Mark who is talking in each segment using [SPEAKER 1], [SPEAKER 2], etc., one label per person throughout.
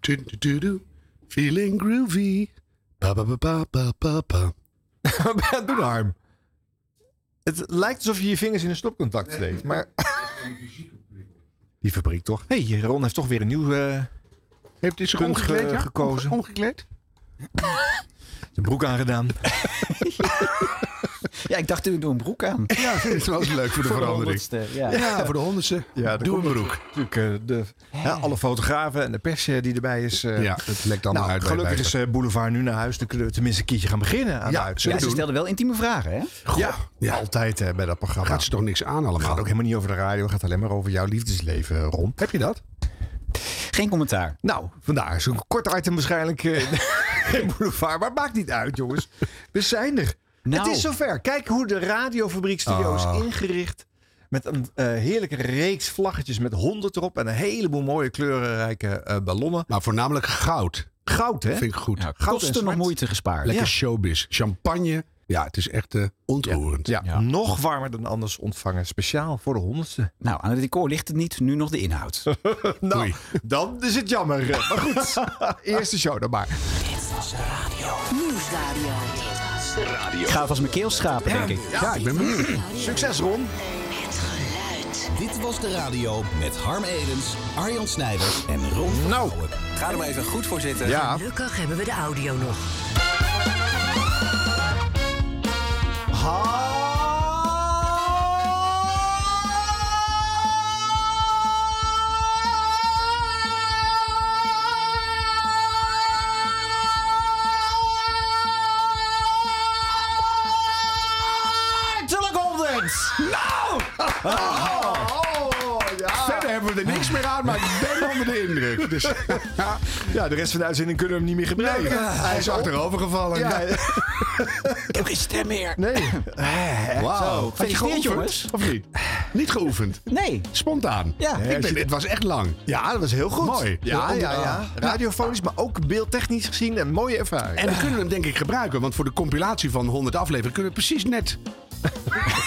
[SPEAKER 1] Du- du- du- du. Feeling groovy. Ba, ba, ba, ba, ba, ba, ba.
[SPEAKER 2] Doe de arm. Het lijkt alsof je je vingers in een stopcontact steekt, maar... Die fabriek toch? Hé, hey, Ron heeft toch weer een nieuw eh,
[SPEAKER 1] Heeft hij zich
[SPEAKER 2] Punt ge-
[SPEAKER 1] omgekleed? ja?
[SPEAKER 2] gekozen.
[SPEAKER 1] Omgekleed?
[SPEAKER 2] zijn broek aangedaan.
[SPEAKER 3] Ja, ik dacht, ik doe een broek aan.
[SPEAKER 1] Ja, dat is wel eens leuk voor de verandering.
[SPEAKER 3] honderdste, ja.
[SPEAKER 1] Ja, voor de honderdste.
[SPEAKER 2] Ja,
[SPEAKER 1] Doe een broek.
[SPEAKER 2] Natuurlijk, eh, de, hè, alle fotografen en de pers eh, die erbij is. eh,
[SPEAKER 1] Ja, het lekt allemaal
[SPEAKER 2] nou,
[SPEAKER 1] uit. bij
[SPEAKER 2] gelukkig
[SPEAKER 1] wijze.
[SPEAKER 2] is eh, Boulevard nu naar huis. Dan kunnen we tenminste een keertje gaan beginnen aan
[SPEAKER 1] Ja,
[SPEAKER 2] de
[SPEAKER 3] Ja,
[SPEAKER 2] uitzending.
[SPEAKER 3] ze stelden wel intieme vragen, hè?
[SPEAKER 2] Ja,
[SPEAKER 1] ja.
[SPEAKER 2] altijd eh, bij dat programma.
[SPEAKER 1] Gaat ze toch niks aan allemaal?
[SPEAKER 2] Het gaat ook helemaal niet over de radio. Het gaat alleen maar over jouw liefdesleven, eh, Ron.
[SPEAKER 1] Heb je dat?
[SPEAKER 3] Geen commentaar.
[SPEAKER 2] Nou, vandaag is een kort item waarschijnlijk eh, in Boulevard. Maar maakt niet uit, jongens. We zijn er.
[SPEAKER 3] Nou.
[SPEAKER 2] Het is zover. Kijk hoe de radiofabriek studio is ingericht. Met een eh, heerlijke reeks vlaggetjes met honderd erop. En een heleboel mooie kleurenrijke eh, ballonnen.
[SPEAKER 1] Maar voornamelijk goud.
[SPEAKER 2] Goud, hè?
[SPEAKER 1] Vind ik goed.
[SPEAKER 3] Ja,
[SPEAKER 2] Goud en
[SPEAKER 3] kosten nog
[SPEAKER 2] zwart.
[SPEAKER 3] moeite gespaard.
[SPEAKER 1] Lekker
[SPEAKER 2] ja.
[SPEAKER 1] showbiz. Champagne. Ja, het is echt eh, ontroerend.
[SPEAKER 2] Ja,
[SPEAKER 3] Ja.
[SPEAKER 2] nog warmer dan anders ontvangen. Speciaal voor de honderdste.
[SPEAKER 3] Nou, aan het decor ligt het niet. Nu nog de inhoud.
[SPEAKER 2] Nou,
[SPEAKER 1] Oei.
[SPEAKER 2] dan is het jammer. Maar goed, eerste show dan maar.
[SPEAKER 4] Nieuwsradio.
[SPEAKER 3] Ik ga vast mijn keel schrapen, denk ik.
[SPEAKER 1] Ja, ik ben benieuwd.
[SPEAKER 2] Succes, Ron.
[SPEAKER 4] Het geluid.
[SPEAKER 5] Dit was de radio met Harm Edens, Arjan Snijders en Ron van
[SPEAKER 2] Nou. eh,
[SPEAKER 5] Gouwen. Ga er maar even goed voor zitten.
[SPEAKER 2] Ja,
[SPEAKER 4] Gelukkig hebben we de audio nog.
[SPEAKER 3] Hartelijk ontdekt!
[SPEAKER 1] Nou!
[SPEAKER 2] Oh, Ah.
[SPEAKER 1] Verder hebben we er niks meer aan, maar ik ben onder de indruk. Dus,
[SPEAKER 2] ja, de rest van de uitzending kunnen we hem niet meer gebruiken. Ah.
[SPEAKER 1] hij is achterovergevallen.
[SPEAKER 2] Ja,
[SPEAKER 3] Ik heb geen stem meer.
[SPEAKER 2] nee.
[SPEAKER 1] Eh, Wauw. Had
[SPEAKER 3] Gefeliciteerd,
[SPEAKER 1] je geoefend,
[SPEAKER 3] jongens.
[SPEAKER 1] Of niet? Niet geoefend.
[SPEAKER 3] Nee.
[SPEAKER 1] Spontaan.
[SPEAKER 3] Ja.
[SPEAKER 1] Ik ben, het was echt lang.
[SPEAKER 2] Ja, dat was heel goed.
[SPEAKER 1] Mooi.
[SPEAKER 2] Ja, ja, ja.
[SPEAKER 1] Ja.
[SPEAKER 2] Radiofonisch, maar ook beeldtechnisch gezien een mooie ervaring.
[SPEAKER 1] En we kunnen hem denk ik gebruiken, want voor de compilatie van 100 afleveringen kunnen we precies net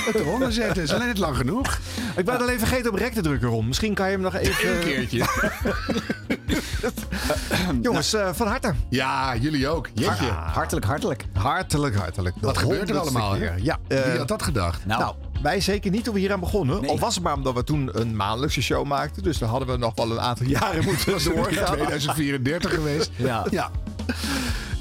[SPEAKER 1] het eronder zetten. Is alleen het lang genoeg?
[SPEAKER 2] ik ben alleen vergeten op rek te drukken, Ron. Misschien kan je hem nog even...
[SPEAKER 1] Een keertje.
[SPEAKER 2] Jongens, eh, van harte.
[SPEAKER 1] Ja, jullie ook. Jeetje.
[SPEAKER 2] Ah.
[SPEAKER 3] Hartelijk, hartelijk.
[SPEAKER 2] Hartelijk, hartelijk.
[SPEAKER 1] Wat gebeurt er allemaal? hè?
[SPEAKER 2] Ja,
[SPEAKER 1] Wie
[SPEAKER 2] eh,
[SPEAKER 1] had dat gedacht?
[SPEAKER 3] Nou,
[SPEAKER 2] Nou, wij zeker niet hoe we hier aan begonnen.
[SPEAKER 3] Nee.
[SPEAKER 2] Al was het maar omdat we toen een maandelijkse show maakten. Dus dan hadden we nog wel een aantal jaren moeten
[SPEAKER 1] in
[SPEAKER 2] doorgaan.
[SPEAKER 1] 2034 geweest.
[SPEAKER 3] Ja.
[SPEAKER 1] ja.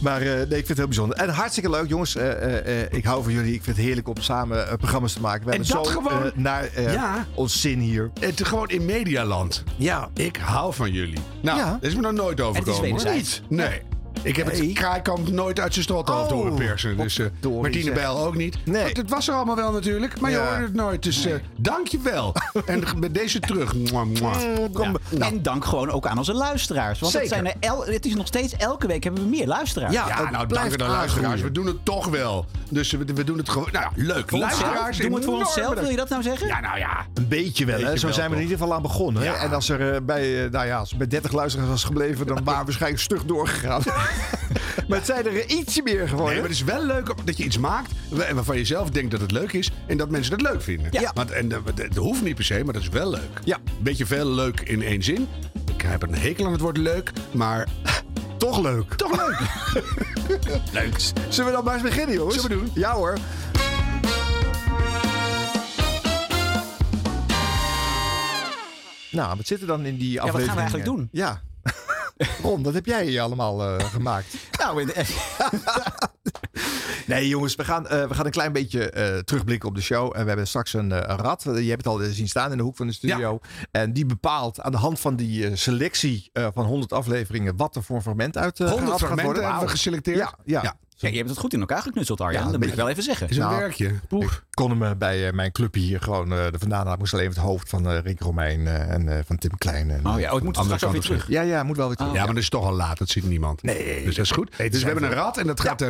[SPEAKER 2] Maar eh, nee, ik vind het heel bijzonder. En hartstikke leuk, jongens. Eh, eh, eh, ik hou van jullie. Ik vind het heerlijk om samen eh, programma's te maken. We
[SPEAKER 1] En
[SPEAKER 2] hebben
[SPEAKER 1] dat
[SPEAKER 2] zo
[SPEAKER 1] gewoon-
[SPEAKER 2] eh, naar eh,
[SPEAKER 1] Ja.
[SPEAKER 2] ons zin hier.
[SPEAKER 1] Het, gewoon in medialand.
[SPEAKER 2] Ja.
[SPEAKER 1] Ik hou van jullie. Nou,
[SPEAKER 2] Ja.
[SPEAKER 1] dat is me nog nooit overkomen. hoor.
[SPEAKER 3] wederzijds.
[SPEAKER 1] Niet. Nee. Ik heb
[SPEAKER 2] Nee.
[SPEAKER 1] het kraaikamp nooit uit zijn strot
[SPEAKER 2] Oh,
[SPEAKER 1] af horen persen. Dus eh,
[SPEAKER 2] potdorie,
[SPEAKER 1] Martine
[SPEAKER 2] zeg.
[SPEAKER 1] Bijl ook niet.
[SPEAKER 2] Nee.
[SPEAKER 1] Want het was er allemaal wel natuurlijk, maar
[SPEAKER 2] Ja.
[SPEAKER 1] je hoorde het nooit. Dus eh dank je wel. en g- bij deze terug. Mwah, mwah.
[SPEAKER 2] Kom, nou,
[SPEAKER 3] En dank gewoon ook aan onze luisteraars. Want het,
[SPEAKER 2] Zeker.
[SPEAKER 3] zijn er el- het is nog steeds elke week hebben we meer luisteraars.
[SPEAKER 2] Ja.
[SPEAKER 1] Ja,
[SPEAKER 2] het
[SPEAKER 1] nou, dank
[SPEAKER 2] blijft
[SPEAKER 1] aan de luisteraars. We
[SPEAKER 2] aangroeien.
[SPEAKER 1] doen het toch wel. Dus we, we doen het gewoon. Nou, ja, leuk.
[SPEAKER 3] Voor onszelf?
[SPEAKER 1] Luisteraars,
[SPEAKER 3] Doen we het voor
[SPEAKER 1] enorm
[SPEAKER 3] onszelf?
[SPEAKER 1] bedankt.
[SPEAKER 3] Wil je dat nou zeggen?
[SPEAKER 1] Ja, nou ja.
[SPEAKER 2] een beetje wel.
[SPEAKER 1] Beetje
[SPEAKER 2] Hè? Zo
[SPEAKER 1] wel,
[SPEAKER 2] zijn we er in ieder geval aan begonnen.
[SPEAKER 1] Ja.
[SPEAKER 2] Hè? En als er eh, bij, eh, nou ja, als er bij 30 luisteraars was gebleven, dan waren we waarschijnlijk stug doorgegaan. maar het zijn er eh, ietsje meer geworden.
[SPEAKER 1] Nee, maar het is wel leuk dat je iets maakt wa- waarvan je zelf denkt dat het leuk is en dat mensen dat leuk vinden.
[SPEAKER 3] Ja.
[SPEAKER 1] Want, en eh, dat hoeft niet per se, maar dat is wel leuk.
[SPEAKER 2] Ja.
[SPEAKER 1] Beetje veel leuk in één zin. Ik heb een hekel aan het woord leuk, maar
[SPEAKER 2] toch leuk.
[SPEAKER 1] toch leuk. leuk.
[SPEAKER 2] Zullen we dan maar eens beginnen, jongens?
[SPEAKER 1] Zullen we doen?
[SPEAKER 2] Ja hoor. Nou, wat zit er dan in die
[SPEAKER 3] wat gaan we
[SPEAKER 2] aflevering?
[SPEAKER 3] eigenlijk doen?
[SPEAKER 2] Ja. Ron, wat heb jij hier allemaal eh, gemaakt?
[SPEAKER 3] Nou, in-
[SPEAKER 2] Nee, jongens, we gaan, eh, we gaan een klein beetje eh, terugblikken op de show. En we hebben straks een, eh, een rad. Eh, Je hebt het al zien staan in de hoek van de studio. En die bepaalt aan de hand van die eh, selectie eh, van 100 afleveringen. wat er voor een fragment uit eh
[SPEAKER 1] 100
[SPEAKER 2] gehaald gaat
[SPEAKER 1] fragmenten
[SPEAKER 2] worden.
[SPEAKER 1] hebben we geselecteerd.
[SPEAKER 2] Ja, ja.
[SPEAKER 1] Ja.
[SPEAKER 3] ja, je hebt het goed in elkaar geknutseld, Arjan.
[SPEAKER 2] Ja,
[SPEAKER 3] dat
[SPEAKER 2] een
[SPEAKER 3] moet ik wel even zeggen.
[SPEAKER 1] Is een
[SPEAKER 2] Nou,
[SPEAKER 1] werkje.
[SPEAKER 2] Ik kon hem eh, bij eh, mijn club hier gewoon eh er vandaan halen. Ik moest alleen het hoofd van eh, Rick Romein eh, en eh, van Tim Klein. En,
[SPEAKER 3] Oh ja, oh, het moet
[SPEAKER 1] Andere
[SPEAKER 3] straks ook weer
[SPEAKER 1] kant op
[SPEAKER 3] terug.
[SPEAKER 2] ja, ja, moet wel weer terug. Oh,
[SPEAKER 1] Ja, maar dat is toch al laat. Dat ziet niemand.
[SPEAKER 2] Nee.
[SPEAKER 1] Dus dat is goed.
[SPEAKER 2] Nee, het
[SPEAKER 1] dus we
[SPEAKER 2] zijn
[SPEAKER 1] hebben een rad en dat gaat... eh,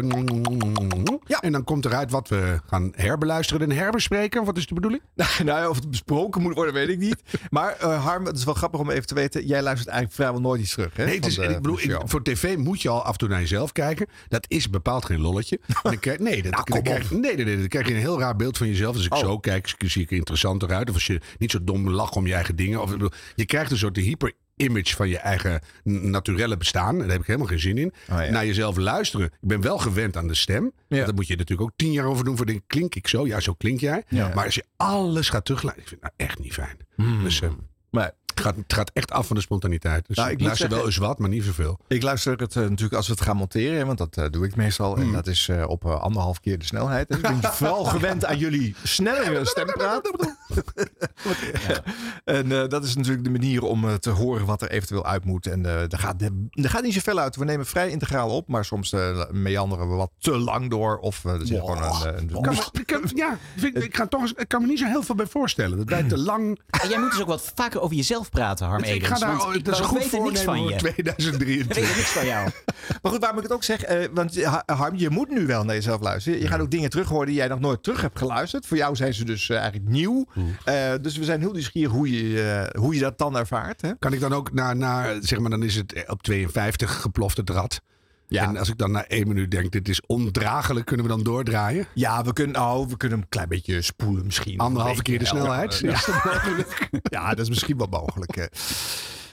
[SPEAKER 2] Ja.
[SPEAKER 1] En dan komt eruit wat we gaan herbeluisteren en herbespreken. Wat is de bedoeling?
[SPEAKER 2] Nou, nou ja, of het besproken moet worden, weet ik niet. Maar eh, Harm, het is wel grappig om even te weten. Jij luistert eigenlijk vrijwel nooit iets terug. Hè,
[SPEAKER 1] Nee, het
[SPEAKER 2] van
[SPEAKER 1] is,
[SPEAKER 2] de-
[SPEAKER 1] ik bedoel,
[SPEAKER 2] van de
[SPEAKER 1] ik-
[SPEAKER 2] show.
[SPEAKER 1] voor tv moet je al af en toe naar jezelf kijken. Dat is bepaald geen lolletje. En dan krijg, nee, dat, dan
[SPEAKER 2] Nou, kom
[SPEAKER 1] krijg, nee, nee, nee, dan krijg je een heel raar beeld van jezelf. Als ik
[SPEAKER 2] Oh.
[SPEAKER 1] zo kijk, zie ik er interessanter uit. Of als je niet zo dom lacht om je eigen dingen. Of, ik bedoel, je krijgt een soort hyper image van je eigen n- naturelle bestaan. Daar heb ik helemaal geen zin in.
[SPEAKER 2] Oh, ja.
[SPEAKER 1] Naar jezelf luisteren. Ik ben wel gewend aan de stem.
[SPEAKER 2] Ja.
[SPEAKER 1] Daar moet je natuurlijk ook tien jaar over doen. Voor denk, klink ik zo? Ja, zo klink jij. Maar als je alles gaat terugluisteren. Ik vind het nou echt niet fijn. Dus eh,
[SPEAKER 2] Hmm. Maar
[SPEAKER 1] het, gaat, het gaat echt af van de spontaniteit. Dus
[SPEAKER 2] Nou, ik
[SPEAKER 1] ik
[SPEAKER 2] moet
[SPEAKER 1] luister wel eens wat, maar niet zoveel.
[SPEAKER 2] ik luister het eh, natuurlijk als we het gaan monteren, hè, want dat eh, doe ik meestal. En dat is eh, op eh, anderhalf keer de snelheid. Dus ik ben vooral gewend aan jullie snellere stempraat. En eh, dat is natuurlijk de manier om eh, te horen wat er eventueel uit moet. En eh er, gaat, er gaat niet zoveel uit. We nemen vrij integraal op, maar soms eh, meanderen we wat te lang door. Of eh, er zit gewoon een... eh, een-
[SPEAKER 1] Kan me- ik kan- ja, vind ik, ik ga toch, eens- ik kan me niet zo heel veel bij voorstellen. Dat wij te
[SPEAKER 2] Hmm.
[SPEAKER 1] lang.
[SPEAKER 3] En jij moet dus ook wat vaker over jezelf praten, Harm
[SPEAKER 1] ik
[SPEAKER 3] Edens.
[SPEAKER 1] ga daar, oh,
[SPEAKER 3] want
[SPEAKER 1] dat is een
[SPEAKER 3] we
[SPEAKER 1] goed
[SPEAKER 3] weten niks
[SPEAKER 1] voornemen
[SPEAKER 3] van
[SPEAKER 1] voor
[SPEAKER 3] je. We
[SPEAKER 1] 2023.
[SPEAKER 3] weten niks van jou.
[SPEAKER 2] Maar goed, waarom ik het ook zeg, eh, want eh, Ha- Harm, je moet nu wel naar jezelf luisteren. Je gaat ook dingen terug horen die jij nog nooit terug hebt geluisterd. Voor jou zijn ze dus eh, eigenlijk nieuw. Eh, dus we zijn heel nieuwsgierig hoe je, eh, hoe je dat dan ervaart. Hè?
[SPEAKER 1] Kan ik dan ook naar, naar, zeg maar, dan is het op 52 geplofte draad.
[SPEAKER 2] Ja.
[SPEAKER 1] En als ik dan na één minuut denk, dit is ondraaglijk, kunnen we dan doordraaien?
[SPEAKER 2] Ja, we kunnen, oh, we kunnen hem een klein beetje spoelen misschien.
[SPEAKER 1] Anderhalve
[SPEAKER 2] Een
[SPEAKER 1] keer de
[SPEAKER 2] beetje, ja.
[SPEAKER 1] snelheid.
[SPEAKER 2] Ja,
[SPEAKER 1] Is dat mogelijk?
[SPEAKER 2] ja, dat is misschien wel mogelijk. eh.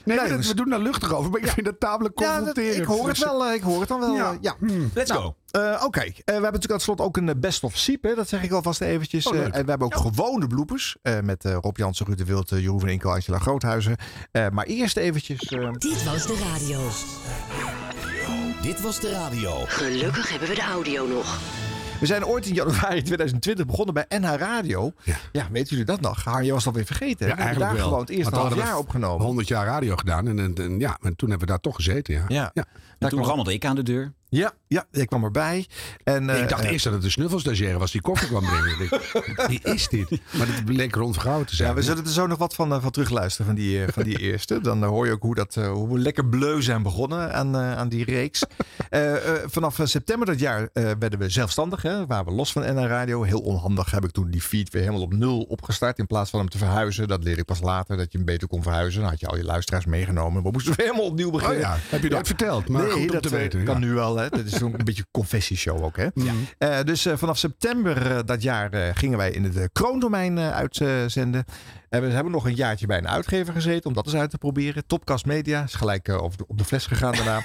[SPEAKER 1] Nee,
[SPEAKER 2] Nee,
[SPEAKER 1] maar dat-
[SPEAKER 2] dus-
[SPEAKER 1] we doen daar luchtig over, maar ik vind dat tamelijk
[SPEAKER 2] Ja, dat-
[SPEAKER 1] confronterend. Dus-
[SPEAKER 2] ik hoor het wel. eh, Ik hoor het dan wel.
[SPEAKER 1] Ja. Hmm.
[SPEAKER 2] eh, ja.
[SPEAKER 3] Let's go.
[SPEAKER 2] Eh, Oké, Eh, we hebben natuurlijk aan het slot ook een eh, best of siep. Hè? Dat zeg ik alvast eventjes.
[SPEAKER 1] Oh,
[SPEAKER 2] Eh,
[SPEAKER 1] leuk.
[SPEAKER 2] en we hebben ook gewone bloepers. met eh, Rob Jansen, Ruud de Wild, eh, Jeroen van Inkel, Angela Groothuizen. Eh, maar eerst eventjes... eh,
[SPEAKER 4] Dit was de radio.
[SPEAKER 5] Dit was de radio.
[SPEAKER 4] Gelukkig hebben we de audio nog.
[SPEAKER 2] we zijn ooit in januari 2020 begonnen bij NH Radio. Ja,
[SPEAKER 1] Ja.
[SPEAKER 2] weten jullie dat nog? Haar, je was het alweer vergeten. hè?
[SPEAKER 1] Ja,
[SPEAKER 2] we hebben daar
[SPEAKER 1] eigenlijk wel.
[SPEAKER 2] gewoon het eerste
[SPEAKER 1] Want
[SPEAKER 2] half
[SPEAKER 1] hadden we
[SPEAKER 2] jaar opgenomen.
[SPEAKER 1] 100 jaar radio gedaan en, en, en ja, en toen hebben we daar toch gezeten. Ja.
[SPEAKER 2] Ja.
[SPEAKER 1] Ja.
[SPEAKER 3] En
[SPEAKER 2] Daar
[SPEAKER 3] toen
[SPEAKER 2] kwam-
[SPEAKER 3] rammelde ik aan de deur.
[SPEAKER 2] Ja, ja, ik kwam erbij. En, eh,
[SPEAKER 1] ik dacht
[SPEAKER 2] eh,
[SPEAKER 1] eerst dat het een snuffelstagiaire was die koffie kwam brengen. Ik dacht, Wie is dit? Maar dat bleek Ron Vergouwen te zijn.
[SPEAKER 2] Ja, we zullen er zo nog wat van, eh, van terugluisteren van die, eh, van die eerste. Dan eh, hoor je ook hoe, dat, eh, hoe we lekker bleu zijn begonnen aan, eh, aan die reeks. Eh, eh, vanaf eh, september dat jaar eh, werden we zelfstandig. Hè, waren we los van NN Radio. Heel onhandig heb ik toen die feed weer helemaal op nul opgestart. In plaats van hem te verhuizen. Dat leerde ik pas later, dat je hem beter kon verhuizen. Dan had je al je luisteraars meegenomen. We moesten weer helemaal opnieuw beginnen.
[SPEAKER 1] Oh ja, heb je dat verteld? Maar goed om
[SPEAKER 2] dat
[SPEAKER 1] te
[SPEAKER 2] eh,
[SPEAKER 1] weten,
[SPEAKER 2] kan
[SPEAKER 1] ja.
[SPEAKER 2] nu wel. Hè? Dat is zo'n beetje confessieshow ook. Hè? Eh, dus eh, vanaf september eh, dat jaar eh, gingen wij in het eh, kroondomein eh, uitzenden. En we hebben nog een jaartje bij een uitgever gezeten om dat eens uit te proberen. Topcast Media is gelijk eh, op, de, op de fles gegaan daarna.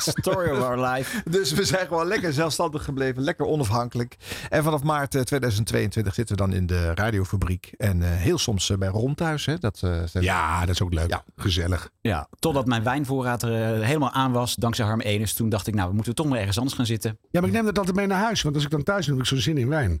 [SPEAKER 3] Story of our life.
[SPEAKER 2] Dus we zijn gewoon lekker zelfstandig gebleven, lekker onafhankelijk. En vanaf maart eh, 2022 zitten we dan in de radiofabriek. En eh, heel soms eh, bij Ron thuis. Hè? Dat, eh, zijn-
[SPEAKER 1] Ja, dat is ook leuk.
[SPEAKER 2] Ja.
[SPEAKER 1] Gezellig.
[SPEAKER 3] Ja, totdat mijn wijnvoorraad er eh, helemaal aan was, dankzij Harm Edens. Toen dacht ik, nou, we moeten toch maar ergens anders gaan zitten.
[SPEAKER 1] Ja, maar ik neem dat altijd mee naar huis. Want als ik dan thuis ben, heb ik zo'n zin in wijn.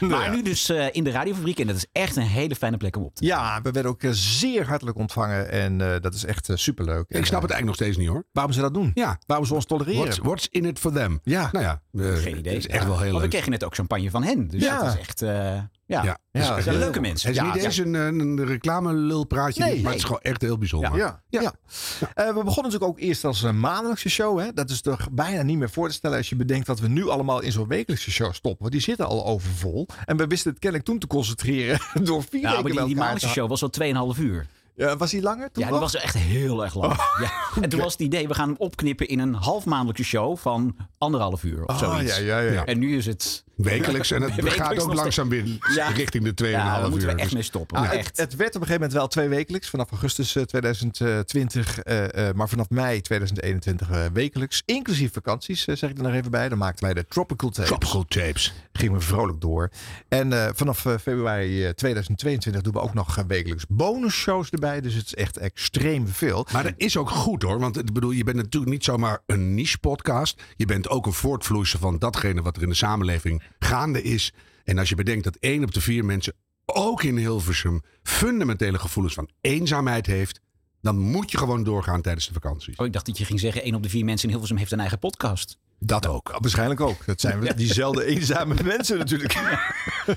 [SPEAKER 3] maar nu dus eh, in de radiofabriek. En dat is echt een hele fijne plek om op te
[SPEAKER 2] Ja, we werden ook eh, zeer hartelijk ontvangen. En eh, dat is echt eh, superleuk. En,
[SPEAKER 1] Ik snap
[SPEAKER 2] eh,
[SPEAKER 1] het eigenlijk nog steeds niet hoor.
[SPEAKER 2] waarom ze dat doen.
[SPEAKER 1] Ja.
[SPEAKER 2] Waarom ze ons tolereren.
[SPEAKER 1] What's, what's in it for them?
[SPEAKER 2] Ja.
[SPEAKER 1] Nou ja, eh,
[SPEAKER 3] Geen idee.
[SPEAKER 1] Het is echt
[SPEAKER 3] Ja.
[SPEAKER 1] wel heel
[SPEAKER 3] Want
[SPEAKER 1] leuk.
[SPEAKER 3] we kregen net ook champagne van hen. Dus
[SPEAKER 2] Ja.
[SPEAKER 3] dat is echt... eh, ja,
[SPEAKER 1] Ja, Dus
[SPEAKER 2] Ja,
[SPEAKER 1] het is
[SPEAKER 2] dat
[SPEAKER 1] echt
[SPEAKER 3] zijn
[SPEAKER 1] heel-
[SPEAKER 3] leuke mensen.
[SPEAKER 1] Het is
[SPEAKER 3] Ja,
[SPEAKER 1] niet
[SPEAKER 3] ja.
[SPEAKER 1] eens een, een reclame-lulpraatje,
[SPEAKER 2] Nee,
[SPEAKER 1] maar
[SPEAKER 2] nee.
[SPEAKER 1] het is gewoon echt heel bijzonder.
[SPEAKER 2] Ja. ja. Eh, we begonnen natuurlijk ook eerst als een maandelijkse show. Hè? Dat is toch bijna niet meer voor te stellen als je bedenkt dat we nu allemaal in zo'n wekelijkse show stoppen. Want die zitten al overvol. En we wisten het kennelijk toen te concentreren door
[SPEAKER 3] Nou,
[SPEAKER 2] vier weken
[SPEAKER 3] maar die,
[SPEAKER 2] bij
[SPEAKER 3] die
[SPEAKER 2] elkaar te
[SPEAKER 3] maandelijkse show was al 2,5 uur.
[SPEAKER 2] houden. Ja, was die langer toen
[SPEAKER 3] Ja, die
[SPEAKER 2] nog?
[SPEAKER 3] was echt heel erg lang.
[SPEAKER 1] Oh,
[SPEAKER 3] ja. En toen was het idee, we gaan hem opknippen in een halfmaandelijkse show van anderhalf uur of
[SPEAKER 2] Ah,
[SPEAKER 3] zoiets.
[SPEAKER 2] ja, ja, ja.
[SPEAKER 1] Oh, Ja.
[SPEAKER 3] En nu is het...
[SPEAKER 1] Wekelijks. En het
[SPEAKER 3] Wekelijks
[SPEAKER 1] gaat ook
[SPEAKER 3] nog
[SPEAKER 1] langzaam weer
[SPEAKER 3] Ja.
[SPEAKER 1] richting de 2,5
[SPEAKER 3] Ja, daar moeten
[SPEAKER 1] uur.
[SPEAKER 3] we echt
[SPEAKER 1] Dus-
[SPEAKER 3] mee stoppen.
[SPEAKER 2] Ah,
[SPEAKER 3] maar
[SPEAKER 2] het,
[SPEAKER 3] echt.
[SPEAKER 2] het werd op een gegeven moment wel twee wekelijks, vanaf augustus eh, 2020. eh, eh, maar vanaf mei 2021 eh, wekelijks. Inclusief vakanties, eh, zeg ik er nog even bij. Dan maakten wij de Tropical Tapes.
[SPEAKER 1] Tropical tapes.
[SPEAKER 2] gingen we vrolijk door. En eh, vanaf eh, februari eh, 2022 doen we ook nog eh, wekelijks bonusshows erbij. Dus het is echt extreem veel.
[SPEAKER 1] Maar dat is ook goed hoor. Want ik bedoel, je bent natuurlijk niet zomaar een niche podcast. Je bent ook een voortvloeisel van datgene wat er in de samenleving gaande is. En als je bedenkt dat één op de vier mensen ook in Hilversum fundamentele gevoelens van eenzaamheid heeft. Dan moet je gewoon doorgaan tijdens de vakanties.
[SPEAKER 3] Oh, ik dacht dat je ging zeggen, één op de vier mensen in Hilversum heeft een eigen podcast.
[SPEAKER 1] Dat ook.
[SPEAKER 2] Waarschijnlijk ook. Dat zijn we diezelfde eenzame mensen natuurlijk.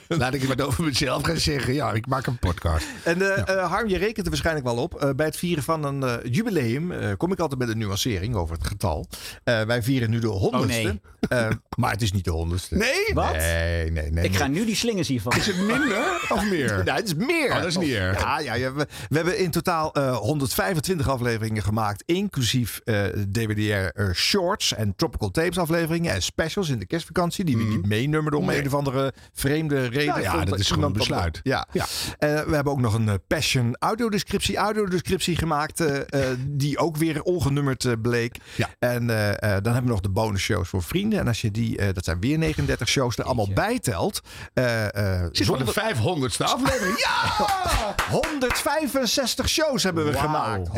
[SPEAKER 1] Laat ik het maar over mezelf gaan zeggen. Ja, ik maak een podcast.
[SPEAKER 2] En eh, eh, Harm, je rekent er waarschijnlijk wel op. Eh, bij het vieren van een eh, jubileum eh, kom ik altijd met een nuancering over het getal. Eh, wij vieren nu de honderdste.
[SPEAKER 3] nee.
[SPEAKER 2] Eh, maar het is niet de honderdste.
[SPEAKER 1] Nee?
[SPEAKER 3] Wat?
[SPEAKER 2] Nee, nee, nee.
[SPEAKER 3] Ik ga nu die slingers hiervan.
[SPEAKER 1] Is het minder of meer?
[SPEAKER 2] Ja, het is meer.
[SPEAKER 1] Oh, dat is niet erg.
[SPEAKER 2] Ja, ja, ja, we, we hebben in totaal eh, 125 afleveringen gemaakt. Inclusief eh DWDR eh, shorts en tropical tapes. jubileumsafleveringen en specials in de kerstvakantie. Die we niet meenummerden om een of andere vreemde reden.
[SPEAKER 1] Nou ja,
[SPEAKER 2] Vond
[SPEAKER 1] dat is gewoon
[SPEAKER 2] iemand
[SPEAKER 1] een besluit.
[SPEAKER 2] Ja.
[SPEAKER 1] Ja.
[SPEAKER 2] Eh, we hebben ook nog een eh, Passion audiodescriptie, audiodescriptie gemaakt. eh, eh, die ook weer ongenummerd eh, bleek.
[SPEAKER 1] Ja.
[SPEAKER 2] En eh, eh, dan hebben we nog de bonus shows voor vrienden. En als je die, eh, dat zijn weer 39 shows, er allemaal bijtelt. eh, eh,
[SPEAKER 1] Zit op de 500ste aflevering. Ja,
[SPEAKER 2] ja! 165 shows hebben we
[SPEAKER 3] Wauw.
[SPEAKER 2] gemaakt.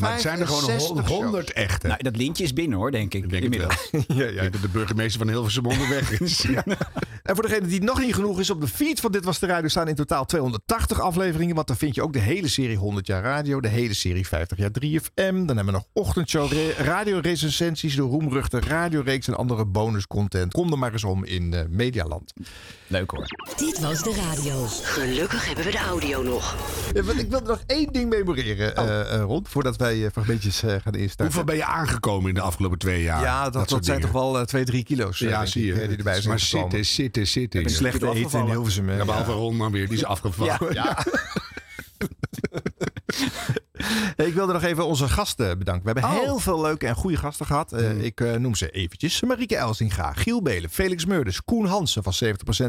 [SPEAKER 1] maar het zijn er gewoon hon-
[SPEAKER 2] 165 shows.
[SPEAKER 1] 100 echte.
[SPEAKER 3] Nou, dat lintje is binnen hoor, denk ik.
[SPEAKER 1] Ik denk het wel.
[SPEAKER 3] inmiddels.
[SPEAKER 2] Ja,
[SPEAKER 1] Ik
[SPEAKER 2] ja.
[SPEAKER 1] denk dat de burgemeester van Hilversum onderweg is.
[SPEAKER 2] En voor degene die het nog niet genoeg is, op de feed van Dit Was De Radio staan in totaal 280 afleveringen. Want dan vind je ook de hele serie 100 jaar radio, de hele serie 50 jaar 3FM. Dan hebben we nog ochtendshow, re- radiorecensies, de roemruchte radioreeks en andere bonuscontent. Kom er maar eens om in eh, Medialand.
[SPEAKER 3] Leuk hoor.
[SPEAKER 4] Dit was de radio. Gelukkig hebben we de audio nog.
[SPEAKER 2] Eh, want ik wil nog één ding memoreren,
[SPEAKER 1] Oh.
[SPEAKER 2] eh eh, Ron, voordat wij eh, fragmentjes eh, gaan instarten.
[SPEAKER 1] Hoeveel ben je aangekomen in de afgelopen twee jaar?
[SPEAKER 2] ja, dat, dat,
[SPEAKER 1] soort
[SPEAKER 2] zijn toch
[SPEAKER 1] dingen.
[SPEAKER 2] wel eh, twee, drie kilo's eh,
[SPEAKER 1] Ja,
[SPEAKER 2] denk
[SPEAKER 1] zie
[SPEAKER 2] ik,
[SPEAKER 1] je.
[SPEAKER 2] eh, die erbij zijn
[SPEAKER 1] maar
[SPEAKER 2] gekomen.
[SPEAKER 1] zitten, zitten, zitten.
[SPEAKER 2] Met
[SPEAKER 1] Ja,
[SPEAKER 2] slechte eten in Hilversum. hè.
[SPEAKER 1] behalve Ron dan weer. Die is afgevallen.
[SPEAKER 2] Ja. Hey, Ik wilde nog even onze gasten bedanken. We hebben heel veel leuke en goede gasten gehad. Eh, Ik eh, noem ze eventjes. Marieke Elsinga, Giel Belen, Felix Meurders, Koen Hansen van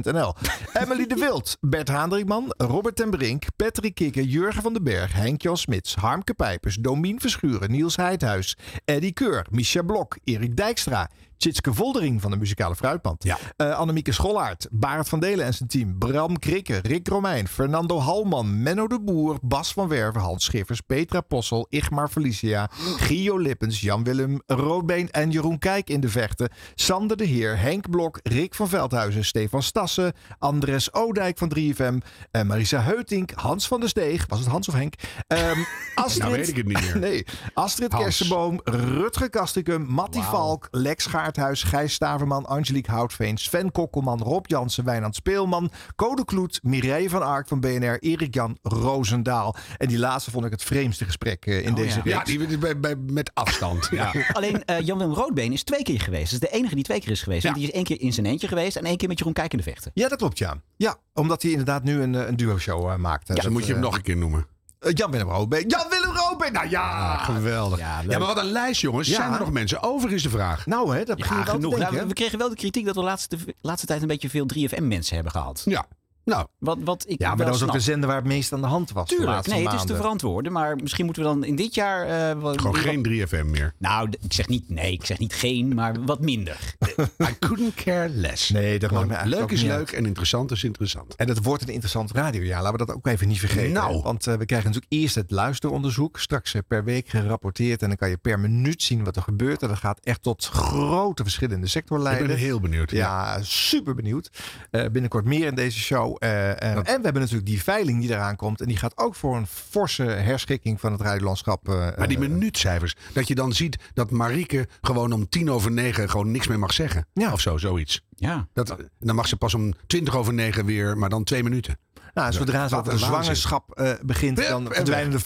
[SPEAKER 2] 70% NL, Emily de Wild, Bert Haandrikman, Robert ten Brink, Patrick Kikker, Jurgen van den Berg, Henk-Jan Smits, Harmke Pijpers, Domien Verschuren, Niels Heidhuis, Eddie Keur, Micha Blok, Erik Dijkstra, Tjitske Voldering van de Muzikale Fruitmand.
[SPEAKER 1] Ja.
[SPEAKER 2] Eh, Annemieke Schollaert, Barend van Delen en zijn team, Bram Krikke, Rick Romeijn, Fernando Halman, Menno de Boer, Bas van Werven, Hans Schiffers, Petra Possel, Igmar Felicia, Gio Lippens, Jan-Willem Roodbeen en Jeroen Kijk in de vechten, Sander de Heer, Henk Blok, Rick van Veldhuizen, Stefan Stassen, Andres Oudijk van 3FM, eh, Marisa Heutink, Hans van der Steeg, was het Hans of Henk? Ehm Astrid,
[SPEAKER 1] Nou weet ik het niet meer.
[SPEAKER 2] Nee, Astrid
[SPEAKER 1] Hans.
[SPEAKER 2] Kersenboom, Rutger Kastikum, Matti Valk, Lex Gaardhuis, Gijs Staverman, Angelique Houtveen, Sven Kokkelman, Rob Jansen, Wijnand Speelman, Code Kloet, Mireille van Ark van BNR, Erik Jan Roosendaal. En die laatste vond ik het vreemdste gesprek eh, in deze
[SPEAKER 3] Oh, ja.
[SPEAKER 2] reeks.
[SPEAKER 1] Oh, Ja, die is bij, bij, met afstand. Ja.
[SPEAKER 3] Alleen eh, Jan-Willem Roodbeen is twee keer geweest. Dat is de enige die twee keer is geweest. Want
[SPEAKER 1] Ja.
[SPEAKER 3] die is één keer in zijn eentje geweest en één keer met Jeroen Kijk in de vechten.
[SPEAKER 2] Ja, dat klopt, ja. Ja, omdat hij inderdaad nu een, eh, een duo-show eh, maakt.
[SPEAKER 1] Dan moet je hem nog een keer Ah, noemen.
[SPEAKER 2] Jan-Willem Roodbeen. Jan-Willem Roodbeen! Nou ja, geweldig.
[SPEAKER 3] Ja, leuk.
[SPEAKER 1] Ja, maar wat een lijst, jongens.
[SPEAKER 2] Ja.
[SPEAKER 1] Zijn er nog mensen? Over is de vraag.
[SPEAKER 2] Nou hè, dat begin je
[SPEAKER 1] Ah,
[SPEAKER 2] wel
[SPEAKER 3] genoeg.
[SPEAKER 2] te denken.
[SPEAKER 3] Nou, we-
[SPEAKER 2] hè?
[SPEAKER 3] we kregen wel de kritiek dat we de laatste, laatste tijd een beetje veel 3FM-mensen hebben gehad.
[SPEAKER 1] Ja. Nou,
[SPEAKER 3] Wat, wat ik
[SPEAKER 2] Ja, maar
[SPEAKER 3] wel
[SPEAKER 2] dat was ook
[SPEAKER 3] snap.
[SPEAKER 2] de zender waar het meest aan de hand was. de
[SPEAKER 3] Tuurlijk,
[SPEAKER 2] laatste
[SPEAKER 3] nee, het is te
[SPEAKER 2] maanden.
[SPEAKER 3] verantwoorden. Maar misschien moeten we dan in dit jaar... eh, wat-
[SPEAKER 1] gewoon
[SPEAKER 3] wat-
[SPEAKER 1] geen 3FM meer.
[SPEAKER 3] Nou, d- ik zeg niet nee, ik zeg niet geen, maar wat minder.
[SPEAKER 1] I couldn't care less.
[SPEAKER 2] Nee, dat maakt me
[SPEAKER 1] Gewoon,
[SPEAKER 2] eigenlijk
[SPEAKER 1] leuk
[SPEAKER 2] ook
[SPEAKER 1] is
[SPEAKER 2] niet
[SPEAKER 1] leuk en interessant is interessant.
[SPEAKER 2] En het wordt een interessant radiojaar. Laten we dat ook even niet vergeten.
[SPEAKER 1] Nou.
[SPEAKER 2] Want eh, we krijgen natuurlijk eerst het luisteronderzoek. Straks eh, per week gerapporteerd. En dan kan je per minuut zien wat er gebeurt. En dat gaat echt tot grote verschillende sectoren
[SPEAKER 1] Ik ben
[SPEAKER 2] leiden.
[SPEAKER 1] heel benieuwd.
[SPEAKER 2] Ja, super benieuwd. Eh, binnenkort meer in deze show. Eh, eh, en we hebben natuurlijk die veiling die eraan komt. En die gaat ook voor een forse herschikking van het radiolandschap. eh,
[SPEAKER 1] Maar die
[SPEAKER 2] eh,
[SPEAKER 1] minuutcijfers, dat je dan ziet dat Marieke gewoon om tien over negen gewoon niks meer mag zeggen.
[SPEAKER 2] Ja.
[SPEAKER 1] Of zo, zoiets.
[SPEAKER 3] Ja.
[SPEAKER 1] Dat, dan mag ze pas om twintig over negen weer, maar dan twee minuten.
[SPEAKER 2] Nou, en zodra ze
[SPEAKER 1] Wat
[SPEAKER 2] over
[SPEAKER 1] een
[SPEAKER 2] een zwangerschap eh, begint,
[SPEAKER 1] Hup,
[SPEAKER 2] dan
[SPEAKER 1] en
[SPEAKER 2] verdwijnen er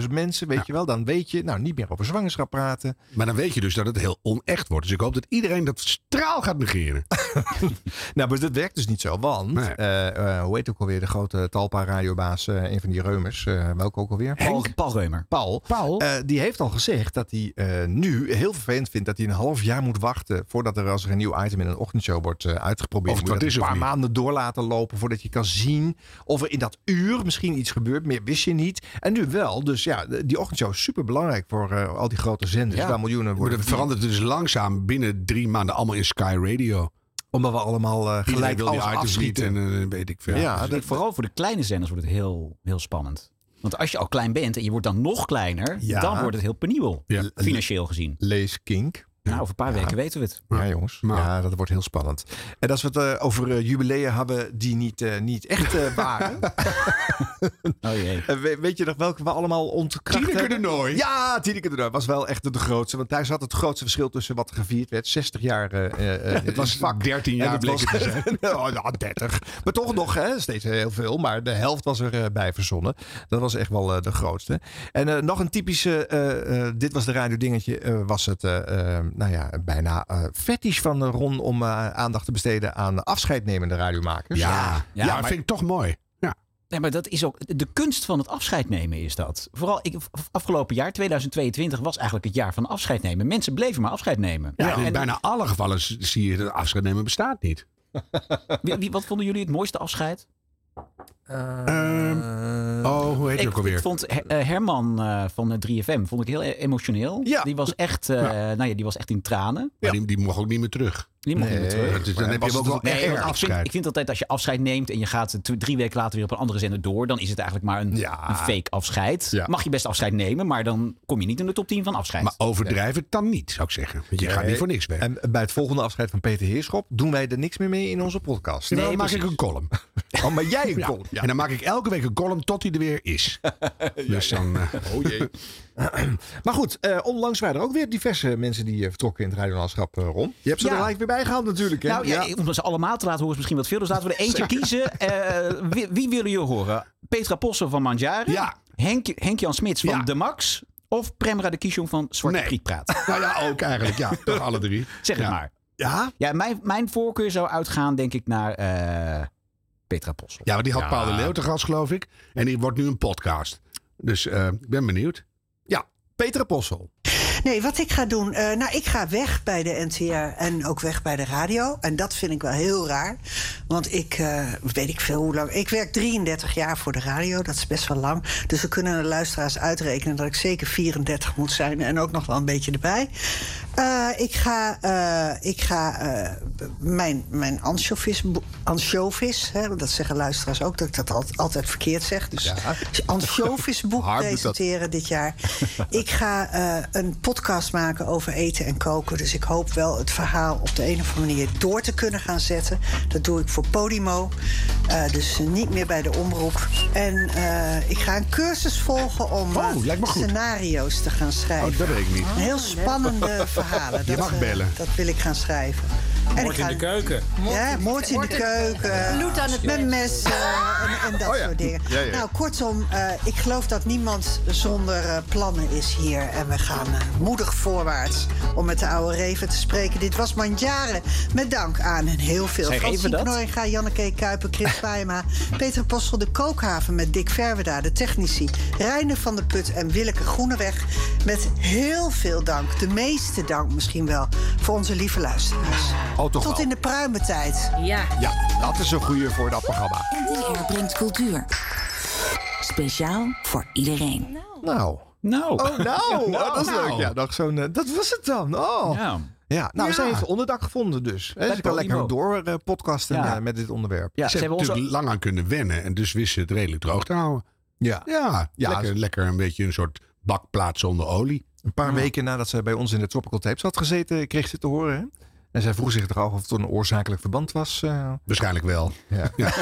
[SPEAKER 2] 50.000 mensen, weet je wel. Dan weet je, nou, niet meer over zwangerschap praten.
[SPEAKER 1] Maar dan weet je dus dat het heel onecht wordt. Dus ik hoop dat iedereen dat straal gaat negeren.
[SPEAKER 2] Nou, maar dat werkt dus niet zo, want,
[SPEAKER 1] Nee.
[SPEAKER 2] eh, eh, hoe heet ook alweer de grote Talpa-radiobaas, eh, een van die reumers, eh, welke ook alweer?
[SPEAKER 3] Paul, Paul Reumer.
[SPEAKER 2] Paul.
[SPEAKER 3] Paul?
[SPEAKER 2] Eh, die heeft al gezegd dat hij eh, nu heel vervelend vindt dat hij een half jaar moet wachten voordat er als er een nieuw item in een ochtendshow wordt eh, uitgeprobeerd.
[SPEAKER 1] Of
[SPEAKER 2] Moet je
[SPEAKER 1] dat is
[SPEAKER 2] een
[SPEAKER 1] of
[SPEAKER 2] paar
[SPEAKER 1] niet.
[SPEAKER 2] maanden door laten lopen voordat je kan zien of er in dat uur misschien iets gebeurt. Meer wist je niet. En nu wel. Dus ja, die ochtendshow is super belangrijk voor eh, al die grote zenders
[SPEAKER 3] Ja.
[SPEAKER 2] waar miljoenen
[SPEAKER 1] Maar
[SPEAKER 2] worden.
[SPEAKER 1] dat verandert dus langzaam binnen drie maanden allemaal in Sky Radio.
[SPEAKER 2] Omdat we allemaal eh,
[SPEAKER 1] Iedereen
[SPEAKER 2] gelijk
[SPEAKER 1] wil die
[SPEAKER 2] alles
[SPEAKER 1] items niet
[SPEAKER 2] afschieten.
[SPEAKER 1] en eh, weet ik veel.
[SPEAKER 2] ja,
[SPEAKER 1] Ja.
[SPEAKER 3] Dus
[SPEAKER 2] dat,
[SPEAKER 3] vooral voor de kleine zenders wordt het heel, heel spannend. Want als je al klein bent en je wordt dan nog kleiner,
[SPEAKER 2] Ja.
[SPEAKER 3] dan wordt het heel penibel.
[SPEAKER 1] Ja.
[SPEAKER 3] Financieel gezien.
[SPEAKER 2] lees Kink.
[SPEAKER 3] Nou, over een paar weken weten we het.
[SPEAKER 2] Ja, jongens.
[SPEAKER 1] Maar-
[SPEAKER 2] Ja, dat wordt heel spannend. En als we het eh, over eh, jubilea hebben die niet, eh, niet echt eh, waren.
[SPEAKER 3] Oh jee.
[SPEAKER 2] Eh, we- weet je nog welke we allemaal ontkracht
[SPEAKER 1] Tineke
[SPEAKER 2] hebben?
[SPEAKER 1] de Nooi.
[SPEAKER 2] Ja, Tineke de Nooi was wel echt de grootste. Want daar zat het grootste verschil tussen wat er gevierd werd. 60 jaar eh, eh, eh,
[SPEAKER 1] Het was
[SPEAKER 2] in vak.
[SPEAKER 1] 13 jaar
[SPEAKER 2] En het
[SPEAKER 1] bleek
[SPEAKER 2] was-
[SPEAKER 1] het te
[SPEAKER 2] nou, ja, 30. Maar toch nog hè, steeds heel veel. Maar de helft was er eh, bij verzonnen. Dat was echt wel eh, de grootste. En eh, nog een typische, eh, eh, dit was de radio dingetje, eh, was het eh, eh, nou ja, bijna eh fetish van eh, Ron om eh, aandacht te besteden aan afscheidnemende radiomakers.
[SPEAKER 1] Ja,
[SPEAKER 3] Ja,
[SPEAKER 1] maar
[SPEAKER 3] maar-
[SPEAKER 1] vind ik toch mooi. Ja.
[SPEAKER 3] Nee, maar dat is ook de kunst van het afscheid nemen is dat. Vooral ik, afgelopen jaar, 2022, was eigenlijk het jaar van afscheid nemen. Mensen bleven maar afscheid nemen.
[SPEAKER 1] Ja, in
[SPEAKER 3] en
[SPEAKER 1] bijna alle gevallen s- zie je dat afscheid nemen bestaat niet.
[SPEAKER 3] wie- wie- wat vonden jullie het mooiste afscheid?
[SPEAKER 2] Eh,
[SPEAKER 1] Oh, hoe heet je
[SPEAKER 3] Ik,
[SPEAKER 1] ook alweer?
[SPEAKER 3] ik vond Her- eh, Herman eh, van eh, 3FM vond ik heel e- emotioneel.
[SPEAKER 2] Ja.
[SPEAKER 3] Die, was echt, eh, Nou ja, die was echt in tranen.
[SPEAKER 1] Maar die, die mocht ook niet meer terug.
[SPEAKER 3] Die mocht niet meer terug.
[SPEAKER 1] Dat is- dan heb je
[SPEAKER 2] was
[SPEAKER 1] hem ook
[SPEAKER 2] het
[SPEAKER 1] wel
[SPEAKER 2] ook
[SPEAKER 1] echt
[SPEAKER 3] Nee,
[SPEAKER 1] een
[SPEAKER 3] want ik, vind, ik
[SPEAKER 1] afscheid.
[SPEAKER 3] vind altijd als je afscheid neemt en je gaat t- drie weken later weer op een andere zender door, dan is het eigenlijk maar een,
[SPEAKER 1] Ja.
[SPEAKER 3] een fake afscheid.
[SPEAKER 1] Ja.
[SPEAKER 3] Mag je best afscheid nemen, maar dan kom je niet in de top 10 van afscheid.
[SPEAKER 1] Maar overdrijf het dan niet, zou ik zeggen. Want je gaat niet voor niks weg.
[SPEAKER 2] En bij het volgende afscheid van Peter Heerschop doen wij er niks meer mee in onze podcast.
[SPEAKER 1] dan maak ik een column.
[SPEAKER 2] Oh, maar jij een
[SPEAKER 1] Ja.
[SPEAKER 2] column.
[SPEAKER 1] En dan maak ik elke week een column tot hij er weer is. Dus dan... eh,
[SPEAKER 2] Oh Maar goed, eh, onlangs waren er ook weer diverse mensen die eh, vertrokken in het radiolandschap eh rond. Je hebt ze
[SPEAKER 3] Ja.
[SPEAKER 2] er live weer bij gehaald natuurlijk. Hè?
[SPEAKER 3] nou, ja, om ze allemaal te laten horen is misschien wat veel. Dus laten we er eentje kiezen. Eh, wie, wie willen jullie horen? Petra Posse van Manjari?
[SPEAKER 1] Ja.
[SPEAKER 3] Henk, Henk-Jan Smits van
[SPEAKER 1] Ja.
[SPEAKER 3] De Max? Of Premra de Kishon van Zwarte
[SPEAKER 1] Nee.
[SPEAKER 3] Priet Praat?
[SPEAKER 1] nou ja, ook eigenlijk. Ja, toch alle drie.
[SPEAKER 3] Zeg het maar.
[SPEAKER 2] Ja?
[SPEAKER 3] Ja, mijn, mijn voorkeur zou uitgaan, denk ik, naar eh, Petra Posse.
[SPEAKER 1] Ja, maar die had Paul de Leeuw te gast, geloof ik. En die wordt nu een podcast. Dus eh, ik ben benieuwd.
[SPEAKER 2] Ja, Peter Apostel.
[SPEAKER 6] Nee, wat ik ga doen. eh, nou, ik ga weg bij de NTR en ook weg bij de radio. En dat vind ik wel heel raar. Want ik eh, weet ik veel hoe lang. Ik werk 33 jaar voor de radio. Dat is best wel lang. Dus we kunnen de luisteraars uitrekenen dat ik zeker 34 moet zijn. En ook nog wel een beetje erbij. Eh, ik ga, eh, ik ga eh, mijn, mijn anchovis, anchovis hè, want dat zeggen luisteraars ook, dat ik dat al- altijd verkeerd zeg. Dus anchovisboek
[SPEAKER 2] Harm doet dat.
[SPEAKER 6] presenteren dit jaar. ik ga eh, een podcast maken over eten en koken. Dus ik hoop wel het verhaal op de een of andere manier door te kunnen gaan zetten. Dat doe ik voor Podimo. Eh, dus niet meer bij de omroep. En eh, ik ga een cursus volgen om eh,
[SPEAKER 1] Oh, lijkt me goed.
[SPEAKER 6] scenario's te gaan schrijven.
[SPEAKER 1] Oh, dat weet ik niet.
[SPEAKER 6] Een heel spannende verhalen.
[SPEAKER 1] Je mag
[SPEAKER 6] eh,
[SPEAKER 1] bellen.
[SPEAKER 6] dat wil ik gaan schrijven. En ik ga,
[SPEAKER 7] keuken.
[SPEAKER 6] Ja, moord in de keuken. Bloed aan het Met messen en, en dat
[SPEAKER 3] Oh
[SPEAKER 6] soort dingen. Nou, kortom, eh, ik geloof dat niemand zonder eh, plannen is hier. En we gaan eh, moedig voorwaarts om met de oude Reven te spreken. Dit was Mandjaren. Met dank aan en heel veel.
[SPEAKER 3] Zeg even dat.
[SPEAKER 6] Ga Janneke Kuiper, Chris Wijma, Peter Postel, de Kookhaven met Dick Verweda, de technici, Reine van der Put en Willeke Groeneweg. Met heel veel dank, de meeste dank misschien wel, voor onze lieve luisteraars.
[SPEAKER 2] Oh, toch
[SPEAKER 6] Tot
[SPEAKER 2] wel.
[SPEAKER 6] in de pruimentijd.
[SPEAKER 8] Ja.
[SPEAKER 2] Ja, dat is een goeie voor dat programma.
[SPEAKER 9] NTR brengt cultuur. Speciaal voor iedereen.
[SPEAKER 2] Nou.
[SPEAKER 3] Nou.
[SPEAKER 2] Oh, nou. Oh, dat is
[SPEAKER 1] Nou.
[SPEAKER 2] leuk. Ja, nog zo'n, eh, dat was het dan. Oh. Ja.
[SPEAKER 3] Ja.
[SPEAKER 2] nou,
[SPEAKER 1] Ja.
[SPEAKER 2] zij heeft onderdak gevonden dus. Hè, Ze kan
[SPEAKER 3] Podimo.
[SPEAKER 2] lekker door eh, podcasten
[SPEAKER 3] Ja.
[SPEAKER 2] eh, met dit onderwerp.
[SPEAKER 3] Ja,
[SPEAKER 1] ze
[SPEAKER 3] ze
[SPEAKER 1] hebben
[SPEAKER 3] hebben ons
[SPEAKER 1] natuurlijk lang aan kunnen wennen. En dus wisten ze het redelijk droog te houden.
[SPEAKER 2] Ja.
[SPEAKER 1] Ja,
[SPEAKER 2] Ja,
[SPEAKER 1] lekker,
[SPEAKER 2] ze-
[SPEAKER 1] lekker een beetje een soort bakplaat zonder olie.
[SPEAKER 2] Een paar weken nadat zij bij ons in de Tropical Tapes had gezeten, kreeg ze te horen. Hè? En zij vroeg zich toch af of het een oorzakelijk verband was. eh.
[SPEAKER 1] Waarschijnlijk wel.
[SPEAKER 2] Ja.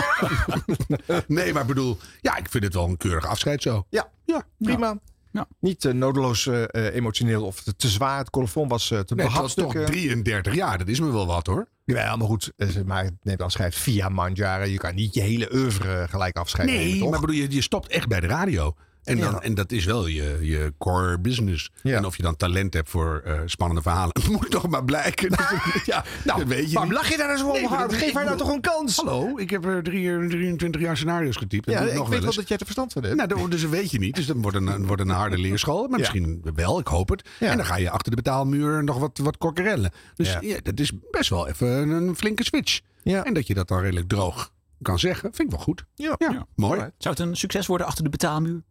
[SPEAKER 1] Nee, maar ik bedoel, ja, ik vind het wel een keurig afscheid zo.
[SPEAKER 2] Ja, ja prima.
[SPEAKER 3] Ja.
[SPEAKER 2] Niet eh, nodeloos eh, eh, emotioneel of te, te zwaar. Het colofon was eh, te
[SPEAKER 1] Nee, het was toch
[SPEAKER 2] behapstukken.
[SPEAKER 1] 33 jaar, dat is me wel wat hoor.
[SPEAKER 2] Jawel, maar goed. eh, ze- Maar neemt afscheid via Manjaren. Je kan niet je hele oeuvre eh, gelijk afscheid nemen,
[SPEAKER 1] Nee,
[SPEAKER 2] toch?
[SPEAKER 1] maar bedoel, je, je stopt echt bij de radio. En, dan,
[SPEAKER 2] Ja.
[SPEAKER 1] en dat is wel je, je core business.
[SPEAKER 2] Ja.
[SPEAKER 1] En of je dan talent hebt voor eh, spannende verhalen, moet toch maar blijken. Dus, ja, nou, dat weet je
[SPEAKER 2] Waarom
[SPEAKER 1] niet.
[SPEAKER 2] lach je daar eens om,
[SPEAKER 1] Nee, maar
[SPEAKER 2] Harm?
[SPEAKER 1] dat-
[SPEAKER 2] Geef
[SPEAKER 1] ik
[SPEAKER 2] haar nou
[SPEAKER 1] bedoel-
[SPEAKER 2] toch een kans?
[SPEAKER 1] Hallo, ik heb er drie, 23 jaar scenario's getypt. Dat
[SPEAKER 2] Ja,
[SPEAKER 1] doe ik
[SPEAKER 2] ik
[SPEAKER 1] nog
[SPEAKER 2] weet
[SPEAKER 1] wel
[SPEAKER 2] wel
[SPEAKER 1] eens.
[SPEAKER 2] dat jij er verstand van hebt.
[SPEAKER 1] Nou, dat- dus dat weet je niet. Dus dat wordt een, een- wordt een harde leerschool. Maar
[SPEAKER 2] Ja.
[SPEAKER 1] misschien wel, ik hoop het.
[SPEAKER 2] Ja.
[SPEAKER 1] En dan ga je achter de betaalmuur nog wat, wat kokkerellen. Dus
[SPEAKER 2] Ja.
[SPEAKER 1] ja. dat is best wel even een, een flinke switch.
[SPEAKER 2] Ja.
[SPEAKER 1] En dat je dat dan redelijk droog kan zeggen, vind ik wel goed.
[SPEAKER 2] Ja.
[SPEAKER 1] ja. mooi.
[SPEAKER 2] Alright.
[SPEAKER 3] Zou het een succes worden achter de betaalmuur?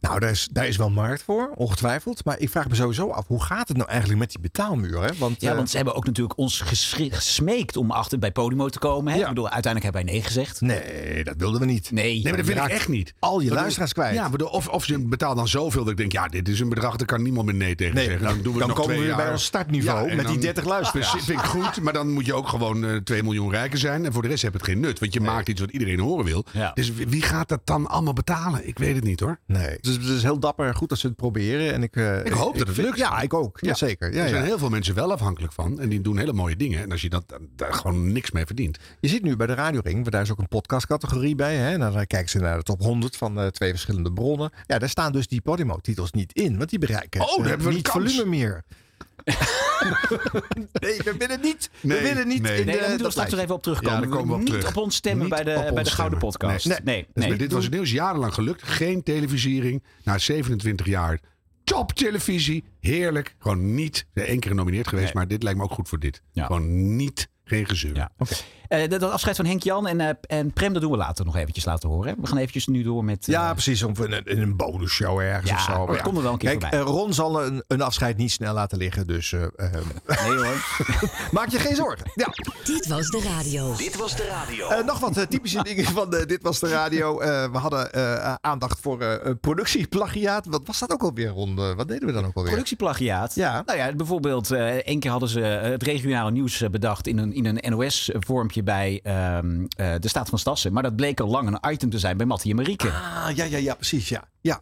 [SPEAKER 2] Nou, daar is, daar is wel markt voor, ongetwijfeld. Maar ik vraag me sowieso af, hoe gaat het nou eigenlijk met die betaalmuur? Hè? Want,
[SPEAKER 3] Ja,
[SPEAKER 2] eh,
[SPEAKER 3] want ze hebben ook natuurlijk ons geschri- gesmeekt om achter bij Podimo te komen. Hè?
[SPEAKER 2] Ja.
[SPEAKER 3] Ik bedoel, uiteindelijk hebben wij nee gezegd.
[SPEAKER 2] Nee, dat wilden we niet.
[SPEAKER 3] Nee,
[SPEAKER 1] Nee, maar dat vind
[SPEAKER 2] raakt
[SPEAKER 1] ik echt niet.
[SPEAKER 2] Al je
[SPEAKER 1] Bedoel,
[SPEAKER 2] luisteraars kwijt.
[SPEAKER 1] Ja, bedoel, of, of je betaalt dan zoveel dat ik denk, ja, dit is een bedrag, daar kan niemand meer nee tegen
[SPEAKER 2] Nee,
[SPEAKER 1] zeggen. Dan, doen we het
[SPEAKER 2] dan
[SPEAKER 1] nog
[SPEAKER 2] komen we
[SPEAKER 1] twee
[SPEAKER 2] weer bij
[SPEAKER 1] jaar.
[SPEAKER 2] ons startniveau
[SPEAKER 1] en
[SPEAKER 2] met die 30 luisteraars.
[SPEAKER 1] Precies, vind ik goed, maar dan moet je ook gewoon eh 2 miljoen rijker zijn. En voor de rest heb het geen nut, want je maakt iets wat iedereen horen wil.
[SPEAKER 3] Ja.
[SPEAKER 1] Dus wie wie gaat dat dan allemaal betalen? Ik weet het niet hoor.
[SPEAKER 2] Nee. Dus het is heel dapper en goed dat ze het proberen. En ik, eh,
[SPEAKER 1] Ik hoop dat het
[SPEAKER 2] vind-
[SPEAKER 1] lukt.
[SPEAKER 2] Ja, ik ook. Ja. Zeker. Ja,
[SPEAKER 1] er zijn
[SPEAKER 2] ja.
[SPEAKER 1] heel veel mensen wel afhankelijk van. En die doen hele mooie dingen. En als je dat, dan- daar gewoon niks mee verdient.
[SPEAKER 2] Je ziet nu bij de Radioring, want daar is ook een podcastcategorie bij. Hè? Nou, dan kijken ze naar de top 100 van eh, twee verschillende bronnen. Ja, daar staan dus die Podimo-titels niet in, want die bereiken
[SPEAKER 1] Oh, daar
[SPEAKER 2] eh,
[SPEAKER 1] hebben we een
[SPEAKER 2] niet
[SPEAKER 1] kans.
[SPEAKER 2] volume meer. nee, we winnen niet.
[SPEAKER 1] Nee,
[SPEAKER 2] we winnen niet.
[SPEAKER 1] nee.
[SPEAKER 3] Nee, daar
[SPEAKER 1] Nee,
[SPEAKER 2] in de-
[SPEAKER 3] moeten we
[SPEAKER 2] dat
[SPEAKER 3] straks nog
[SPEAKER 2] lijstje.
[SPEAKER 3] even op terugkomen.
[SPEAKER 1] Ja, daar komen we op
[SPEAKER 3] niet
[SPEAKER 1] terug.
[SPEAKER 3] op ons stemmen
[SPEAKER 1] Niet
[SPEAKER 3] bij de,
[SPEAKER 1] op
[SPEAKER 3] bij
[SPEAKER 1] ons
[SPEAKER 3] de Gouden
[SPEAKER 1] stemmen.
[SPEAKER 3] Podcast.
[SPEAKER 2] Nee.
[SPEAKER 3] nee.
[SPEAKER 1] Dus
[SPEAKER 3] nee.
[SPEAKER 1] maar dit was het nieuws. Jarenlang gelukt. Geen televisiering. Na 27 jaar. Top televisie. Heerlijk. Gewoon niet. Ik ben één keer genomineerd geweest.
[SPEAKER 3] Nee.
[SPEAKER 1] Maar dit lijkt me ook goed voor dit.
[SPEAKER 3] Ja.
[SPEAKER 1] Gewoon niet. Geen gezeur.
[SPEAKER 3] Ja. Eh, dat, dat afscheid van Henk Jan en, eh, en Prem, dat doen we later nog eventjes laten horen. hè. We gaan eventjes nu door met... eh,
[SPEAKER 2] Ja, precies. Of in een, in een bonusshow ergens
[SPEAKER 3] Ja, oh,
[SPEAKER 2] of zo.
[SPEAKER 3] dat
[SPEAKER 2] Maar
[SPEAKER 3] komt er wel een keer
[SPEAKER 2] Kijk,
[SPEAKER 3] voorbij.
[SPEAKER 2] eh, Ron zal een, een afscheid niet snel laten liggen. Dus eh, ehm,
[SPEAKER 3] Nee hoor.
[SPEAKER 2] maak je geen zorgen. Ja.
[SPEAKER 9] Dit was de radio.
[SPEAKER 5] Dit was de radio.
[SPEAKER 2] Eh, nog wat eh, typische dingen van eh, Dit Was De Radio. Eh, we hadden eh, aandacht voor eh productieplagiaat. Wat was dat ook alweer, Ron? Eh, wat deden we dan ook alweer?
[SPEAKER 3] Productieplagiaat.
[SPEAKER 2] Ja.
[SPEAKER 3] Nou ja, bijvoorbeeld, eh één keer hadden ze eh, het regionale nieuws eh, bedacht in een, in een NOS-vormpje bij ehm, eh, de Staat van Stassen. Maar dat bleek al lang een item te zijn bij Mattie en Marieke.
[SPEAKER 2] Ah, ja, ja, ja, precies, ja. ja.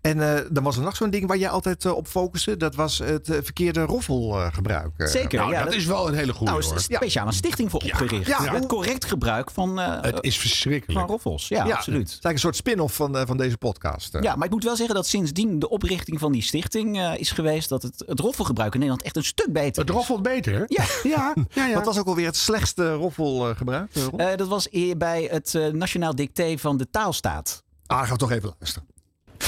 [SPEAKER 2] En eh, dan was er nog zo'n ding waar jij altijd eh, op focuste. Dat was het eh, verkeerde roffelgebruik. eh.
[SPEAKER 3] Zeker.
[SPEAKER 1] Nou,
[SPEAKER 3] ja,
[SPEAKER 1] dat, is wel een hele goede
[SPEAKER 3] nou, is
[SPEAKER 1] hoor.
[SPEAKER 3] er speciaal een stichting voor opgericht.
[SPEAKER 2] Ja.
[SPEAKER 3] Het correct gebruik van, eh,
[SPEAKER 1] Het is
[SPEAKER 3] van
[SPEAKER 1] verschrikkelijk.
[SPEAKER 3] roffels. Ja,
[SPEAKER 2] Ja, Het
[SPEAKER 3] absoluut.
[SPEAKER 2] is eigenlijk een soort spin-off van, eh, van deze podcast. eh.
[SPEAKER 3] Ja, maar ik moet wel zeggen dat sindsdien de oprichting van die stichting eh, is geweest... dat het, het roffelgebruik in Nederland echt een stuk beter
[SPEAKER 1] Het
[SPEAKER 3] is.
[SPEAKER 1] roffelt beter. hè?
[SPEAKER 3] Ja.
[SPEAKER 1] Ja. ja, ja.
[SPEAKER 2] Wat was ook alweer het slechtste roffelgebruik? eh, Ron?
[SPEAKER 3] Eh, dat was eer bij het eh, Nationaal Dicté van de Taalstaat.
[SPEAKER 2] ah, gaan we toch even luisteren.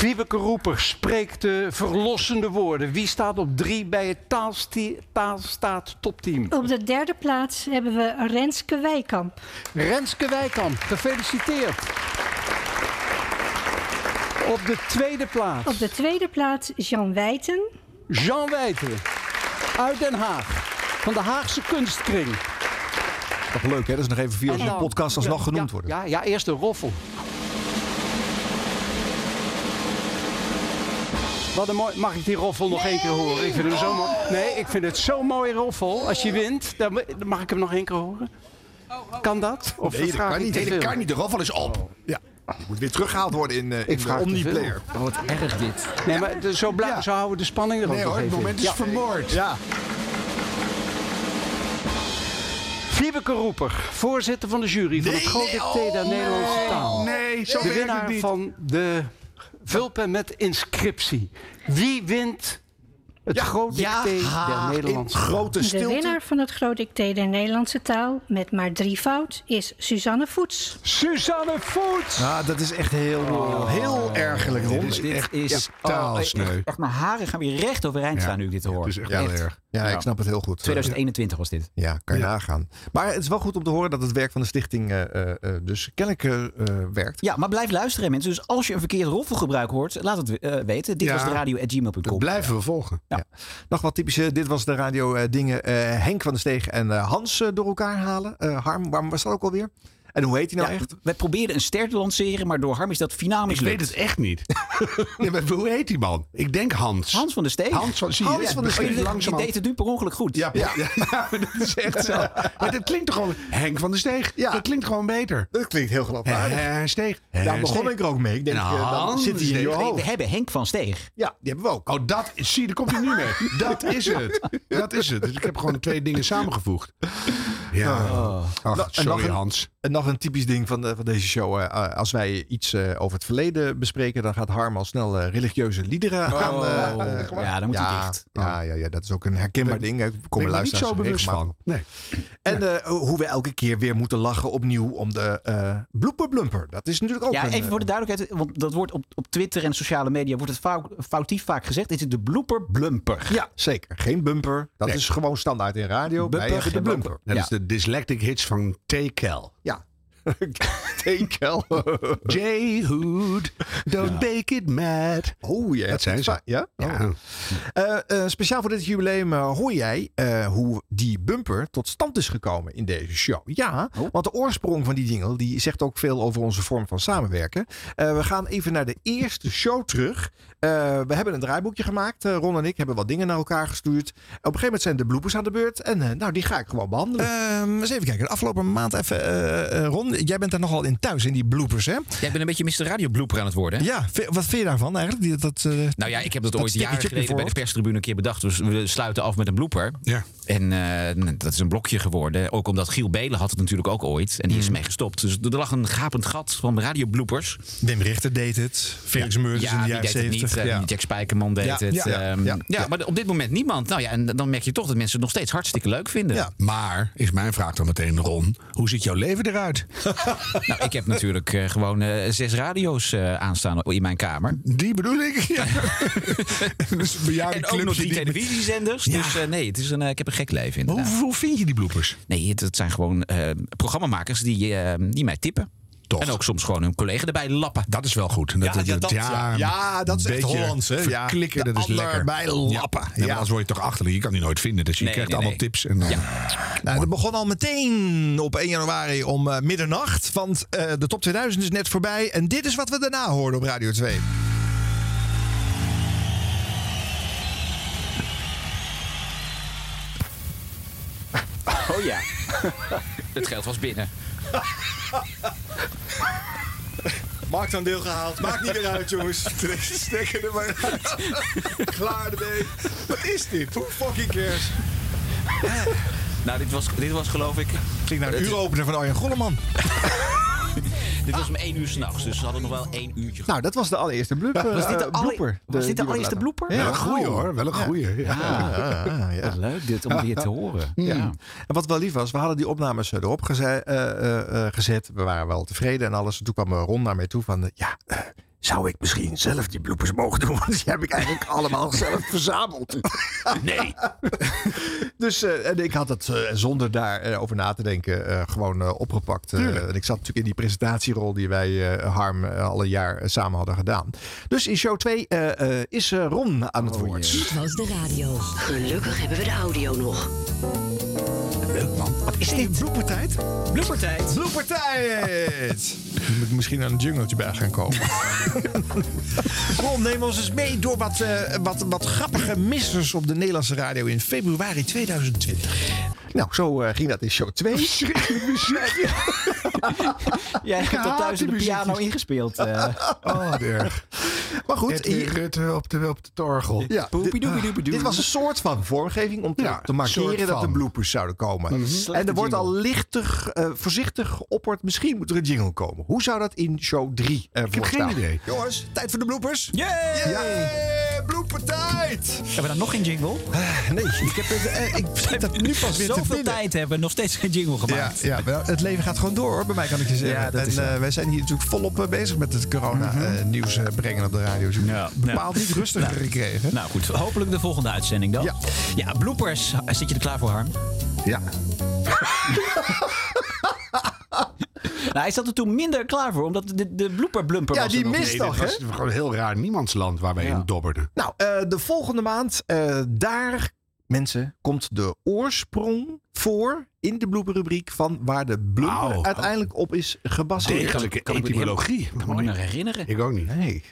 [SPEAKER 7] Wiebeke Roeper spreekt de verlossende woorden. Wie staat op drie bij het taalsti- taalstaat topteam?
[SPEAKER 8] Op de derde plaats hebben we Renske Wijkamp.
[SPEAKER 7] Renske Wijkamp, gefeliciteerd. Op de tweede plaats
[SPEAKER 8] Op de tweede plaats Jean Wijten.
[SPEAKER 7] Jean Wijten uit Den Haag. Van de Haagse Kunstkring.
[SPEAKER 2] Toch leuk, hè? Dat is nog even via
[SPEAKER 7] En
[SPEAKER 2] onze
[SPEAKER 7] dan-
[SPEAKER 2] podcast alsnog
[SPEAKER 7] ja,
[SPEAKER 2] genoemd
[SPEAKER 7] ja,
[SPEAKER 2] worden.
[SPEAKER 7] Ja, ja, eerst de roffel. Wat een mooi, mag ik die roffel nog één keer horen? Ik vind hem zo mooi. Nee, ik vind het zo'n mooie roffel. Als je wint, dan ma- dan mag ik hem nog één keer horen. Kan dat? Of
[SPEAKER 2] Nee, dat
[SPEAKER 7] vraag
[SPEAKER 2] kan
[SPEAKER 7] ik
[SPEAKER 2] niet.
[SPEAKER 7] te
[SPEAKER 2] Nee,
[SPEAKER 1] Ik
[SPEAKER 7] veel?
[SPEAKER 1] kan niet. De roffel is op.
[SPEAKER 2] Ja. Die moet weer teruggehaald worden in, eh in
[SPEAKER 7] Ik vraag
[SPEAKER 2] de
[SPEAKER 7] te
[SPEAKER 2] Omniplayer.
[SPEAKER 7] veel. Oh, Wat erg dit. Nee, maar de- zo, blij,
[SPEAKER 2] Ja.
[SPEAKER 7] zo houden we de spanning er ook
[SPEAKER 2] Nee
[SPEAKER 7] nog
[SPEAKER 2] hoor, het
[SPEAKER 7] even in.
[SPEAKER 2] moment is
[SPEAKER 7] Ja.
[SPEAKER 2] vermoord. Ja.
[SPEAKER 7] Wiebeke Roeper, voorzitter van de jury van het grote
[SPEAKER 2] nee,
[SPEAKER 7] Theda Nederlandse taal.
[SPEAKER 1] Nee, zo werkt
[SPEAKER 7] de
[SPEAKER 1] het
[SPEAKER 7] winnaar
[SPEAKER 1] niet.
[SPEAKER 7] van de vulpen met inscriptie. Wie wint het groot
[SPEAKER 3] ja,
[SPEAKER 7] dicté der
[SPEAKER 2] In
[SPEAKER 7] Nederlandse
[SPEAKER 2] grote
[SPEAKER 8] De
[SPEAKER 2] stilte.
[SPEAKER 8] winnaar van het Groot Dicté der Nederlandse taal met maar drie fout is Suzanne Voets.
[SPEAKER 7] Suzanne Voets.
[SPEAKER 2] Ah, dat is echt heel, Oh, heel ergerlijk. Ron.
[SPEAKER 3] Dus
[SPEAKER 1] Dit is echt is
[SPEAKER 3] echt,
[SPEAKER 1] taalsneu.
[SPEAKER 3] oh, echt, mijn haren gaan weer recht overeind staan nu ik dit hoor.
[SPEAKER 1] Het is echt
[SPEAKER 2] Ja,
[SPEAKER 1] heel erg.
[SPEAKER 2] Ja, ik snap het heel goed.
[SPEAKER 3] 2021 was dit.
[SPEAKER 2] Ja, kan je nagaan. Maar het is wel goed om te horen dat het werk van de stichting eh, eh, eh, dus kennelijk eh, eh, werkt.
[SPEAKER 3] Ja, maar blijf luisteren mensen. Dus als je een verkeerd roffelgebruik hoort, laat het eh, weten. Dit
[SPEAKER 1] Ja.
[SPEAKER 3] was de radio at
[SPEAKER 1] Dat
[SPEAKER 3] gmail.com.
[SPEAKER 1] blijven we volgen.
[SPEAKER 2] Nog wat typische, dit was de radio eh, dingen. eh, Henk van der Steeg en eh, Hans eh, door elkaar halen. Eh, Harm, waarom was dat ook alweer? En hoe heet hij nou
[SPEAKER 3] Ja,
[SPEAKER 2] echt?
[SPEAKER 3] Wij probeerden een ster te lanceren, maar door Harm is dat finaal
[SPEAKER 1] Ik weet
[SPEAKER 3] mislukt.
[SPEAKER 1] het echt niet. Ja, maar hoe heet die man? Ik denk Hans.
[SPEAKER 3] Hans van der Steeg.
[SPEAKER 1] Hans van, zie je,
[SPEAKER 2] Hans
[SPEAKER 1] het
[SPEAKER 2] van der
[SPEAKER 1] begint
[SPEAKER 2] Steeg.
[SPEAKER 3] die
[SPEAKER 1] langzamerhand-
[SPEAKER 3] deed het nu per ongeluk goed.
[SPEAKER 1] Ja, ja. maar dat is echt zo. Maar dat klinkt toch gewoon... Henk van der Steeg.
[SPEAKER 2] Ja.
[SPEAKER 1] Dat klinkt gewoon beter.
[SPEAKER 2] Dat klinkt heel geloofwaardig.
[SPEAKER 1] Hè, Steeg. Hè,
[SPEAKER 2] Daar begon
[SPEAKER 1] Steeg.
[SPEAKER 2] ik er ook mee. Ik denk,
[SPEAKER 1] Nou,
[SPEAKER 2] eh, dan
[SPEAKER 1] Hans
[SPEAKER 2] zit hij in je
[SPEAKER 1] Steeg.
[SPEAKER 3] Nee, we
[SPEAKER 2] hoofd.
[SPEAKER 3] hebben Henk van Steeg.
[SPEAKER 2] Ja, die hebben we ook.
[SPEAKER 1] Oh, dat is, zie, daar komt hij nu mee. Dat is het. Dat is het. Dus ik heb gewoon de twee dingen samengevoegd. Ja.
[SPEAKER 2] Nou,
[SPEAKER 1] Ach,
[SPEAKER 2] en nog
[SPEAKER 1] sorry
[SPEAKER 2] een-
[SPEAKER 1] Hans.
[SPEAKER 2] En nog een typisch ding van, de, van deze show. eh, eh, als wij iets eh, over het verleden bespreken, dan gaat Harm al snel eh, religieuze liederen aan. eh, eh,
[SPEAKER 3] Oh. Ja, dan moet hij
[SPEAKER 2] ja,
[SPEAKER 3] dicht.
[SPEAKER 2] Ja, ja, ja, dat is ook een herkenbaar ding. hè.
[SPEAKER 1] Ik
[SPEAKER 2] Komen
[SPEAKER 1] ben er niet
[SPEAKER 2] luisteraars
[SPEAKER 1] zo bewust
[SPEAKER 2] regelmatig
[SPEAKER 1] van. Nee.
[SPEAKER 2] En eh, hoe we elke keer weer moeten lachen opnieuw om de eh blooper blumper. Dat is natuurlijk ook
[SPEAKER 3] Ja,
[SPEAKER 2] een, eh,
[SPEAKER 3] even voor de duidelijkheid, want dat wordt op, op Twitter en sociale media wordt het fout, foutief vaak gezegd. Dit is de blooper blumper.
[SPEAKER 2] Ja, zeker. Geen bumper. Dat
[SPEAKER 1] Nee.
[SPEAKER 2] is gewoon standaard in radio. Wij
[SPEAKER 3] Bumper,
[SPEAKER 2] hebben de
[SPEAKER 3] geen
[SPEAKER 2] blumper.
[SPEAKER 1] Dat
[SPEAKER 3] Ja.
[SPEAKER 1] is de dyslectic hits van T-Kel.
[SPEAKER 2] Ja. Tekel.
[SPEAKER 1] J-Hood, don't make it mad.
[SPEAKER 2] Oh ja.
[SPEAKER 1] Dat zijn ze.
[SPEAKER 2] Ja? Oh.
[SPEAKER 1] Ja.
[SPEAKER 2] Eh, eh, speciaal voor dit jubileum eh, hoor jij eh, hoe die bumper tot stand is gekomen in deze show. Ja, want de oorsprong van die jingle die zegt ook veel over onze vorm van samenwerken. Eh, we gaan even naar de eerste show terug. Eh, we hebben een draaiboekje gemaakt. Eh, Ron en ik hebben wat dingen naar elkaar gestuurd. Op een gegeven moment zijn de bloepers aan de Ehm, beurt. En eh, nou, die ga ik gewoon behandelen. eens even kijken. De afgelopen maand even. eh, Ron, jij bent er nogal in thuis in die bloopers, hè?
[SPEAKER 3] Jij bent een beetje Mr. Radio Blooper aan het worden. hè?
[SPEAKER 2] Ja, ve- wat Ah, vind je daarvan eigenlijk? Die, dat, eh,
[SPEAKER 3] Nou ja, ik heb dat,
[SPEAKER 2] dat
[SPEAKER 3] ooit
[SPEAKER 2] stickertje
[SPEAKER 3] jaren
[SPEAKER 2] op je
[SPEAKER 3] geleden bij de
[SPEAKER 2] voorhoofd?
[SPEAKER 3] perstribune een keer bedacht. Dus we sluiten af met een blooper.
[SPEAKER 1] Ja.
[SPEAKER 3] En eh, dat is een blokje geworden. Ook omdat Giel Belen had het natuurlijk ook ooit. En die
[SPEAKER 2] Mm.
[SPEAKER 3] is mee gestopt. Dus er lag een gapend gat van radiobloopers.
[SPEAKER 2] Wim Richter deed het. Felix Meurders in de
[SPEAKER 3] wie
[SPEAKER 2] jaren
[SPEAKER 3] deed het niet?
[SPEAKER 2] 70.
[SPEAKER 3] Eh,
[SPEAKER 2] ja.
[SPEAKER 3] Jack Spijkerman deed
[SPEAKER 2] Ja,
[SPEAKER 3] het.
[SPEAKER 2] ja, ja,
[SPEAKER 3] Ehm,
[SPEAKER 2] ja, ja.
[SPEAKER 3] maar op dit moment niemand. Nou ja, en dan merk je toch dat mensen het nog steeds hartstikke leuk vinden.
[SPEAKER 2] Ja.
[SPEAKER 1] Maar, is mijn vraag dan meteen, Ron, hoe ziet jouw leven eruit?
[SPEAKER 3] Nou, ik heb natuurlijk eh, gewoon eh, zes radio's eh, aanstaan in mijn kamer.
[SPEAKER 1] Die bedoel ik. Ja. dus een bejaarde
[SPEAKER 3] En ook nog
[SPEAKER 1] clubje
[SPEAKER 3] drie
[SPEAKER 1] die-
[SPEAKER 3] televisiezenders. Dus eh, nee, het is een, eh, ik heb een gek leven
[SPEAKER 1] Hoe,
[SPEAKER 3] inderdaad.
[SPEAKER 1] hoe vind je die bloepers?
[SPEAKER 3] Nee, het, het zijn gewoon eh, programmamakers die, eh, die mij tippen.
[SPEAKER 1] Toch.
[SPEAKER 3] En ook soms gewoon hun collega erbij lappen.
[SPEAKER 1] Dat is wel goed.
[SPEAKER 2] Ja, ja, dat, ja. Ja, dat is
[SPEAKER 1] een
[SPEAKER 2] echt
[SPEAKER 1] beetje
[SPEAKER 2] Hollands, hè? Ja.
[SPEAKER 1] Verklikken,
[SPEAKER 2] De
[SPEAKER 1] dat is
[SPEAKER 2] ander
[SPEAKER 1] lekker.
[SPEAKER 2] bij lappen.
[SPEAKER 1] Ja. Ja, maar
[SPEAKER 2] Ja.
[SPEAKER 1] anders word je toch achterlijk. Je kan die nooit vinden. Dus je
[SPEAKER 3] Nee,
[SPEAKER 1] krijgt
[SPEAKER 3] nee,
[SPEAKER 1] allemaal
[SPEAKER 3] nee.
[SPEAKER 1] tips. En eh, dan,
[SPEAKER 2] Nou, dat begon al meteen op 1 januari om eh, middernacht. Want eh, de top 2000 is net voorbij. En dit is wat we daarna hoorden op Radio 2.
[SPEAKER 7] Oh ja.
[SPEAKER 3] Het geld was binnen.
[SPEAKER 2] Marktaandeel gehaald. Maakt niet meer uit, jongens. Stekken er maar Klaar ermee. Wat is dit? Who fucking cares?
[SPEAKER 3] Nou, dit was, dit was geloof ik...
[SPEAKER 2] Klinkt naar een uuropener van Arjen Golleman.
[SPEAKER 3] Dit was om één uur s'nachts. Dus ze hadden nog wel één uurtje.
[SPEAKER 2] Nou, dat was de allereerste bloep,
[SPEAKER 7] Was dit de,
[SPEAKER 2] eh,
[SPEAKER 7] alle-
[SPEAKER 2] blooper.
[SPEAKER 7] was dit de
[SPEAKER 2] die we
[SPEAKER 7] allereerste
[SPEAKER 2] laten-
[SPEAKER 7] blooper?
[SPEAKER 1] Wel een goeie hoor. Wel een goeie. Ja.
[SPEAKER 2] Ah, ah, ja. Mm.
[SPEAKER 7] Wat leuk dit, om dit te horen.
[SPEAKER 2] Ja.
[SPEAKER 7] Ja.
[SPEAKER 2] En wat wel lief was, we hadden die opnames eh, erop geze- eh, eh, eh, gezet. We waren wel tevreden en alles. En toen kwam Ron naar mij toe van... eh, Ja, eh, zou ik misschien zelf die bloepers mogen doen? Want die heb ik eigenlijk allemaal zelf verzameld.
[SPEAKER 3] Nee.
[SPEAKER 2] Dus eh, en ik had dat eh, zonder daar eh, over na te denken eh, gewoon eh, opgepakt. Eh, en ik zat natuurlijk in die presentatierol die wij eh, Harm eh, alle jaar eh, samen hadden gedaan. Dus in show 2 is eh, Ron aan het woord.
[SPEAKER 4] Dit was de radio. Gelukkig hebben we de audio nog.
[SPEAKER 2] Is dit bloepertijd?
[SPEAKER 3] Blubbertijd.
[SPEAKER 2] Bloepertijd! moet misschien aan een jungletje bij gaan komen. Ron, neem ons eens mee door wat, eh, wat, wat grappige missers op de Nederlandse radio in februari 2020. Nou, zo eh, ging dat in show 2.
[SPEAKER 7] Jij hebt dat thuis op de piano ingespeeld. eh.
[SPEAKER 1] Oh, wat erg.
[SPEAKER 2] Ah, maar goed,
[SPEAKER 1] Het
[SPEAKER 2] hier,
[SPEAKER 1] Rutte op de, op de torgel.
[SPEAKER 2] ja, dit,
[SPEAKER 7] Poepiedoepiedoepedoe.
[SPEAKER 2] dit was een soort van vormgeving om te,
[SPEAKER 1] Ja,
[SPEAKER 2] te
[SPEAKER 1] soort
[SPEAKER 2] markeren dat de
[SPEAKER 1] van. Mhm.
[SPEAKER 2] bloopers zouden komen. En er
[SPEAKER 7] Slechte
[SPEAKER 2] wordt al
[SPEAKER 7] jingle.
[SPEAKER 2] lichtig, eh, voorzichtig geopperd. Misschien moet er een jingle komen. Hoe zou dat in show 3 ervoor
[SPEAKER 1] heb geen
[SPEAKER 2] staan?
[SPEAKER 1] idee.
[SPEAKER 2] Jongens, tijd voor de bloopers.
[SPEAKER 7] Yay!
[SPEAKER 2] Yeah, bloopertijd!
[SPEAKER 3] Hebben we dan nog geen jingle?
[SPEAKER 2] Ah, Nee, ik heb het, eh, ik schiet dat nu pas weer te
[SPEAKER 3] Zoveel
[SPEAKER 2] binnen.
[SPEAKER 3] tijd hebben we nog steeds geen jingle
[SPEAKER 2] Ja,
[SPEAKER 3] gemaakt.
[SPEAKER 2] ja, maar het leven gaat gewoon door, hoor, bij mij kan ik je zeggen.
[SPEAKER 3] Ja, dat
[SPEAKER 2] en
[SPEAKER 3] is zo.
[SPEAKER 2] eh, wij zijn hier natuurlijk volop eh, bezig met het eh, corona-nieuws
[SPEAKER 3] eh,
[SPEAKER 2] brengen op de radio. Dus
[SPEAKER 3] Ja,
[SPEAKER 2] bepaald niet rustiger gekregen.
[SPEAKER 3] Nou goed, hopelijk de volgende uitzending dan.
[SPEAKER 2] Ja.
[SPEAKER 3] ja, bloopers. Zit je er klaar voor, Harm?
[SPEAKER 2] Ja.
[SPEAKER 7] Nou, hij zat er toen minder klaar voor, omdat de, de blooper-blumper
[SPEAKER 2] Ja,
[SPEAKER 7] was
[SPEAKER 2] die
[SPEAKER 7] er nog
[SPEAKER 2] mist
[SPEAKER 7] niet.
[SPEAKER 2] toch,
[SPEAKER 1] Het
[SPEAKER 2] hè?
[SPEAKER 1] was gewoon een heel raar niemandsland waar wij in dobberden.
[SPEAKER 2] Nou, eh, de volgende maand, eh, daar, mensen, komt de oorsprong voor in de bloepenrubriek van waar de blooper
[SPEAKER 1] Au.
[SPEAKER 2] uiteindelijk op is gebaseerd.
[SPEAKER 1] Degelijke
[SPEAKER 7] kan ik me niet
[SPEAKER 1] etymologie.
[SPEAKER 7] Ik kan me niet meer herinneren.
[SPEAKER 1] Ik ook niet.
[SPEAKER 2] Nee.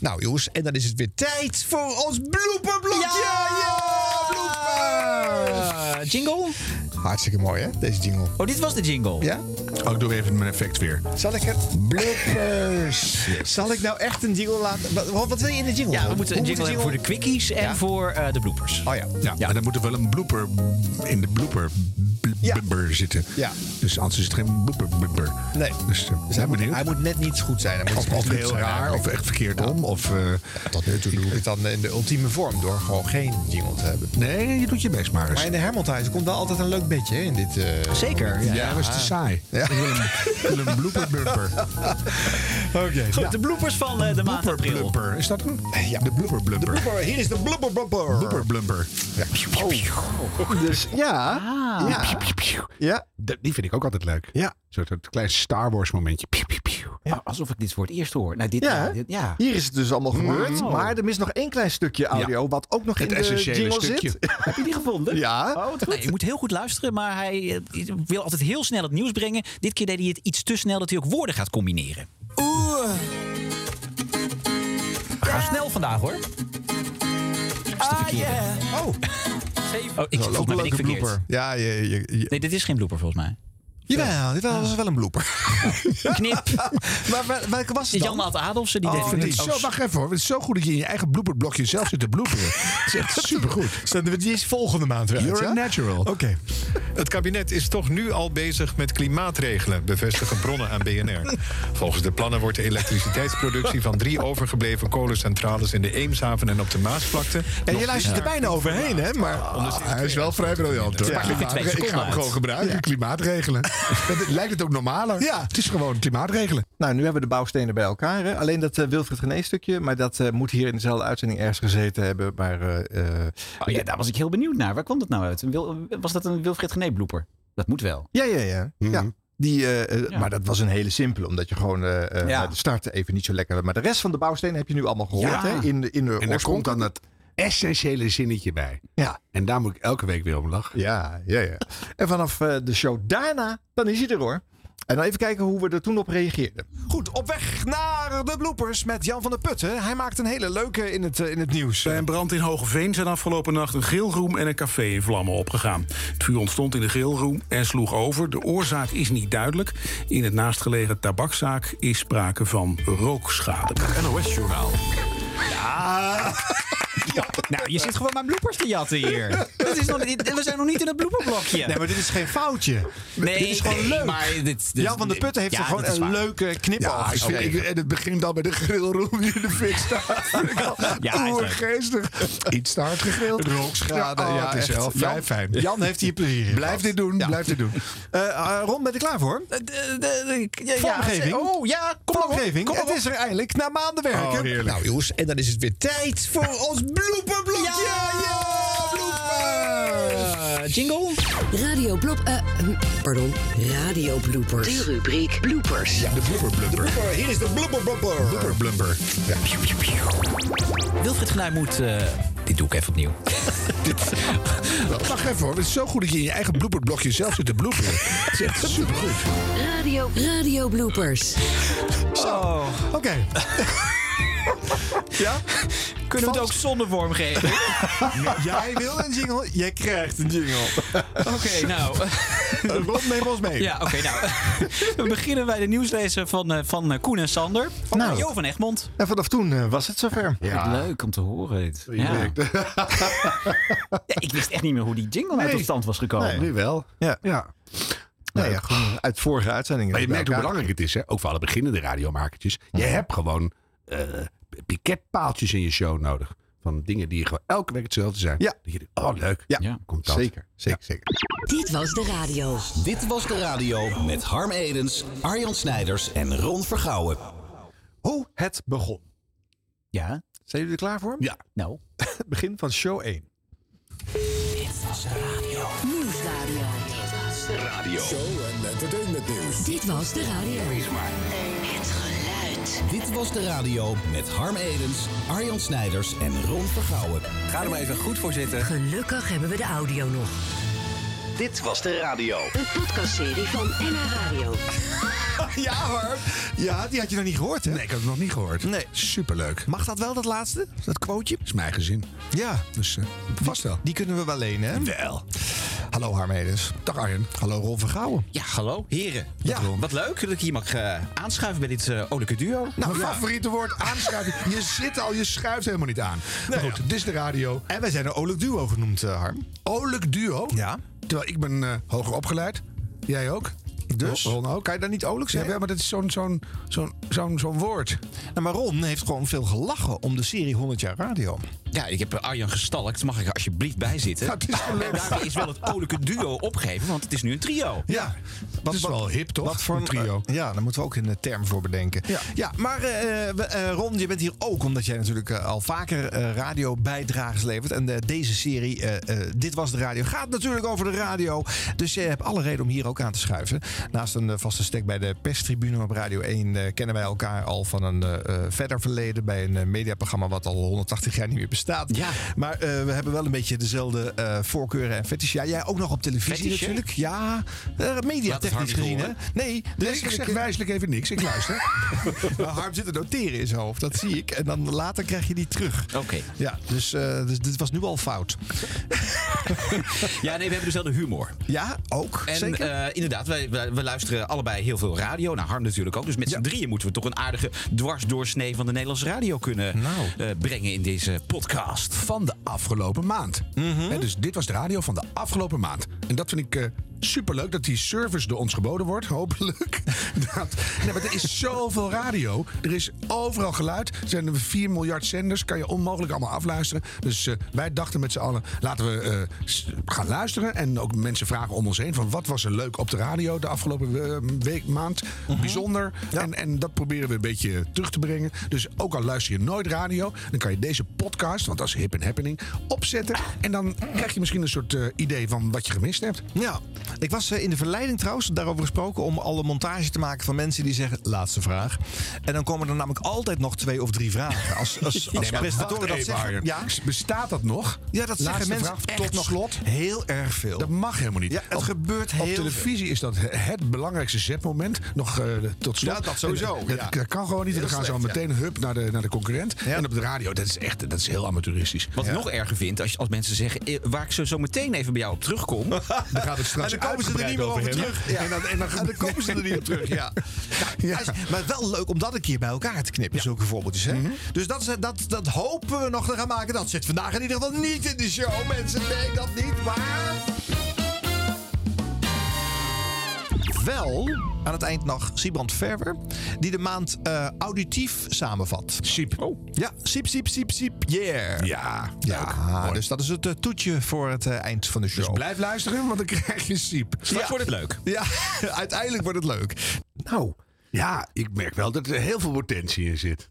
[SPEAKER 2] Nou jongens, en dan is het weer tijd voor ons blooperblokje! Ja, bloopers!
[SPEAKER 3] Eh, jingle?
[SPEAKER 2] Hartstikke mooi hè, deze jingle.
[SPEAKER 3] Oh, dit was de jingle.
[SPEAKER 2] Ja?
[SPEAKER 1] Oh, ik doe even mijn effect weer.
[SPEAKER 2] Zal ik het... Bloopers! Zal ik nou echt een jingle laten... Wat, wat wil je in de jingle?
[SPEAKER 3] Ja, we
[SPEAKER 2] Hoe
[SPEAKER 3] moeten een
[SPEAKER 2] moet de
[SPEAKER 3] jingle hebben voor de quickies en voor eh, de bloopers.
[SPEAKER 2] Oh ja.
[SPEAKER 1] Ja, maar dan moet er wel een blooper in de blooper bl-
[SPEAKER 2] Ja.
[SPEAKER 1] blubber zitten.
[SPEAKER 2] Ja.
[SPEAKER 1] Dus anders is het geen blooper blubber.
[SPEAKER 2] Nee.
[SPEAKER 1] Dus, eh,
[SPEAKER 2] Dus
[SPEAKER 1] ben
[SPEAKER 2] hij, moet,
[SPEAKER 1] benieuwd.
[SPEAKER 2] hij moet net niet goed zijn. Hij moet
[SPEAKER 1] Of,
[SPEAKER 2] net
[SPEAKER 1] of
[SPEAKER 2] goed
[SPEAKER 1] heel
[SPEAKER 2] zijn
[SPEAKER 1] raar,
[SPEAKER 2] eigenlijk.
[SPEAKER 1] of echt verkeerd om. Of, eh,
[SPEAKER 2] Tot nu toe doe ik het dan in de ultieme vorm door gewoon geen jingle te hebben.
[SPEAKER 1] nee, je doet je best maar eens.
[SPEAKER 2] Maar in de Hermantize komt wel altijd een leuk bedje hè, in dit... eh,
[SPEAKER 7] Zeker.
[SPEAKER 1] ja, dat was te saai. Ik wil een, ik wil een blooper blubber.
[SPEAKER 2] Oké.
[SPEAKER 3] Goed, de bloopers van eh, de maand
[SPEAKER 1] nou. Blooper
[SPEAKER 3] april.
[SPEAKER 1] blubber. Is dat hem? Eh, De blooper blubber.
[SPEAKER 2] Blooper, Hier is de blubber blubber.
[SPEAKER 1] Blooper Oh. blubber.
[SPEAKER 2] Dus ja.
[SPEAKER 3] Ah.
[SPEAKER 2] Ja. Ja.
[SPEAKER 1] Dat- Die vind ik ook altijd leuk.
[SPEAKER 2] Ja.
[SPEAKER 1] Zo dat klein Star Wars momentje. Piu, piu, piu.
[SPEAKER 7] Ah, Alsof ik dit voor het eerst hoor. Nou, dit,
[SPEAKER 2] Ja,
[SPEAKER 7] ja,
[SPEAKER 2] hè?
[SPEAKER 7] dit- ja.
[SPEAKER 2] Hier is het dus allemaal gebeurd. Maar er is nog één klein stukje audio wat ook nog
[SPEAKER 1] Het
[SPEAKER 2] in de
[SPEAKER 1] essentiële
[SPEAKER 2] jingle
[SPEAKER 1] stukje.
[SPEAKER 2] zit.
[SPEAKER 7] Heb je die gevonden?
[SPEAKER 2] Ja.
[SPEAKER 7] Oh, wat
[SPEAKER 3] Nee,
[SPEAKER 7] goed.
[SPEAKER 3] je moet heel goed luisteren, maar hij eh, wil altijd heel snel het nieuws brengen. Dit keer deed hij het iets te snel dat hij ook woorden gaat combineren. Oeh. We gaan snel vandaag hoor. Ah, yeah. Oh. oh ik, volgens mij ben ik verkeerd.
[SPEAKER 2] Ja, je, je, je-
[SPEAKER 3] Nee, dit is geen blooper volgens mij.
[SPEAKER 2] Jawel, dit was wel een blooper.
[SPEAKER 3] Knip.
[SPEAKER 2] maar wel- welke was het dan?
[SPEAKER 3] Jan Maat Adolfsen, die
[SPEAKER 1] Oh,
[SPEAKER 3] deed
[SPEAKER 1] dit is zo, wacht even hoor. Het is zo goed dat je in je eigen blooperblokje zelf zit te bloeperen. Het is echt supergoed.
[SPEAKER 10] Zetten we die eens volgende maand weer uit,
[SPEAKER 1] You're
[SPEAKER 10] ja?
[SPEAKER 1] a natural.
[SPEAKER 10] Oké. Het kabinet is toch nu al bezig met klimaatregelen, bevestigen bronnen aan BNR. Volgens de plannen wordt de elektriciteitsproductie van drie overgebleven kolencentrales in de Eemshaven en op de Maasvlakte.
[SPEAKER 2] En je luistert Ah, er bijna overheen, hè? Maar
[SPEAKER 1] Hij is wel vrij briljant. hoor.
[SPEAKER 10] Ja.
[SPEAKER 1] Maar
[SPEAKER 10] Ligt er
[SPEAKER 1] klimaat-
[SPEAKER 10] twee
[SPEAKER 1] Ik
[SPEAKER 10] seconden
[SPEAKER 1] ga hem
[SPEAKER 10] uit.
[SPEAKER 1] gewoon gebruiken. Klimaatregelen. Dat lijkt het ook normaler.
[SPEAKER 2] Ja.
[SPEAKER 1] Het is gewoon klimaatregelen.
[SPEAKER 2] Nou, nu hebben we de bouwstenen bij elkaar. Hè? Alleen dat eh, Wilfried Gené stukje, maar dat eh, moet hier in dezelfde uitzending ergens gezeten hebben. Maar eh, eh,
[SPEAKER 11] Oh, ja, daar was ik heel benieuwd naar. Waar kwam dat nou uit? Een Wil- Was dat een Wilfred Gené blooper? Dat moet wel. Hmm.
[SPEAKER 2] ja, ja, ja. ja. Die, eh, eh, Maar dat was een hele simpele, omdat je gewoon eh, eh,
[SPEAKER 11] Ja.
[SPEAKER 2] bij de start even niet zo lekker... Maar de rest van de bouwstenen heb je nu allemaal gehoord,
[SPEAKER 1] Ja.
[SPEAKER 2] hè? In, de- in de
[SPEAKER 1] En daar komt dan dat essentiële zinnetje bij.
[SPEAKER 2] Ja.
[SPEAKER 1] En daar moet ik elke week weer om lachen.
[SPEAKER 2] Ja, ja, ja. En vanaf eh, de show daarna, dan is hij er hoor. En dan even kijken hoe we er toen op reageerden.
[SPEAKER 10] Goed, op weg naar de bloopers met Jan van der Putten. Hij maakt een hele leuke in het, eh, in het nieuws.
[SPEAKER 12] Bij een brand in Hogeveen zijn afgelopen nacht een geelroom en een café in vlammen opgegaan. Het vuur ontstond in de geelroom en sloeg over. De oorzaak is niet duidelijk. In het naastgelegen tabakszaak is sprake van rookschade.
[SPEAKER 10] NOS-journaal.
[SPEAKER 3] Nou, je zit gewoon mijn bloepers te jatten hier. Dat is nog, dit- we zijn nog niet in het bloepenblokje.
[SPEAKER 10] Nee, maar dit is geen foutje.
[SPEAKER 3] Nee,
[SPEAKER 10] dit is gewoon
[SPEAKER 3] nee,
[SPEAKER 10] leuk.
[SPEAKER 3] maar dit- dit-
[SPEAKER 10] Jan van der Putten heeft
[SPEAKER 3] ja,
[SPEAKER 10] er gewoon
[SPEAKER 3] dat is
[SPEAKER 10] een
[SPEAKER 3] waar.
[SPEAKER 10] leuke knip
[SPEAKER 1] Ja, ik
[SPEAKER 10] afgegeven.
[SPEAKER 1] vind- ik- en het begint dan bij de grillroom die in de fik staat.
[SPEAKER 3] Ja,
[SPEAKER 1] Oeh,
[SPEAKER 3] is leuk.
[SPEAKER 1] geestig.
[SPEAKER 2] ah,
[SPEAKER 1] Iets te hard gegrild.
[SPEAKER 2] Rookschade,
[SPEAKER 1] Ja, oh,
[SPEAKER 2] ja,
[SPEAKER 1] het is
[SPEAKER 2] echt.
[SPEAKER 1] wel
[SPEAKER 2] Jan-
[SPEAKER 1] fijn, fijn.
[SPEAKER 10] Jan heeft hier plezier in.
[SPEAKER 1] Blijf dit doen,
[SPEAKER 2] Ja.
[SPEAKER 1] blijf dit doen.
[SPEAKER 2] Eh Ron, ben je klaar voor?
[SPEAKER 3] De- de- de- ja,
[SPEAKER 2] Vormgeving.
[SPEAKER 3] ja, Oh ja, kom maar op.
[SPEAKER 2] Omgeving, het is er eindelijk na maanden werken.
[SPEAKER 10] Oh, heerlijk.
[SPEAKER 2] Nou jongens, en dan is het weer tijd voor ons blooperblokje. Ja,
[SPEAKER 3] Eh, jingle.
[SPEAKER 7] Radio Bloop... eh, hm, pardon, Radio Bloopers. De rubriek Bloopers.
[SPEAKER 1] De blubber blubber.
[SPEAKER 2] Hier is de blooperblokje.
[SPEAKER 1] Blubber blubber. Ja.
[SPEAKER 3] Wilfried Genuij moet... eh, dit doe ik even opnieuw.
[SPEAKER 1] Wacht even hoor. Het is zo goed dat je in je eigen blooperblokje zelf zit te bloeperen. Het is echt supergoed.
[SPEAKER 7] Radio, Radio Bloopers.
[SPEAKER 2] Oh. Oké. ja?
[SPEAKER 3] Kunnen we het ook zonder vorm geven?
[SPEAKER 2] Jij wil een jingle, jij krijgt een jingle.
[SPEAKER 3] Oké, nou...
[SPEAKER 2] Ron, neem ons mee.
[SPEAKER 3] Ja, oké, nou. we beginnen bij de nieuwslezer van, eh, van eh, Koen en Sander. Van
[SPEAKER 2] Nou.
[SPEAKER 3] Jo van Egmond.
[SPEAKER 2] En vanaf toen eh, was het zover.
[SPEAKER 11] Leuk om te horen dit. Ja. Ja, ik wist echt niet meer hoe die jingle uit tot stand was gekomen.
[SPEAKER 1] Nu wel.
[SPEAKER 2] Ja.
[SPEAKER 1] Ja.
[SPEAKER 2] Nou ja, gewoon uit vorige uitzendingen.
[SPEAKER 1] Maar je
[SPEAKER 2] bij
[SPEAKER 1] merkt hoe
[SPEAKER 2] elkaar.
[SPEAKER 1] belangrijk het is, hè? ook voor alle beginnende radiomakertjes. Je hebt gewoon eh, piketpaaltjes in je show nodig. Van dingen die gewoon elke week hetzelfde zijn.
[SPEAKER 2] Ja.
[SPEAKER 1] Dat je denkt, oh leuk,
[SPEAKER 2] Ja.
[SPEAKER 1] komt dat.
[SPEAKER 2] Zeker, zeker, zeker.
[SPEAKER 7] Dit was de radio.
[SPEAKER 13] Dit was de radio met Harm Edens, Arjan Snijders en Ron Vergouwen.
[SPEAKER 2] Hoe het begon.
[SPEAKER 11] Ja,
[SPEAKER 2] Zijn jullie er klaar voor?
[SPEAKER 1] Ja.
[SPEAKER 11] nou.
[SPEAKER 2] Het begin van show 1.
[SPEAKER 7] Nieuwsradio. Dit was de radio. Het geluid.
[SPEAKER 13] Dit was de radio met Harm Edens, Arjan Snijders en Ron Vergouwen. Ga er maar even goed voor zitten.
[SPEAKER 7] Gelukkig hebben we de audio nog.
[SPEAKER 13] Dit was de radio.
[SPEAKER 7] Een podcastserie van NH Radio.
[SPEAKER 2] Ja hoor. Ja, die had je nog niet gehoord hè?
[SPEAKER 1] Nee, ik had het nog niet gehoord.
[SPEAKER 2] Nee.
[SPEAKER 1] Superleuk.
[SPEAKER 2] Mag dat wel, dat laatste? Dat quoteje?
[SPEAKER 1] is mijn gezin.
[SPEAKER 2] Ja,
[SPEAKER 1] Dus eh, vast wel.
[SPEAKER 2] die kunnen we wel lenen hè?
[SPEAKER 1] Wel.
[SPEAKER 2] Hallo Harm Edens.
[SPEAKER 1] Dag Arjen.
[SPEAKER 2] Hallo Ron Vergouwen.
[SPEAKER 3] Ja, hallo, heren.
[SPEAKER 2] Ja.
[SPEAKER 3] Wat, wat leuk dat ik hier mag eh, aanschuiven bij dit eh olijke duo.
[SPEAKER 2] Nou,
[SPEAKER 1] Mijn favoriete woord, aanschuiven. je zit al, je schuift helemaal niet aan. Maar goed, dit is de radio.
[SPEAKER 2] En wij zijn een Oluk Duo genoemd eh, Harm.
[SPEAKER 1] Olijk duo.
[SPEAKER 2] Ja.
[SPEAKER 1] Terwijl ik ben eh, hoger opgeleid. Jij ook.
[SPEAKER 2] Dus?
[SPEAKER 1] Ron ook.
[SPEAKER 2] Kan je daar niet Oluk
[SPEAKER 1] Ja,
[SPEAKER 2] zeggen?
[SPEAKER 1] maar dat is zo'n zo'n zo'n zo'n zo'n woord.
[SPEAKER 2] Nou, maar Ron heeft gewoon veel gelachen om de serie 100 jaar radio.
[SPEAKER 3] Ja, ik heb eh, Arjan gestalkt. Mag ik er alsjeblieft bij zitten?
[SPEAKER 1] Dat is wel leuk.
[SPEAKER 3] En daarbij is wel het olijke duo opgeven, want het is nu een trio.
[SPEAKER 2] Ja.
[SPEAKER 1] Dat is wel hip, toch?
[SPEAKER 2] Wat voor
[SPEAKER 1] Een trio.
[SPEAKER 2] eh, ja, daar moeten we ook een eh, term voor bedenken.
[SPEAKER 1] Ja.
[SPEAKER 2] maar eh, eh, we- eh, Ron, je bent hier ook omdat jij natuurlijk eh, al vaker eh radiobijdrages levert. En eh, deze serie, eh, eh, Dit Was de Radio, gaat natuurlijk over de radio. Dus je hebt alle reden om hier ook aan te schuiven. Naast een eh, vaste stek bij de perstribune op Radio 1 eh, kennen wij elkaar al van een eh, eh, verder verleden. Bij een eh, mediaprogramma wat al 180 jaar niet meer bestaat.
[SPEAKER 3] Ja.
[SPEAKER 2] Maar eh, we hebben wel een beetje dezelfde eh, voorkeuren en fetish. Ja, jij ook nog op televisie
[SPEAKER 3] Fetish, hè?
[SPEAKER 2] natuurlijk. Ja, eh, media
[SPEAKER 3] Laat het
[SPEAKER 2] technisch
[SPEAKER 3] Harm niet
[SPEAKER 2] gezien, hè? Nee, dus
[SPEAKER 1] ik zeg wijselijk even niks. Ik luister.
[SPEAKER 2] Harm zit te noteren in zijn hoofd, dat zie ik. En dan later krijg je die terug.
[SPEAKER 3] Oké.
[SPEAKER 2] Ja, dus, eh, dus dit was nu al fout.
[SPEAKER 13] ja, nee, we hebben dezelfde humor.
[SPEAKER 2] Ja, ook.
[SPEAKER 13] En
[SPEAKER 2] zeker.
[SPEAKER 13] eh, inderdaad, wij, wij- we luisteren allebei heel veel radio. Nou, Harm natuurlijk ook. Dus met z'n drieën moeten we toch een aardige dwarsdoorsnee van de Nederlandse radio kunnen eh, brengen in deze podcast.
[SPEAKER 1] Van de afgelopen maand. Hè, dus dit was de radio van de afgelopen maand. En dat vind ik eh, superleuk dat die service door ons geboden wordt, hopelijk. Dat, nee, maar er is zoveel radio. Er is overal geluid. Er zijn er 4 miljard zenders. Kan je onmogelijk allemaal afluisteren. Dus eh, wij dachten met z'n allen, laten we eh, s- gaan luisteren. En ook mensen vragen om ons heen van wat was er leuk op de radio de afgelopen eh, week, maand.
[SPEAKER 2] Mhm.
[SPEAKER 1] Bijzonder. En, en dat proberen we een beetje terug te brengen. Dus ook al luister je nooit radio, dan kan je deze podcast, want dat is hip en happening, opzetten. En dan krijg je misschien een soort eh, idee van wat je gemist hebt.
[SPEAKER 2] Ja, ik was eh, in de verleiding trouwens daarover gesproken om alle montage te maken van mensen die zeggen laatste vraag. En dan komen er namelijk altijd nog twee of drie vragen. Als, als, als presentatoren dat zeggen. Ja,
[SPEAKER 1] Bestaat dat nog?
[SPEAKER 2] ja dat
[SPEAKER 1] Laatste
[SPEAKER 2] zeggen mensen
[SPEAKER 1] vraag,
[SPEAKER 2] echt
[SPEAKER 1] tot
[SPEAKER 2] nog
[SPEAKER 1] slot.
[SPEAKER 2] Heel erg veel.
[SPEAKER 1] Dat mag helemaal niet.
[SPEAKER 2] Ja, het
[SPEAKER 1] Op-
[SPEAKER 2] gebeurt heel
[SPEAKER 1] Op televisie is dat het belangrijkste zetmoment. Nog eh, tot slot.
[SPEAKER 2] Ja, dat sowieso,
[SPEAKER 1] En, eh,
[SPEAKER 2] ja.
[SPEAKER 1] Dat, dat kan gewoon niet.
[SPEAKER 2] Heel
[SPEAKER 1] We gaan zo
[SPEAKER 2] slecht, ja.
[SPEAKER 1] meteen hup naar de, naar de concurrent. En op de radio, dat is echt dat is heel amateuristisch.
[SPEAKER 13] Wat ik nog erger vind, als, als mensen zeggen... eh, waar ik zo, zo meteen even bij jou op terugkom... dan
[SPEAKER 1] gaat het
[SPEAKER 2] En dan komen ze er niet meer over terug. Ja. En, dan, en, dan, komen ze er niet op terug. Ja. Nou, als- Maar wel leuk om dat een keer bij elkaar te knippen, zulke voorbeeldjes. Hè? Dus dat, is- dat, dat hopen we nog te gaan maken. Dat zit vandaag in ieder geval niet in de show, mensen. Nee, dat niet. Maar. Wel aan het eind nog Siebrand Verwer, die de maand eh, auditief samenvat. Oh.
[SPEAKER 1] Siep.
[SPEAKER 2] Ja, siep, siep, siep, siep, yeah.
[SPEAKER 1] Ja,
[SPEAKER 2] ja dus dat is het eh, toetje voor het eh, eind van de show.
[SPEAKER 1] Blijf luisteren, want dan krijg je siep.
[SPEAKER 2] Straks wordt het
[SPEAKER 13] leuk.
[SPEAKER 2] Ja, uiteindelijk wordt het leuk. Nou,
[SPEAKER 1] ja, ik merk wel dat er heel veel potentie in zit.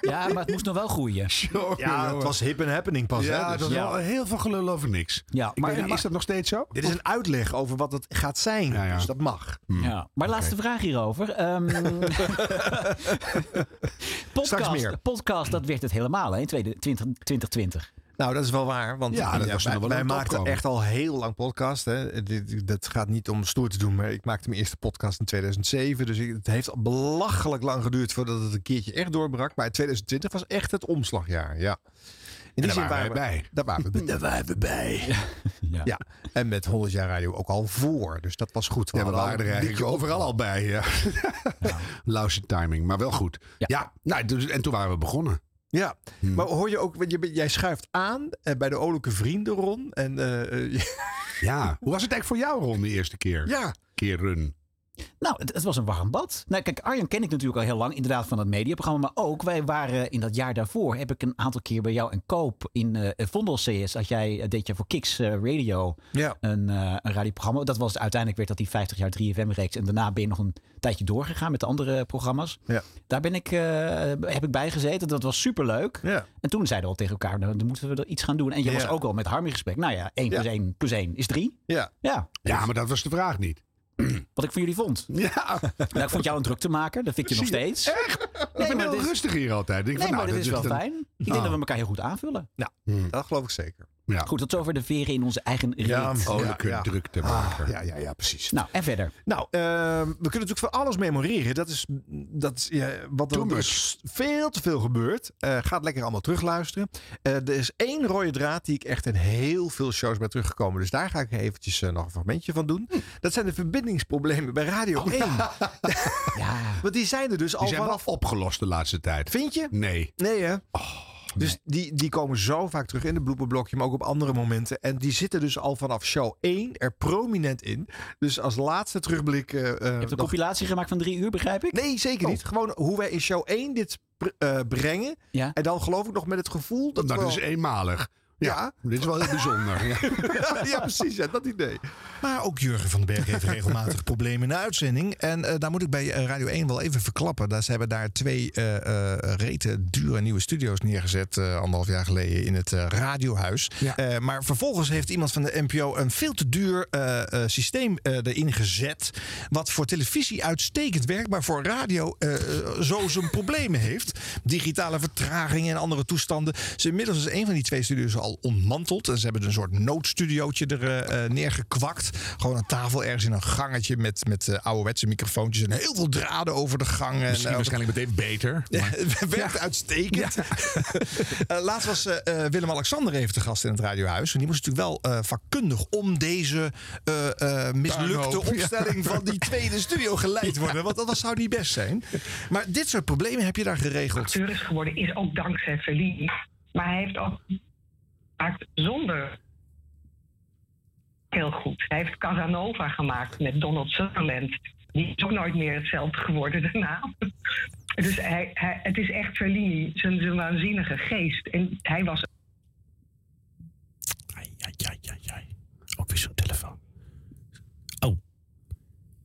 [SPEAKER 3] Ja, maar het moest nog wel groeien.
[SPEAKER 2] Ja, het was hip en happening pas.
[SPEAKER 1] Ja,
[SPEAKER 2] hè, dus-
[SPEAKER 1] dat is wel heel veel gelul over niks.
[SPEAKER 3] Ja,
[SPEAKER 1] Ik
[SPEAKER 3] maar-
[SPEAKER 1] weet niet, is dat nog steeds zo?
[SPEAKER 2] Dit is een uitleg over wat het gaat zijn.
[SPEAKER 1] ja.
[SPEAKER 2] Dus dat mag.
[SPEAKER 3] Ja. Maar laatste vraag hierover. Ehm, podcast,
[SPEAKER 2] Straks meer.
[SPEAKER 3] podcast, dat werd het helemaal hè, in tweede- 20 2020.
[SPEAKER 2] Nou, dat is wel waar. Want
[SPEAKER 3] Ja, dat
[SPEAKER 2] eh,
[SPEAKER 3] was
[SPEAKER 2] wij,
[SPEAKER 3] nog wel
[SPEAKER 2] wij
[SPEAKER 3] een
[SPEAKER 2] maakten
[SPEAKER 3] topkomer.
[SPEAKER 2] echt al heel lang podcast. Hè. Dit, dat gaat niet om stoer te doen, maar ik maakte mijn eerste podcast in 2007. Dus ik- het heeft al belachelijk lang geduurd voordat het een keertje echt doorbrak. Maar 2020 was echt het omslagjaar, ja. In
[SPEAKER 1] daar waren wij bij.
[SPEAKER 2] Daar waren we, daar waren we bij.
[SPEAKER 3] Ja.
[SPEAKER 2] En met 100 jaar radio ook al voor. Dus dat was goed.
[SPEAKER 1] Ja, we
[SPEAKER 2] hadden al
[SPEAKER 1] waren er
[SPEAKER 2] een
[SPEAKER 1] eigenlijk
[SPEAKER 2] dikke
[SPEAKER 1] overal al bij. Ja. Lauze timing, maar wel goed. Ja, nou, dus- en toen waren we begonnen. Hm.
[SPEAKER 2] Ja, maar hoor je ook, want je bent- jij schuift aan eh, bij de Olijke Vrienden, Ron. En, eh,
[SPEAKER 1] ja, hoe was het eigenlijk voor jou, Ron, de eerste keer?
[SPEAKER 2] Ja.
[SPEAKER 1] Keer run.
[SPEAKER 3] Nou, het, het was een warm bad. Nou, kijk, Arjan ken ik natuurlijk al heel lang, inderdaad, van het mediaprogramma. Maar ook, wij waren in dat jaar daarvoor, heb ik een aantal keer bij jou een koop in eh Vondel CS. Had jij, eh, deed je voor Kiks eh, Radio
[SPEAKER 2] Ja.
[SPEAKER 3] een, eh een radioprogramma. Dat was, uiteindelijk werd dat die 50 jaar 3FM-reeks. En daarna ben je nog een tijdje doorgegaan met de andere eh, programma's.
[SPEAKER 2] Ja.
[SPEAKER 3] Daar ben ik, eh, heb ik bij gezeten. Dat was superleuk.
[SPEAKER 2] Ja.
[SPEAKER 3] En toen zeiden we al tegen elkaar, nou, dan moeten we er iets gaan doen. En je
[SPEAKER 2] Ja.
[SPEAKER 3] was ook al met Harm in gesprek. Nou ja, 1
[SPEAKER 2] Ja.
[SPEAKER 3] plus 1 plus 1 is 3.
[SPEAKER 2] Ja.
[SPEAKER 3] Ja.
[SPEAKER 1] Ja, maar dat was de vraag niet.
[SPEAKER 3] Wat ik van jullie vond.
[SPEAKER 1] Ja.
[SPEAKER 3] Nou, ik vond jou een druk te maken. Dat vind ik je nog
[SPEAKER 1] Zie je?
[SPEAKER 3] steeds.
[SPEAKER 1] Echt? ik ben
[SPEAKER 3] maar
[SPEAKER 1] heel
[SPEAKER 3] dit-
[SPEAKER 1] rustig hier altijd. Ik denk
[SPEAKER 3] Nee,
[SPEAKER 1] van,
[SPEAKER 3] maar
[SPEAKER 1] nou,
[SPEAKER 3] dit is wel
[SPEAKER 1] dat een- Hmm.
[SPEAKER 3] fijn. Ik denk dat we elkaar heel goed aanvullen.
[SPEAKER 2] Nou, dat geloof ik zeker.
[SPEAKER 1] Ja. oh,
[SPEAKER 3] Goed, tot zover de veren in onze eigen rit.
[SPEAKER 1] Olijke druktemaker.
[SPEAKER 2] Ah, ja, ja, ja, precies.
[SPEAKER 3] Nou, en verder.
[SPEAKER 2] Nou, ehm, we kunnen natuurlijk van alles memoreren. Dat is, dat is ja, wat er
[SPEAKER 1] Too
[SPEAKER 2] er is veel te veel gebeurt. Eh, ga het lekker allemaal terugluisteren. Eh, er is één rode draad die ik echt in heel veel shows ben teruggekomen. Dus daar ga ik eventjes eh, nog een fragmentje van doen.
[SPEAKER 1] Hm.
[SPEAKER 2] Dat zijn de verbindingsproblemen bij Radio 1. Want die zijn er dus al
[SPEAKER 1] Oh, Die zijn wel
[SPEAKER 2] vanaf...
[SPEAKER 1] opgelost de laatste tijd.
[SPEAKER 2] Vind je?
[SPEAKER 1] Nee.
[SPEAKER 2] Nee, hè?
[SPEAKER 3] Oh,
[SPEAKER 2] dus die, die komen zo vaak terug in de blooperblokje, maar ook op andere momenten. En die zitten dus al vanaf show 1 er prominent in. Dus als laatste terugblik... eh, eh,
[SPEAKER 3] Je hebt een
[SPEAKER 2] nog-
[SPEAKER 3] compilatie gemaakt van drie uur, begrijp ik? Oh.
[SPEAKER 2] Nee, zeker niet. Gewoon hoe wij in show 1 dit pr- eh, brengen.
[SPEAKER 3] Ja.
[SPEAKER 2] En dan geloof ik nog met het gevoel dat.
[SPEAKER 1] Nou,
[SPEAKER 2] we
[SPEAKER 1] dat is
[SPEAKER 2] al-
[SPEAKER 1] eenmalig. Ja, dit is wel heel bijzonder. Ja.
[SPEAKER 2] ja, precies. Ja, dat idee.
[SPEAKER 14] Maar ook Jurgen van den Berg heeft regelmatig problemen in de uitzending. En eh, daar moet ik bij eh, Radio 1 wel even verklappen. Daar, ze hebben daar twee eh eh rete dure nieuwe studio's neergezet. eh, anderhalf jaar geleden in het eh, radiohuis. Eh, maar vervolgens heeft iemand van de NPO een veel te duur eh, eh, systeem eh, erin gezet. Wat voor televisie uitstekend werkt, maar voor radio eh, eh, zo zijn problemen heeft. Digitale vertragingen en andere toestanden. Dus inmiddels is een van die twee studio's al
[SPEAKER 2] helemaal ontmanteld. En ze hebben een soort noodstudiootje er eh, eh, neergekwakt. Gewoon een tafel ergens in een gangetje met, met eh, ouderwetse microfoontjes en heel veel draden over de gang. en,
[SPEAKER 1] Misschien
[SPEAKER 2] eh,
[SPEAKER 1] waarschijnlijk meteen beter.
[SPEAKER 2] ja, het werkt uitstekend. Eh, laatst was eh, eh, Willem-Alexander even te gast in het Radiohuis. En die moest natuurlijk wel eh, vakkundig om deze eh, eh, mislukte
[SPEAKER 7] Puinhoop, ja.
[SPEAKER 2] opstelling van die tweede studio geleid worden. Want dat, dat zou niet best zijn. Maar dit soort problemen heb je daar geregeld.
[SPEAKER 15] acteur is geworden, is ook dankzij Fellini. Maar hij heeft ook gemaakt zonder heel goed. Hij heeft Casanova gemaakt met Donald Sutherland. Die is ook nooit meer hetzelfde geworden daarna. Dus hij, hij, het is echt Fellini, zijn, zijn waanzinnige geest. En hij was
[SPEAKER 16] Ook weer zo'n telefoon. Oh.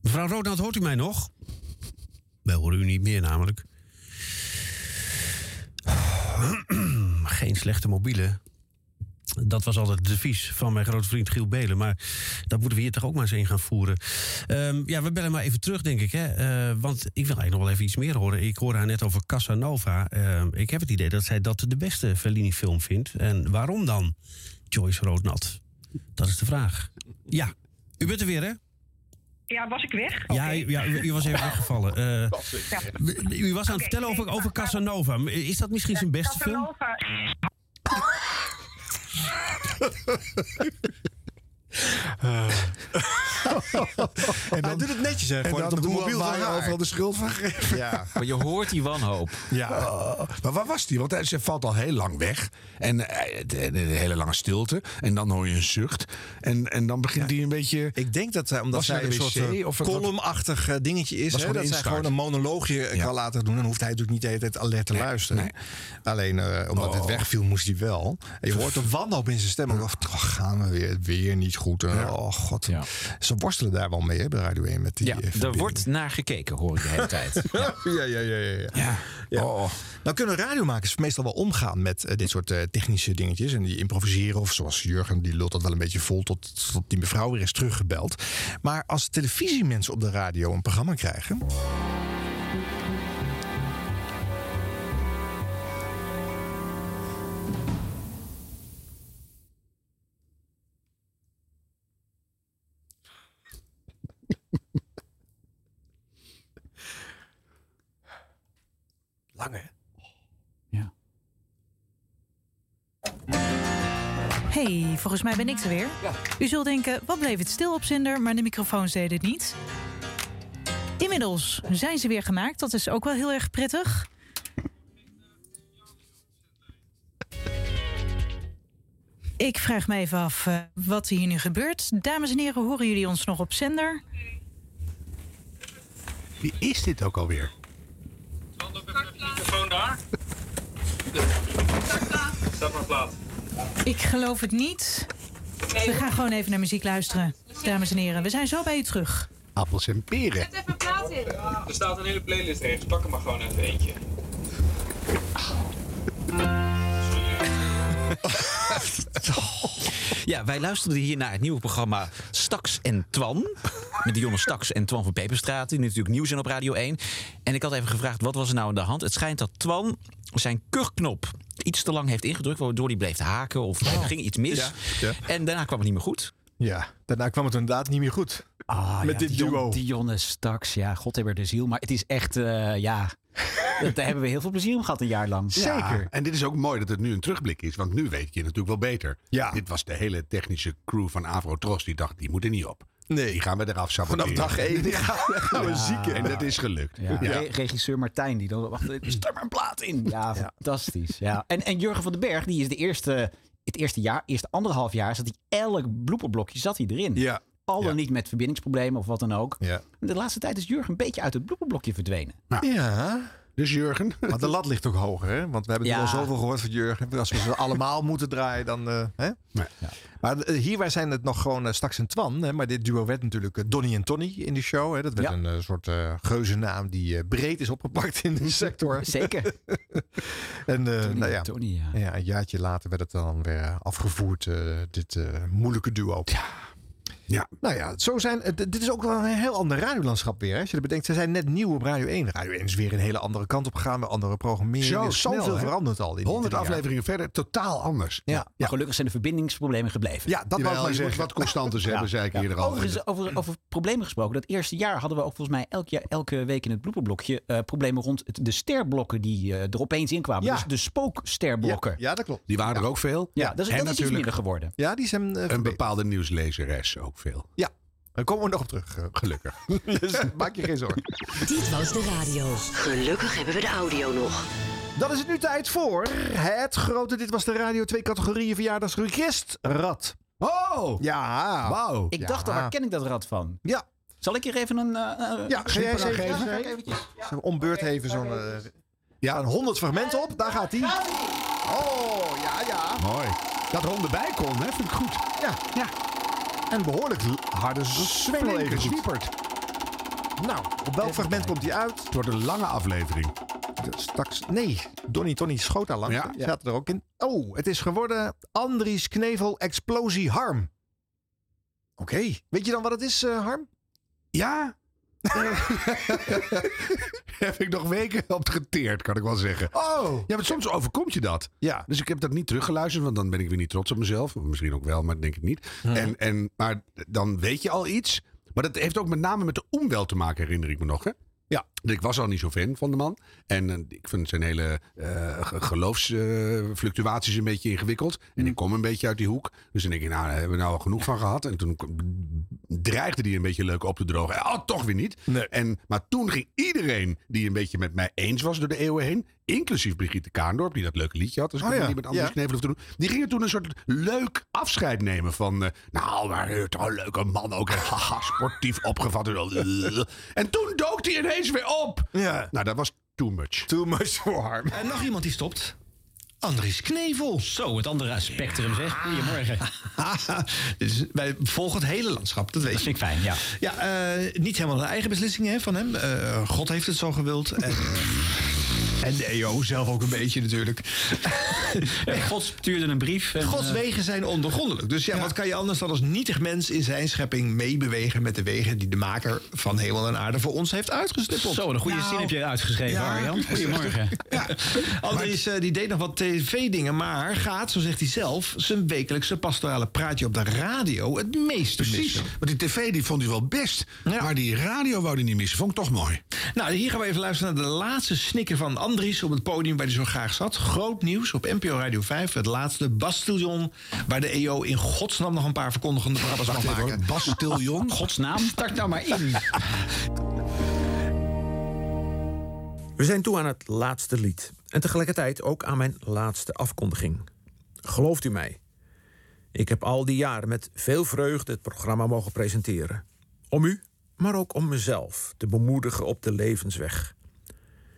[SPEAKER 16] Mevrouw Roodhout, hoort u mij nog? Wij horen u niet meer namelijk. Geen slechte mobiele. Dat was altijd het devies van mijn grote vriend Giel Belen. Maar dat moeten we hier toch ook maar eens in gaan voeren. Ehm, ja, we bellen maar even terug, denk ik. Hè? Eh, want ik wil eigenlijk nog wel even iets meer horen. Ik hoorde haar net over Casanova. Ehm, ik heb het idee dat zij dat de beste Fellini-film vindt. En waarom dan Joyce Roodnat? Dat is de vraag. Ja, u bent er weer, hè?
[SPEAKER 15] Ja, was ik weg?
[SPEAKER 16] Ja, u- ja, u, u was even weggevallen. Eh, u- u was aan
[SPEAKER 15] Oké,
[SPEAKER 16] het vertellen over, over Casanova. Is dat misschien zijn beste film?
[SPEAKER 2] Hij doet het netjes, hè?
[SPEAKER 17] en
[SPEAKER 2] Gewoon
[SPEAKER 17] dan
[SPEAKER 2] het op de
[SPEAKER 17] hoe
[SPEAKER 2] mobiel
[SPEAKER 17] waar
[SPEAKER 2] van haar
[SPEAKER 17] je
[SPEAKER 2] overal de schuld van gegeven.
[SPEAKER 1] Ja.
[SPEAKER 18] Maar je hoort die wanhoop.
[SPEAKER 1] Ja. maar waar was die? Want hij, ze valt al heel lang weg. En eh, de- de- de hele lange stilte. En dan hoor je een zucht. En, en dan begint die een beetje...
[SPEAKER 2] Ik denk dat zij, omdat
[SPEAKER 1] Was
[SPEAKER 2] zij
[SPEAKER 1] naar
[SPEAKER 2] een
[SPEAKER 1] de
[SPEAKER 2] soort
[SPEAKER 1] wc
[SPEAKER 2] eh,
[SPEAKER 1] of wat-
[SPEAKER 2] columnachtig eh, dingetje
[SPEAKER 1] Was
[SPEAKER 2] is. Hè?
[SPEAKER 1] gewoon
[SPEAKER 2] Dat zij
[SPEAKER 1] instart.
[SPEAKER 2] gewoon een monoloogje eh, kan laten doen. Dan hoeft hij natuurlijk niet de hele tijd alert te luisteren. Alleen eh, omdat het wegviel, moest hij wel. En je hoort de wanhoop in zijn stem. Ook, Of toch gaan we weer, weer niet goed. En, Oh god. Ze worstelen daar wel mee hè, bij Radio 1 met die
[SPEAKER 18] Ja,
[SPEAKER 2] eh,
[SPEAKER 18] er wordt naar gekeken, hoor ik de hele tijd.
[SPEAKER 2] ja, ja, ja. ja, ja. Ja. Nou kunnen radiomakers meestal wel omgaan met eh, dit soort eh, technische dingetjes. En die improviseren. Of zoals Jurgen, die lult dat wel een beetje vol tot, tot die mevrouw weer is teruggebeld. Maar als televisiemensen op de radio een programma krijgen...
[SPEAKER 17] Lange.
[SPEAKER 19] Hey, volgens mij ben ik er weer. U zult denken, wat bleef het stil op zender, maar de microfoons deden het niet. Inmiddels zijn ze weer gemaakt, dat is ook wel heel erg prettig. Ik vraag me even af eh, wat hier nu gebeurt. Dames en heren, horen jullie ons nog op zender?
[SPEAKER 1] Wie is dit ook alweer?
[SPEAKER 20] Microfoon daar. Staat maar plaats.
[SPEAKER 19] Ik geloof het niet. We gaan gewoon even naar muziek luisteren. Dames en heren, we zijn zo bij u terug.
[SPEAKER 1] Appels en peren.
[SPEAKER 20] even plaats in. Er staat een hele playlist rechts. Pak hem maar gewoon uit eentje.
[SPEAKER 21] Ja, wij luisterden hier naar het nieuwe programma Staks en Twan. Met de jonge Staks en Twan van Peperstraat. Die natuurlijk nieuw zijn op Radio 1. En ik had even gevraagd, wat was er nou aan de hand? Het schijnt dat Twan zijn kuchknop iets te lang heeft ingedrukt. Waardoor hij bleef haken of er ging iets mis.
[SPEAKER 17] Oh. Ja, ja.
[SPEAKER 21] En daarna kwam het niet meer goed.
[SPEAKER 17] Ja, daarna kwam het inderdaad niet meer goed.
[SPEAKER 3] Ah,
[SPEAKER 17] Met
[SPEAKER 3] ja,
[SPEAKER 17] dit
[SPEAKER 3] Dion-
[SPEAKER 17] duo.
[SPEAKER 3] Dionne Staks, ja, God hebben de ziel. Maar het is echt, eh, ja, dat- daar hebben we heel veel plezier om gehad een jaar lang.
[SPEAKER 1] Ja, en dit is ook mooi dat het nu een terugblik is. Want nu weet je natuurlijk wel beter. Dit was de hele technische crew van Avro Tros. Die dacht, die moet er niet op. Nee. Die gaan we eraf saboteren.
[SPEAKER 17] Vanaf dag één gaan we ziek in.
[SPEAKER 1] En dat is gelukt.
[SPEAKER 3] Ja, re- regisseur Martijn, die dan... Wacht, er is er maar een plaat in. Ja, fantastisch. Ja. En, en Jurgen van den Berg, die is de eerste... Het eerste jaar, eerste anderhalf jaar, zat hij elk blooperblokje zat hij erin.
[SPEAKER 17] Ja.
[SPEAKER 3] Al dan niet met verbindingsproblemen of wat dan ook.
[SPEAKER 17] Ja.
[SPEAKER 3] De laatste tijd is Jurgen een beetje uit het blooperblokje verdwenen.
[SPEAKER 17] Ja.
[SPEAKER 1] Dus Jurgen.
[SPEAKER 17] Maar de lat ligt ook hoger, hè? Want we hebben
[SPEAKER 3] Ja.
[SPEAKER 17] er al zoveel gehoord van Jurgen. Als we ze allemaal moeten draaien, dan... eh, hè? Maar eh, hier wij zijn het nog gewoon eh, Stax en Twan. Hè? Maar dit duo werd natuurlijk eh, Donnie en Tony in de show. Hè? Dat werd een eh, soort eh geuzennaam die eh, breed is opgepakt in de sector.
[SPEAKER 3] Zeker.
[SPEAKER 17] en, eh, nou ja.
[SPEAKER 3] en Tony, ja.
[SPEAKER 17] Een jaartje later werd het dan weer afgevoerd, eh, dit eh, moeilijke duo.
[SPEAKER 1] Ja.
[SPEAKER 2] eh, Nou ja, zo zijn, eh, d- dit is ook wel een heel ander radiolandschap weer. Hè? Als je dat bedenkt, ze zijn net nieuw op Radio 1. Radio 1 is weer een hele andere kant op gegaan. Met andere programmering.
[SPEAKER 1] Zo
[SPEAKER 2] Er is
[SPEAKER 1] snel,
[SPEAKER 2] zoveel
[SPEAKER 1] hè?
[SPEAKER 2] veranderd al. in die
[SPEAKER 1] 100
[SPEAKER 2] drie jaar.
[SPEAKER 1] afleveringen verder, totaal anders.
[SPEAKER 2] Ja.
[SPEAKER 3] Maar gelukkig zijn de verbindingsproblemen gebleven.
[SPEAKER 2] Ja,
[SPEAKER 1] Jawel, je moet wat constantes hebben, zei ik hier al.
[SPEAKER 3] Overigens, over, over problemen gesproken. Dat eerste jaar hadden we ook volgens mij elk jaar, elke week in het blooperblokje eh, problemen rond het- de sterblokken die eh, er opeens in kwamen.
[SPEAKER 1] Ja.
[SPEAKER 3] Dus de spooksterblokken.
[SPEAKER 2] Ja, dat klopt.
[SPEAKER 1] Die waren er ook veel.
[SPEAKER 3] Ja, dat is- dat
[SPEAKER 1] En
[SPEAKER 3] is iets
[SPEAKER 1] natuurlijk
[SPEAKER 3] minder geworden.
[SPEAKER 2] Ja, die zijn...
[SPEAKER 1] een bepaalde nieuwslezeres ook veel.
[SPEAKER 2] Ja, daar komen we nog op terug. eh,
[SPEAKER 1] Gelukkig.
[SPEAKER 2] Dus maak je geen zorgen.
[SPEAKER 4] Dit was de radio. Gelukkig hebben we de audio nog.
[SPEAKER 2] Dan is het nu tijd voor het grote. Dit was de radio twee categorieën verjaardagsregistrad.
[SPEAKER 1] Oh!
[SPEAKER 2] Ja.
[SPEAKER 1] Wauw.
[SPEAKER 3] Ik dacht al, waar ken ik dat rad van?
[SPEAKER 2] Ja.
[SPEAKER 3] Zal ik hier even een...
[SPEAKER 2] Ja, ga jij eens even-
[SPEAKER 3] geven?
[SPEAKER 2] Ze ombeurt even zo'n. eh, staan 100 fragmenten op, daar gaat die. Oh, ja, ja.
[SPEAKER 1] Mooi. Dat Ron erbij kon, hè? vind ik goed.
[SPEAKER 2] Ja, ja. En behoorlijk l- harde zwengel
[SPEAKER 1] Flink
[SPEAKER 2] even goed.
[SPEAKER 1] geswieperd.
[SPEAKER 2] Nou, op welk fragment komt die uit?
[SPEAKER 1] Het wordt een lange aflevering.
[SPEAKER 2] Straks, nee, Donnie Tony schoot daar langs.
[SPEAKER 1] Ja.
[SPEAKER 2] Ja. Zaten er ook in. Oh, het is geworden Andries Knevel Explosie Harm. Oké. Weet je dan wat het is, eh, Harm?
[SPEAKER 1] Ja. heb ik nog weken op geteerd, kan ik wel zeggen.
[SPEAKER 2] Oh.
[SPEAKER 1] Ja, want soms overkomt je dat.
[SPEAKER 2] Ja.
[SPEAKER 1] Dus ik heb dat niet teruggeluisterd, want dan ben ik weer niet trots op mezelf. Of Misschien ook wel, maar dat denk ik niet. En, en, maar dan weet je al iets. Maar dat heeft ook met name met de omwel te maken, herinner ik me nog. Hè?
[SPEAKER 2] Ja.
[SPEAKER 1] Ik was al niet zo fan van de man. En eh, ik vind zijn hele eh, geloofsfluctuaties een beetje ingewikkeld.
[SPEAKER 2] Mm.
[SPEAKER 1] En ik kom een beetje uit die hoek. Dus dan denk ik, nou, daar hebben we nou al genoeg van gehad. En toen k- dreigde die een beetje leuk op te drogen. Oh, toch weer niet. En, maar toen ging iedereen die een beetje met mij eens was door de eeuwen heen. Inclusief Brigitte Kaandorp, die dat leuke liedje had. Dus ik
[SPEAKER 2] Oh,
[SPEAKER 1] had
[SPEAKER 2] ja.
[SPEAKER 1] niet met Andries
[SPEAKER 2] Ja.
[SPEAKER 1] Knevel hoeven te doen. Die gingen toen een soort leuk afscheid nemen van... eh, nou, maar eh, toch een leuke man ook. en Haha, sportief opgevat. En toen dook hij ineens weer op.
[SPEAKER 2] Ja.
[SPEAKER 1] Nou, dat was too much.
[SPEAKER 2] Too much for Harm.
[SPEAKER 22] En Eh, nog iemand die stopt. Andries Knevel. Zo, het andere spectrum zeg. Goedemorgen.
[SPEAKER 23] dus wij volgen het hele landschap, dat weet
[SPEAKER 22] Dat
[SPEAKER 23] je.
[SPEAKER 22] vind ik fijn, ja.
[SPEAKER 23] Ja, eh, niet helemaal een eigen beslissing hè, van hem. Eh, God heeft het zo gewild. En, eh, en de EO zelf ook een beetje natuurlijk.
[SPEAKER 22] God stuurde een brief. en,
[SPEAKER 23] Gods
[SPEAKER 22] eh,
[SPEAKER 23] wegen zijn ondergrondelijk. Dus ja, wat kan je anders dan als nietig mens in zijn schepping meebewegen met de wegen die de maker van hemel en aarde voor ons heeft uitgestippeld?
[SPEAKER 22] Zo, een goede
[SPEAKER 3] Nou.
[SPEAKER 22] zin heb je uitgeschreven, Arjan. Goedemorgen.
[SPEAKER 23] Ja. Andries eh, die deed nog wat tv-dingen, maar gaat, zo zegt hij zelf, zijn wekelijkse pastorale praatje op de radio het meest
[SPEAKER 24] Precies,
[SPEAKER 23] missen.
[SPEAKER 24] want die tv die vond hij wel best. Maar die radio wou hij niet missen, vond ik toch mooi.
[SPEAKER 23] Nou, hier gaan we even luisteren naar de laatste snikker van Andries op het podium waar hij zo graag zat. Groot nieuws op NPO Radio 5, het laatste bastiljon waar de EO in godsnaam nog een paar verkondigende brabbers mag maken.
[SPEAKER 1] Bastiljon?
[SPEAKER 22] Godsnaam, start nou maar in.
[SPEAKER 12] We zijn toe aan het laatste lied. En tegelijkertijd ook aan mijn laatste afkondiging. Gelooft u mij? Ik heb al die jaren met veel vreugde het programma mogen presenteren. Om u, maar ook om mezelf te bemoedigen op de levensweg.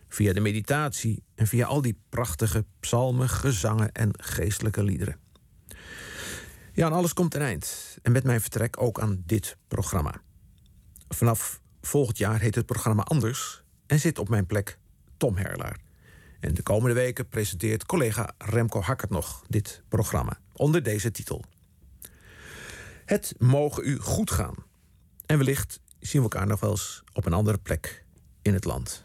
[SPEAKER 12] Via de meditatie en via al die prachtige psalmen, gezangen en geestelijke liederen. Ja, aan alles komt een eind. En met mijn vertrek ook aan dit programma. Vanaf volgend jaar heet het programma anders en zit op mijn plek Tom Herlaar. En de komende weken presenteert collega Remco Hakkert nog dit programma onder deze titel. Het mogen u goed gaan. En wellicht zien we elkaar nog wel eens op een andere plek in het land.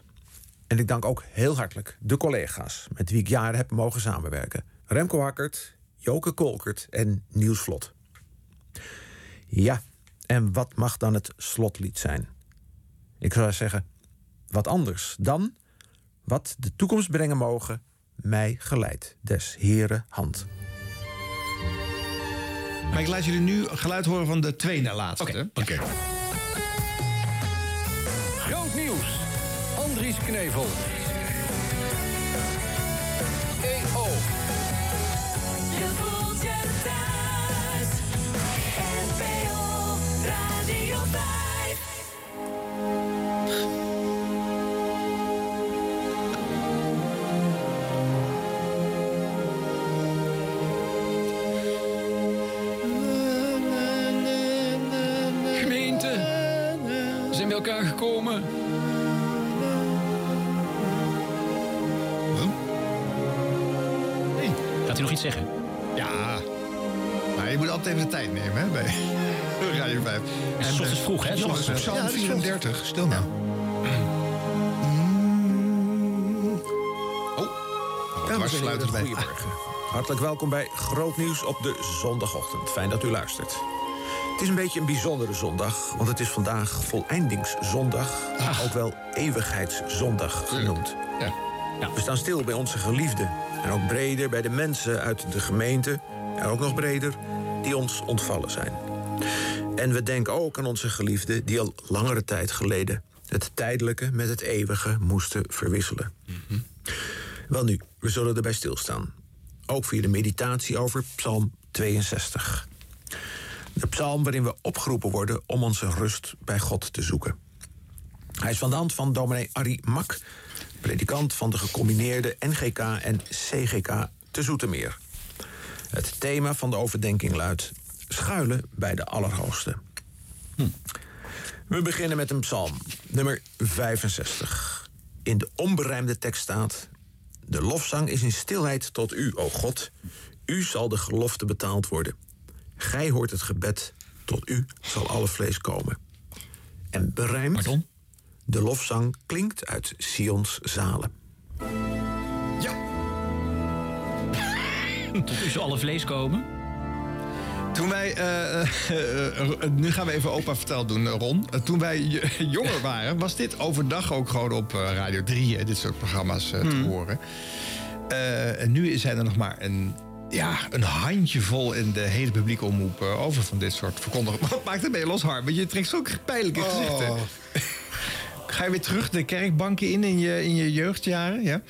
[SPEAKER 12] En ik dank ook heel hartelijk de collega's met wie ik jaren heb mogen samenwerken. Remco Hakkert, Joke Kolkert en Niels Vlot. Ja, en wat mag dan het slotlied zijn? Ik zou zeggen, wat anders dan wat de toekomst brengen mogen, mij geleid des Heren hand.
[SPEAKER 23] Maar ik laat jullie nu geluid horen van de twee na laatste.
[SPEAKER 24] Oké.
[SPEAKER 5] Groot nieuws. Andries Knevel. EO.
[SPEAKER 25] Je voelt je thuis. NPO Radio 5.
[SPEAKER 26] Gemeente, we zijn bij elkaar gekomen.
[SPEAKER 23] Gaat u nog iets zeggen? Ja. Nou
[SPEAKER 2] je moet altijd even de tijd nemen hè, bij Radio eh, 5.
[SPEAKER 24] En eh, s ochtends vroeg, hè? S ochtends vroeg. Psalm 34,
[SPEAKER 2] stil nou.
[SPEAKER 12] Dames en heren,
[SPEAKER 2] sluiten erbij.
[SPEAKER 12] goedemorgen. Hartelijk welkom bij Groot Nieuws op de zondagochtend. Fijn dat u luistert. Het is een beetje een bijzondere zondag, want het is vandaag voleindingszondag. Ook wel eeuwigheidszondag genoemd. Ja, we staan stil bij onze geliefden. En ook breder bij de mensen uit de gemeente. En ook nog breder, die ons ontvallen zijn. En we denken ook aan onze geliefden die al langere tijd geleden... het tijdelijke met het eeuwige moesten verwisselen. Wel nu, we zullen erbij stilstaan. Ook via de meditatie over Psalm 62. De psalm waarin we opgeroepen worden om onze rust bij God te zoeken. Hij is van de hand van dominee Arie Mak, predikant van de gecombineerde NGK en CGK te Zoetermeer. Het thema van de overdenking luidt: schuilen bij de Allerhoogste. Hm. We beginnen met een psalm, nummer 65. In de onberijmde tekst staat: de lofzang is in stilheid tot u, o God. U zal de gelofte betaald worden. Gij hoort het gebed, tot u zal alle vlees komen. En berijmd, de lofzang klinkt uit Sions zalen.
[SPEAKER 22] Tot u zal alle vlees komen.
[SPEAKER 2] Toen wij, eh, eh, eh, nu gaan we even opa verteld doen, eh, Ron. Eh, toen wij j- jonger waren, was dit overdag ook gewoon op eh, Radio 3, hè, dit soort programma's eh, te horen. Eh, en nu zijn er nog maar een, ja, een handjevol in de hele publieke omroep eh, over van dit soort verkondigingen. Wat maakt het mee los, Harm? Want je trekt zulke pijnlijke gezichten. Ga je weer terug de kerkbanken in in je, in je jeugdjaren? Ja?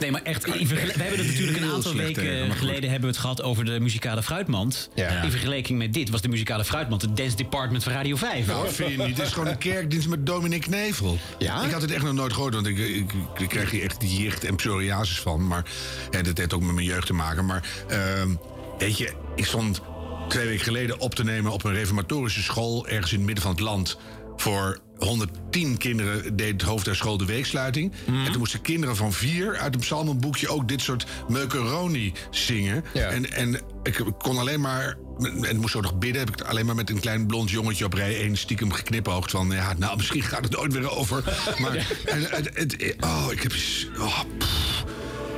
[SPEAKER 22] Nee, maar echt, in vergel- we hebben het natuurlijk een
[SPEAKER 2] Heel
[SPEAKER 22] aantal
[SPEAKER 2] slecht,
[SPEAKER 22] weken
[SPEAKER 2] hè, maar goed.
[SPEAKER 22] geleden hebben we het gehad over de muzikale fruitmand. In vergelijking met dit was de muzikale fruitmand het dance department van Radio 5.
[SPEAKER 1] Nou, dat vind je niet. Het is gewoon een kerkdienst met Dominic Knevel.
[SPEAKER 22] Ja?
[SPEAKER 1] Ik had het echt nog nooit gehoord, want ik, ik, ik kreeg hier echt die jicht en psoriasis van. Maar hè, dat heeft ook met mijn jeugd te maken. Maar ehm, weet je, ik stond twee weken geleden op te nemen op een reformatorische school... ergens in het midden van het land voor... 110 kinderen deed het hoofd der school de weeksluiting. En toen moesten kinderen van vier uit een psalmenboekje ook dit soort meukeroni zingen. En, en ik kon alleen maar en moest zo nog bidden. Heb ik het alleen maar met een klein blond jongetje op rij 1 stiekem geknipoogd. Van ja, nou, misschien gaat het ooit weer over. Maar en, het, het- oh, ik heb. s- Oh, pff,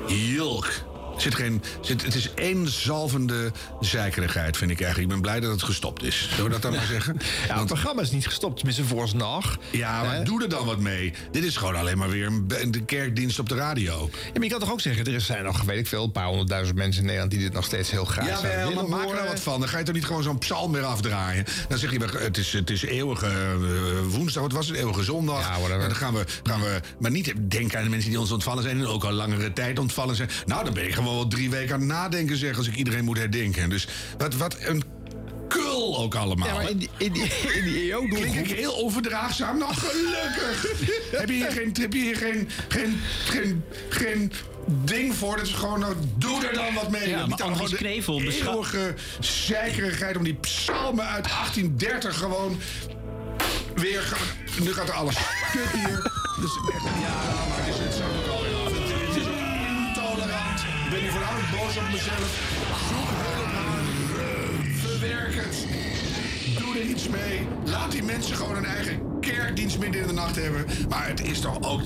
[SPEAKER 1] jilk. Er Zit geen, zit, het is één zalvende zeikerigheid, vind ik eigenlijk. Ik ben blij dat het gestopt is. Zullen we dat dan maar zeggen? Ja, het
[SPEAKER 2] programma is niet gestopt, tenminste vooralsnog.
[SPEAKER 1] Ja, maar doe er dan wat mee. Dit is gewoon alleen maar weer een, be- een kerkdienst op de radio.
[SPEAKER 2] Ja, maar je kan toch ook zeggen, er zijn nog, weet ik veel, een paar honderdduizend mensen in Nederland die dit nog steeds heel graag
[SPEAKER 1] Ja,
[SPEAKER 2] zouden
[SPEAKER 1] wel, maar
[SPEAKER 2] willen
[SPEAKER 1] maak er nou
[SPEAKER 2] horen.
[SPEAKER 1] wat van. Dan ga je toch niet gewoon zo'n psalm weer afdraaien. Dan zeg je, we- het is, het is eeuwige eh, woensdag, wat was het? Eeuwige zondag. en dan gaan we, gaan we, maar niet denken aan de mensen die ons ontvallen zijn... en ook al langere tijd ontvallen zijn. Nou, dan ben ik gewoon wel drie weken aan het nadenken, zeg... als ik iedereen moet herdenken. Dus wat, wat een kul ook allemaal.
[SPEAKER 2] Ja, maar in die, in die, in die EO doelgroep...
[SPEAKER 1] Klink ik heel onverdraagzaam? Nou, gelukkig! heb je hier, geen, heb je hier geen, geen, geen, geen ding voor? Dat is gewoon, nou, doe er dan wat mee.
[SPEAKER 22] Ja, maar
[SPEAKER 1] Niet
[SPEAKER 22] dus
[SPEAKER 1] allemaal
[SPEAKER 22] Andries
[SPEAKER 1] de
[SPEAKER 22] Knevel beschou-
[SPEAKER 1] eeuwige zeikerigheid om die psalmen uit 1830 gewoon weer... ge- Nu gaat er alles stuk hier. Dus, echt, ja, maar het is het zo ook alweer af. Het, het is intolerant. Ik ben nu voornamelijk boos op mezelf. Zoek hulp aan. Verwerk het. Doe er iets mee. Laat die mensen gewoon een eigen kerkdienst midden in de nacht hebben. Maar het is toch ook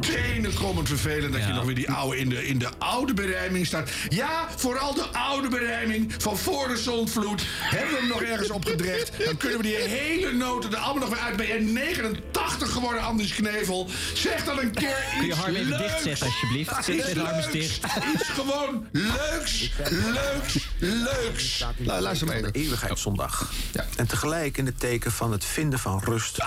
[SPEAKER 1] tenenkomend vervelend... dat je nog weer die oude in de, in de oude berijming staat. Ja, vooral de oude berijming van voor de zondvloed. Hebben we hem nog ergens opgedrecht... dan kunnen we die hele noten er allemaal nog weer uit. Ben je 89 geworden, Anders Knevel? Zeg dan een keer iets
[SPEAKER 22] Kun je Harm even
[SPEAKER 1] leuks.
[SPEAKER 22] dichtzetten, alsjeblieft? Zet
[SPEAKER 1] Iets
[SPEAKER 22] even Harm eens
[SPEAKER 1] leuks.
[SPEAKER 22] dicht.
[SPEAKER 1] Iets gewoon leuks, leuks, leuks.
[SPEAKER 12] Nou, luister maar even. Eeuwigheidszondag. En tegelijk in het teken van het vinden van rust.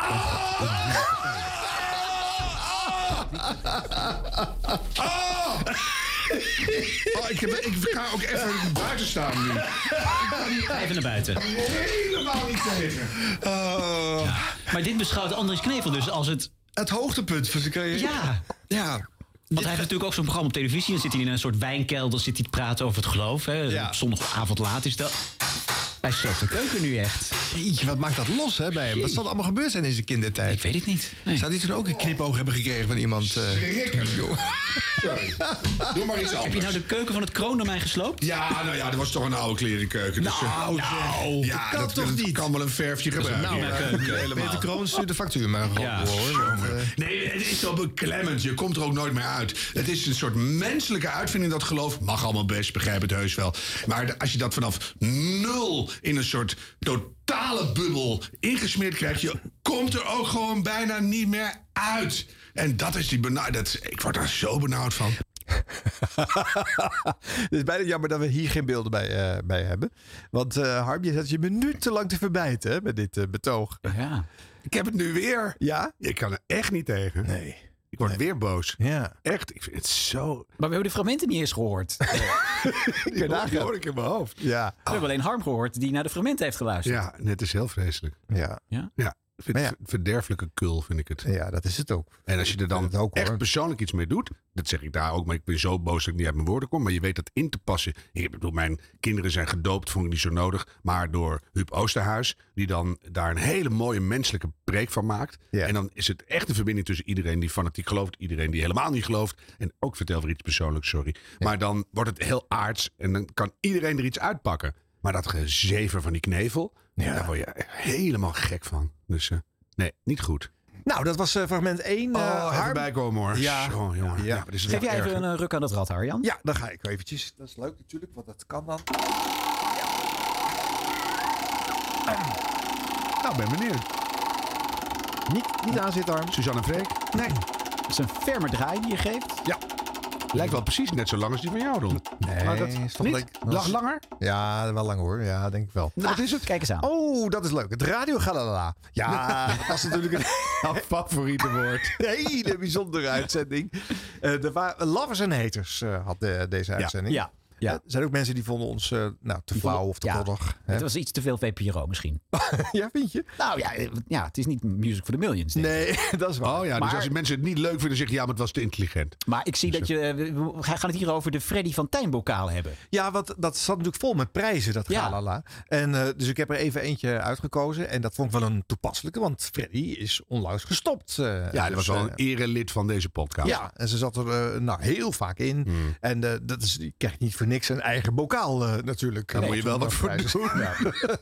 [SPEAKER 1] Oh, ik, heb, ik ga ook even buiten staan nu.
[SPEAKER 22] Even naar
[SPEAKER 2] Oh.
[SPEAKER 22] buiten.
[SPEAKER 1] Helemaal niet tegen.
[SPEAKER 22] Maar dit beschouwt Andries Knevel dus als het...
[SPEAKER 2] Het hoogtepunt van zijn carrière.
[SPEAKER 22] Ja.
[SPEAKER 2] ja.
[SPEAKER 22] Want hij heeft natuurlijk ook zo'n programma op televisie. Dan zit hij in een soort wijnkelder, zit hij te praten over het geloof. Hè. Zondagavond laat is dat. Hij sloopt de keuken nu echt.
[SPEAKER 2] Jeetje, wat maakt dat los hè, bij hem? Wat zal er allemaal gebeurd zijn in zijn kindertijd? Ik
[SPEAKER 7] weet het niet.
[SPEAKER 2] Zou die toen ook een knipoog hebben gekregen van iemand? eh, joh.
[SPEAKER 1] Doe maar iets anders.
[SPEAKER 7] Heb je nou de keuken van het kroondomein gesloopt?
[SPEAKER 1] Ja, nou ja, er was toch een oude klerenkeuken. Dus, eh,
[SPEAKER 2] Nou, zeg.
[SPEAKER 1] ja,
[SPEAKER 2] Dat
[SPEAKER 1] dat,
[SPEAKER 2] toch
[SPEAKER 1] dat
[SPEAKER 2] niet?
[SPEAKER 1] kan wel een verfje
[SPEAKER 2] Dat is een
[SPEAKER 1] gebruiken.
[SPEAKER 2] nou,
[SPEAKER 1] Ja,
[SPEAKER 2] eh, Peter Kroon stuurt de factuur maar gewoon
[SPEAKER 1] Ja.
[SPEAKER 2] hoor. eh,
[SPEAKER 1] Nee, het is zo beklemmend. Je komt er ook nooit meer uit. Het is een soort menselijke uitvinding, dat geloof. Mag allemaal best, begrijp het heus wel. Maar de- als je dat vanaf nul in een soort totale bubbel ingesmeerd krijgt... je komt er ook gewoon bijna niet meer uit. En dat is die benauwd. dat- Ik word daar zo benauwd van.
[SPEAKER 2] Het is bijna jammer dat we hier geen beelden bij, eh, bij hebben. Want eh Harm, je zat je minutenlang te verbijten hè, met dit eh, betoog.
[SPEAKER 3] Ja.
[SPEAKER 1] Ik heb het nu weer.
[SPEAKER 2] Ja?
[SPEAKER 1] Ik kan er echt niet tegen.
[SPEAKER 2] Nee.
[SPEAKER 1] Ik word weer boos.
[SPEAKER 2] Ja.
[SPEAKER 1] Echt, ik vind het zo... Maar
[SPEAKER 3] we hebben de fragmenten niet eens gehoord.
[SPEAKER 1] ik ben daar hoor ik in mijn hoofd.
[SPEAKER 2] Ja.
[SPEAKER 3] We hebben alleen Harm gehoord die naar de fragmenten heeft geluisterd.
[SPEAKER 1] Ja, net is heel vreselijk.
[SPEAKER 2] Ja.
[SPEAKER 3] Ja?
[SPEAKER 1] ja. Vind, Verderfelijke kul vind ik het.
[SPEAKER 2] Ja, dat is het ook.
[SPEAKER 1] En als je er dan echt persoonlijk iets mee doet, dat zeg ik daar ook, maar ik ben zo boos dat ik niet uit mijn woorden kom, maar je weet dat in te passen. Ik bedoel, mijn kinderen zijn gedoopt, vond ik niet zo nodig, maar door Huub Oosterhuis, die dan daar een hele mooie menselijke preek van maakt. En dan is het echt een verbinding tussen iedereen die fanatiek gelooft, iedereen die helemaal niet gelooft. En ook vertel weer iets persoonlijks, sorry. Maar dan wordt het heel aards en dan kan iedereen er iets uitpakken. Maar dat gezever van die knevel, daar word je helemaal gek van. Dus eh, nee, niet goed.
[SPEAKER 2] Nou, dat was eh, fragment 1.
[SPEAKER 1] Oh, even bijkomen hoor.
[SPEAKER 2] Ja.
[SPEAKER 1] Zo, jongen. Ja. maar dit is
[SPEAKER 3] Geef
[SPEAKER 1] wel
[SPEAKER 3] jij
[SPEAKER 1] erg,
[SPEAKER 3] even
[SPEAKER 1] hè?
[SPEAKER 3] een eh, ruk aan dat rad, Arjan?
[SPEAKER 2] Ja, dan ga ik wel eventjes. Dat is leuk natuurlijk, want dat kan dan. Nou, ben benieuwd. Niet, niet aan zit arm.
[SPEAKER 1] Suzanne Freek.
[SPEAKER 2] Nee.
[SPEAKER 3] Dat is een ferme draai die je geeft.
[SPEAKER 1] Ja. Lijkt wel precies net zo lang als die van jou, Don.
[SPEAKER 2] Nee,
[SPEAKER 1] Maar dat-
[SPEAKER 2] is toch
[SPEAKER 1] niet?
[SPEAKER 2] leuk.
[SPEAKER 1] Lag langer?
[SPEAKER 2] Ja, wel lang hoor. Ja, denk ik wel.
[SPEAKER 1] Wat is het?
[SPEAKER 3] Nou, Kijk eens aan.
[SPEAKER 2] Oh, dat is leuk. Het Radio Galala. Ja, dat is natuurlijk een favoriete woord. Een hele bijzondere uitzending. Eh er waren lovers en haters eh, had eh, deze uitzending.
[SPEAKER 3] ja, ja.
[SPEAKER 2] Eh, er zijn ook mensen die vonden ons eh, nou, te flauw of te
[SPEAKER 3] Ja.
[SPEAKER 2] koddig. hè?
[SPEAKER 3] Het was iets te veel VPRO misschien.
[SPEAKER 2] ja, vind je?
[SPEAKER 3] Nou ja, eh, ja, het is niet Music for the Millions. denk ik.
[SPEAKER 2] Nee, dat is waar.
[SPEAKER 1] Oh ja, dus
[SPEAKER 3] Maar-
[SPEAKER 1] als die mensen het niet leuk vinden, zeggen ja, maar het was te intelligent.
[SPEAKER 3] Maar ik zie
[SPEAKER 2] Dus
[SPEAKER 3] dat je... eh, We we gaan het hier over de Freddy van Tijn bokaal hebben.
[SPEAKER 2] Ja, want dat zat natuurlijk vol met prijzen, dat galala. En, eh, dus ik heb er even eentje uitgekozen. En dat vond ik wel een toepasselijke, want Freddy is onlangs gestopt. eh,
[SPEAKER 1] Ja, dat
[SPEAKER 2] dus,
[SPEAKER 1] was wel
[SPEAKER 2] eh,
[SPEAKER 1] een erelid van deze podcast.
[SPEAKER 2] Ja, en ze zat er eh, nou, heel vaak in.
[SPEAKER 1] Hmm.
[SPEAKER 2] En eh, dat is, je krijgt niet voor niks een eigen bokaal eh, natuurlijk.
[SPEAKER 1] Daar moet je wel wat voor
[SPEAKER 2] doen.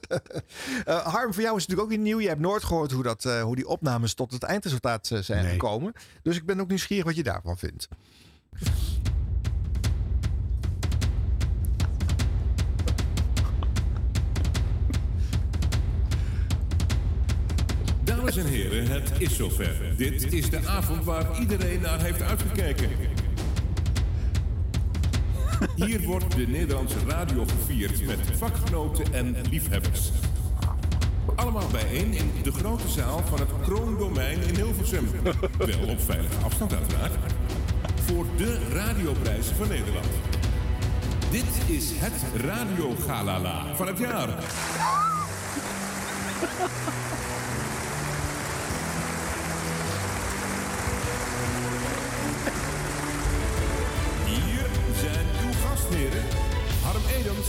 [SPEAKER 2] Eh, Harm, voor jou is het natuurlijk ook weer nieuw. Je hebt nooit gehoord hoe, dat, eh, hoe die opnames tot het eindresultaat eh, zijn gekomen. Dus ik ben ook nieuwsgierig wat je daarvan vindt.
[SPEAKER 27] Dames en heren, het is zover. Dit is de avond waar iedereen naar heeft uitgekeken. Hier wordt de Nederlandse radio gevierd met vakgenoten en liefhebbers. Allemaal bijeen in de grote zaal van het Kroondomein in Hilversum. Wel op veilige afstand uiteraard. Voor de radioprijs van Nederland. Dit is het Radio Galala van het jaar. Hier zijn uw gastheren Harm Edens,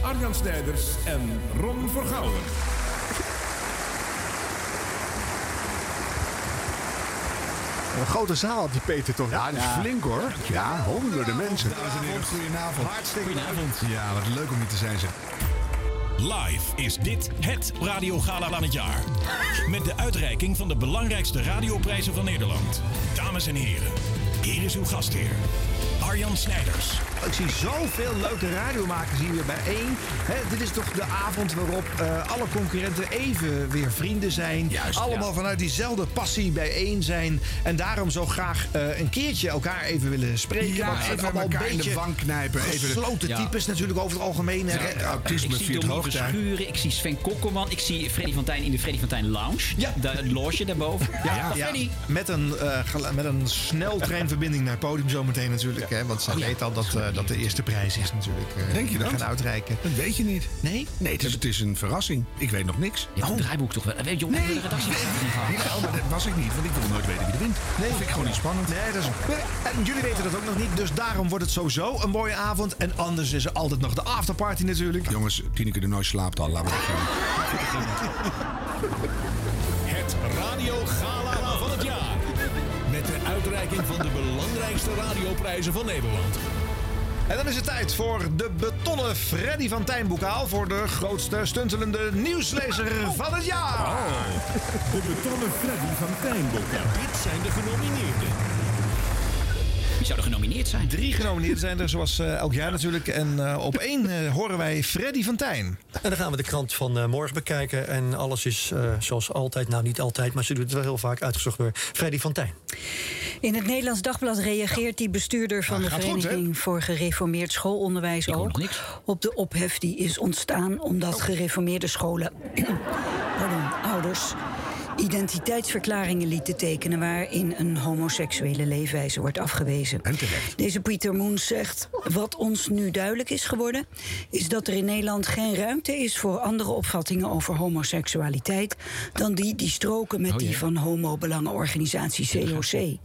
[SPEAKER 27] Arjan Snijders en Ron Vergouwen.
[SPEAKER 2] Een grote zaal had die Peter toch?
[SPEAKER 1] Ja, dat is flink hoor. Ja, honderden mensen.
[SPEAKER 28] Dames en heren, goedenavond. Hartstikke
[SPEAKER 1] Goedenavond. Ja, wat leuk om hier te zijn. Zeg.
[SPEAKER 29] Live is dit het Radiogala van het jaar. Met de uitreiking van de belangrijkste radioprijzen van Nederland. Dames en heren, hier is uw gastheer, Arjan Snijders.
[SPEAKER 2] Oh, Ik zie zoveel leuke radiomakers hier weer bijeen. Hè, dit is toch de avond waarop eh, alle concurrenten even weer vrienden zijn.
[SPEAKER 27] Juist,
[SPEAKER 2] Allemaal
[SPEAKER 27] ja.
[SPEAKER 2] vanuit diezelfde passie bijeen zijn. En daarom zo graag eh, een keertje elkaar even willen spreken.
[SPEAKER 1] Ja,
[SPEAKER 2] want het
[SPEAKER 1] even
[SPEAKER 2] zijn allemaal
[SPEAKER 1] elkaar in de wang knijpen, even de-
[SPEAKER 2] Gesloten
[SPEAKER 1] Ja.
[SPEAKER 2] types natuurlijk over het algemeen. hè.
[SPEAKER 1] Ja, autisme
[SPEAKER 7] ik zie
[SPEAKER 1] viert
[SPEAKER 7] Dominique
[SPEAKER 1] hoogtij.
[SPEAKER 7] Schuren, ik zie Sven Kokkelman, ik zie Freddy van Tijn in de Freddy van Tijn Lounge. Ja. De loge daarboven.
[SPEAKER 2] Ja, ja.
[SPEAKER 7] Freddy.
[SPEAKER 2] Met, een, eh, gel- met een sneltreinverbinding naar het podium zometeen natuurlijk. uitreiken. Hè? Want ze weet al dat, eh, dat de eerste prijs is natuurlijk. eh,
[SPEAKER 1] Oh, Denk je
[SPEAKER 2] we
[SPEAKER 1] dat?
[SPEAKER 2] Gaan uitreiken.
[SPEAKER 1] Dat weet je niet.
[SPEAKER 2] Nee?
[SPEAKER 1] Nee, het is, het is een verrassing. Ik weet nog niks.
[SPEAKER 22] Je hebt het draaiboek toch wel. Weet je,
[SPEAKER 1] nee,
[SPEAKER 22] de redactie
[SPEAKER 1] ik weet- Ja, maar dat was ik niet, want ik wil nooit weten wie er wint. Nee, vind ik gewoon niet spannend.
[SPEAKER 2] Nee, dat is... En jullie weten dat ook nog niet, dus daarom wordt het sowieso een mooie avond. En anders is er altijd nog de afterparty natuurlijk.
[SPEAKER 1] Jongens, Tineke de Nooit slaapt al. Laten we dat gaan.
[SPEAKER 9] Het Radio Gala van het jaar. Met de uitreiking van de belangrijkste radioprijzen van Nederland.
[SPEAKER 2] En dan is het tijd voor de betonnen Freddy van Tijn bokaal voor de grootste stuntelende nieuwslezer van het jaar.
[SPEAKER 6] Oh. De betonnen Freddy van Tijnbokaal.
[SPEAKER 9] Dit zijn de genomineerden.
[SPEAKER 22] Wie zou er genomineerd zijn?
[SPEAKER 2] Drie genomineerden zijn er, zoals eh, elk jaar natuurlijk. En eh, op één eh, horen wij Freddy van Tijn.
[SPEAKER 7] En dan gaan we de krant van eh, morgen bekijken. En alles is eh, zoals altijd, nou niet altijd, maar ze doet het wel heel vaak uitgezocht door Freddy van Tijn.
[SPEAKER 8] In het Nederlands Dagblad reageert die bestuurder van de
[SPEAKER 7] Nou, gaat goed, hè?
[SPEAKER 8] Vereniging voor Gereformeerd Schoolonderwijs ook op de ophef die is ontstaan
[SPEAKER 7] Oh.
[SPEAKER 8] omdat gereformeerde scholen, pardon, ouders, identiteitsverklaringen lieten tekenen waarin een homoseksuele leefwijze wordt afgewezen. Deze Pieter Moens zegt: Wat ons nu duidelijk is geworden, is dat er in Nederland geen ruimte is voor andere opvattingen over homoseksualiteit dan die die stroken met Oh jee. die van homobelangenorganisatie COC.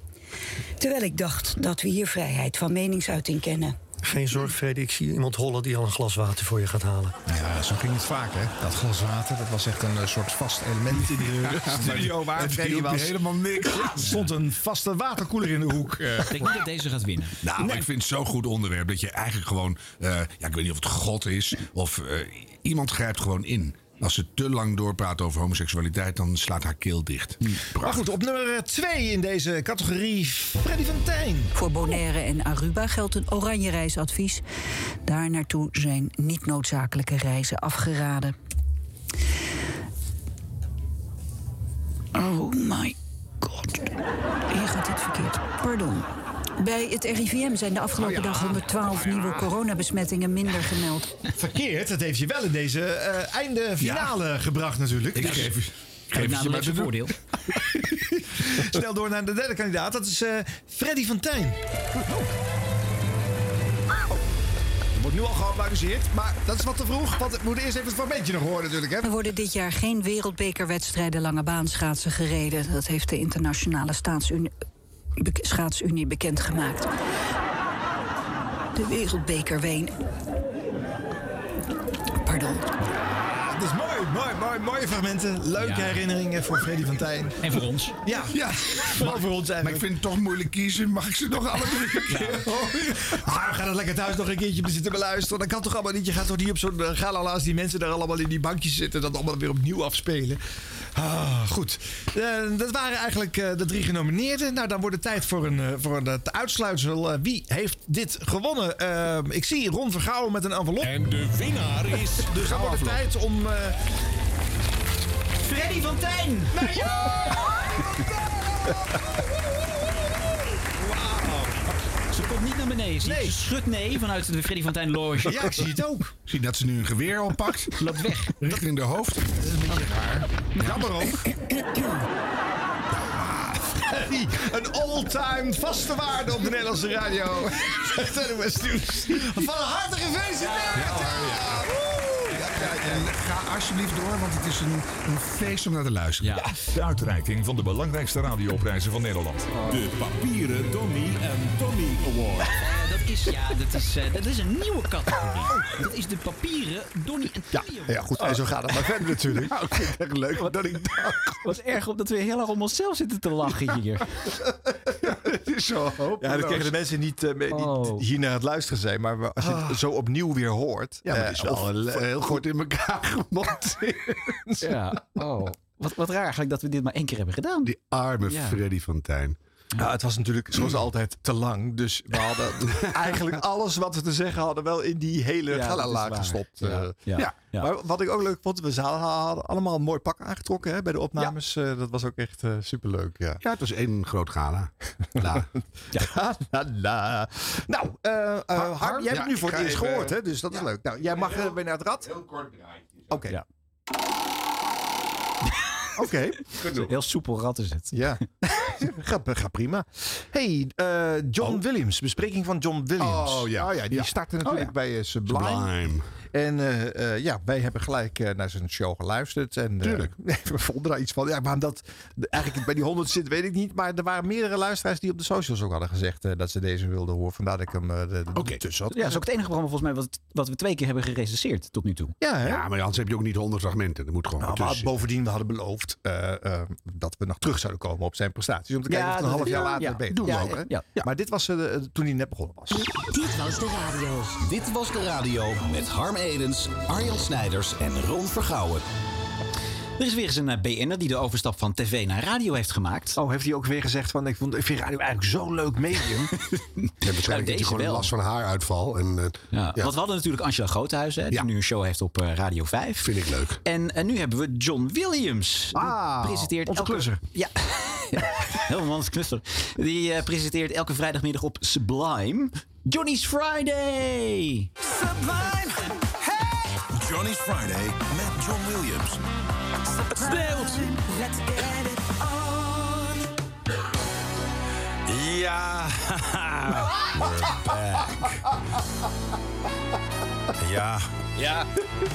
[SPEAKER 8] Terwijl ik dacht dat we hier vrijheid van meningsuiting kennen.
[SPEAKER 7] Geen zorg, Freddy. Ik zie iemand hollen die al een glas water voor je gaat halen.
[SPEAKER 2] Ja, zo ging het vaak, hè? Dat glas water, dat was echt een eh, soort vast element in de studio waar
[SPEAKER 22] Het
[SPEAKER 2] Freddy
[SPEAKER 22] hielp je
[SPEAKER 2] was.
[SPEAKER 22] helemaal niks.
[SPEAKER 2] Er stond een vaste waterkoeler in de hoek. eh.
[SPEAKER 22] Ik denk niet dat deze gaat winnen.
[SPEAKER 1] Nou, maar ik vind het zo'n goed onderwerp dat je eigenlijk gewoon... eh, ja, ik weet niet of het God is of eh, iemand grijpt gewoon in. Als ze te lang doorpraat over homoseksualiteit, dan slaat haar keel dicht.
[SPEAKER 22] Hmm.
[SPEAKER 2] Maar goed, op nummer 2 in deze categorie, Freddy van Tijn.
[SPEAKER 8] Voor Bonaire en Aruba geldt een oranje reisadvies. Daar naartoe zijn niet noodzakelijke reizen afgeraden. Oh my god. Hier gaat het verkeerd. Pardon. Bij het RIVM zijn de afgelopen dag 112 nieuwe coronabesmettingen minder gemeld.
[SPEAKER 2] Verkeerd, dat heeft je wel in deze eh, einde finale gebracht natuurlijk. Dus-
[SPEAKER 1] Ik geef- ik geef het je maar te doen.
[SPEAKER 2] Snel door naar de derde kandidaat, dat is eh, Freddy van Tijn. Er Wordt nu al geapplaudisseerd, maar dat is wat te vroeg. Want we moeten eerst even het fragmentje nog horen natuurlijk. Hè?
[SPEAKER 8] Er worden dit jaar geen wereldbekerwedstrijden lange baanschaatsen gereden. Dat heeft de internationale staatsunie, bek- schaatsunie bekendgemaakt. De wereldbeker ween. Pardon.
[SPEAKER 2] Ah, Dat is mooi, mooi, mooi, mooie fragmenten. Leuke
[SPEAKER 1] Ja.
[SPEAKER 2] herinneringen voor Freddy van Tijn.
[SPEAKER 22] En voor ons.
[SPEAKER 2] Ja, ja. vooral voor ons eigenlijk.
[SPEAKER 1] Maar ik vind het toch moeilijk kiezen. Mag ik ze nog alle drie een keer horen?
[SPEAKER 2] Maar Ah, we gaan het lekker thuis nog een keertje zitten beluisteren. Dat kan toch allemaal niet. Je gaat toch niet op zo'n eh, gala als die mensen daar allemaal in die bankjes zitten. Dat allemaal weer opnieuw afspelen. Ah, goed. Eh, dat waren eigenlijk eh, de drie genomineerden. Nou, dan wordt het tijd voor, een, eh, voor het uitsluitsel. Eh, wie heeft dit gewonnen? Eh, ik zie Ron Vergouwen met een envelop. En
[SPEAKER 9] de winnaar is...
[SPEAKER 2] Dus dan wordt het tijd om... eh,
[SPEAKER 7] Freddy van Tijn!
[SPEAKER 2] Nee,
[SPEAKER 22] Ze komt niet naar beneden. Zie je? Ze schudt nee vanuit de Freddy van Tijn Loge.
[SPEAKER 1] Ja, ik zie het
[SPEAKER 2] ook.
[SPEAKER 1] Zie dat ze nu een geweer oppakt.
[SPEAKER 22] Loopt weg.
[SPEAKER 1] Richting de hoofd. Dat is een beetje raar.
[SPEAKER 2] Jammer ook. Freddy, een all-time vaste waarde op de Nederlandse radio. Zegt NOS Nieuws. Van harte gefeliciteerd!
[SPEAKER 1] En ga alsjeblieft door, want het is een, een feest om naar te luisteren.
[SPEAKER 27] De uitreiking van de belangrijkste radioprijzen van Nederland.
[SPEAKER 6] De papieren Donnie en Tommy Award.
[SPEAKER 22] Eh, dat is, ja, dat is, eh, dat is een nieuwe categorie. Dat is de papieren Donnie en Trio.
[SPEAKER 2] Ja, goed. En zo gaat het maar verder natuurlijk. Nou, ik vind het echt leuk dat ik
[SPEAKER 3] Wat erg omdat we heel erg om onszelf zitten te lachen hier.
[SPEAKER 2] is zo Ja, dat kregen de mensen niet, eh, mee-
[SPEAKER 1] Oh.
[SPEAKER 2] niet hier naar het luisteren zijn. Maar we- als je het zo opnieuw weer hoort...
[SPEAKER 1] Ah.
[SPEAKER 2] eh,
[SPEAKER 1] Ja, maar het is wel heel- heel goed
[SPEAKER 2] in elkaar gemonteerd.
[SPEAKER 3] Ja, oh. Wat, wat raar eigenlijk dat we dit maar één keer hebben gedaan.
[SPEAKER 1] Die arme
[SPEAKER 3] Ja.
[SPEAKER 1] Freddy van Tijn.
[SPEAKER 2] Ja, het was natuurlijk zoals altijd te lang. Dus we hadden eigenlijk alles wat we te zeggen hadden wel in die hele
[SPEAKER 1] Ja, dat is
[SPEAKER 2] galalaag
[SPEAKER 1] waar.
[SPEAKER 2] gestopt.
[SPEAKER 1] Ja,
[SPEAKER 2] Eh,
[SPEAKER 1] ja, ja.
[SPEAKER 2] Maar wat ik ook leuk vond, we zaten- hadden allemaal een mooi pak aangetrokken hè, bij de opnames. Eh, dat was ook echt eh, superleuk. Ja. Ah,
[SPEAKER 1] Ja, het was één groot gala. La.
[SPEAKER 2] Galala. Nou, eh, eh, Harm,
[SPEAKER 1] Harm?
[SPEAKER 2] jij hebt
[SPEAKER 1] Ja,
[SPEAKER 2] het nu voor
[SPEAKER 1] ik
[SPEAKER 2] het
[SPEAKER 1] ga
[SPEAKER 2] eerst
[SPEAKER 1] even-
[SPEAKER 2] gehoord, hè, dus dat is leuk. Nou, jij mag eh, weer naar het rad. Heel
[SPEAKER 1] kort draaitje.
[SPEAKER 2] Oké. Oké.
[SPEAKER 3] Heel soepel rat is het.
[SPEAKER 2] Ja. gaat, gaat prima. hey, eh, John Williams. Bespreking van John Williams.
[SPEAKER 1] Oh, ja.
[SPEAKER 2] die
[SPEAKER 1] Ja.
[SPEAKER 2] startte
[SPEAKER 1] Oh,
[SPEAKER 2] natuurlijk
[SPEAKER 1] ja.
[SPEAKER 2] bij eh, Sublime.
[SPEAKER 1] Sublime.
[SPEAKER 2] En eh, eh, ja, wij hebben gelijk eh, naar zijn show geluisterd. En, eh,
[SPEAKER 1] Tuurlijk.
[SPEAKER 2] we vonden daar iets van. Ja, waarom dat eigenlijk bij die 100 zit, weet ik niet. Maar er waren meerdere luisteraars die op de socials ook hadden gezegd eh, dat ze deze wilden horen. Vandaar dat ik hem eh, er tussen had.
[SPEAKER 3] Ja, dat is ook het enige programma volgens mij wat, wat we twee keer hebben gerecenseerd tot nu toe.
[SPEAKER 2] Ja,
[SPEAKER 1] ja, maar anders heb je ook niet honderd fragmenten. Dat moet gewoon
[SPEAKER 2] Nou, maar
[SPEAKER 1] ertussen
[SPEAKER 2] bovendien, we hadden beloofd eh, eh, dat we nog terug zouden komen op zijn prestaties. Om te
[SPEAKER 1] Ja,
[SPEAKER 2] kijken of het een
[SPEAKER 1] dat-
[SPEAKER 2] half jaar
[SPEAKER 1] ja,
[SPEAKER 2] later
[SPEAKER 1] ja.
[SPEAKER 2] beter
[SPEAKER 1] Doen we
[SPEAKER 2] was.
[SPEAKER 1] ook, hè?
[SPEAKER 2] Ja. Maar dit was eh, toen hij net begonnen was.
[SPEAKER 4] Dit was de radio.
[SPEAKER 5] Dit was de radio met Harm Edens, Arjan Snijders en Ron Vergouwen.
[SPEAKER 3] Er is weer eens een eh, BN'er die de overstap van tv naar radio heeft gemaakt.
[SPEAKER 2] Oh, heeft hij ook weer gezegd van ik, vond, ik vind radio eigenlijk zo'n leuk medium.
[SPEAKER 1] Ja, waarschijnlijk
[SPEAKER 3] Nou,
[SPEAKER 1] heeft
[SPEAKER 3] deze
[SPEAKER 1] hij gewoon
[SPEAKER 3] wel.
[SPEAKER 1] last van haaruitval. En, eh,
[SPEAKER 3] Ja. Want we hadden natuurlijk Angela Groothuizen, hè, die nu een show heeft op eh, Radio 5.
[SPEAKER 1] Vind ik leuk.
[SPEAKER 3] En, en nu hebben we John Williams. Die
[SPEAKER 2] Ah,
[SPEAKER 3] presenteert
[SPEAKER 2] onze
[SPEAKER 3] elke...
[SPEAKER 2] klusser.
[SPEAKER 3] Ja, helemaal een klusser. Die eh, presenteert elke vrijdagmiddag op Sublime... Johnny's Friday!
[SPEAKER 22] eh,
[SPEAKER 27] Johnny's Friday met John Williams.
[SPEAKER 5] Ja, we're back. Ja. Ja.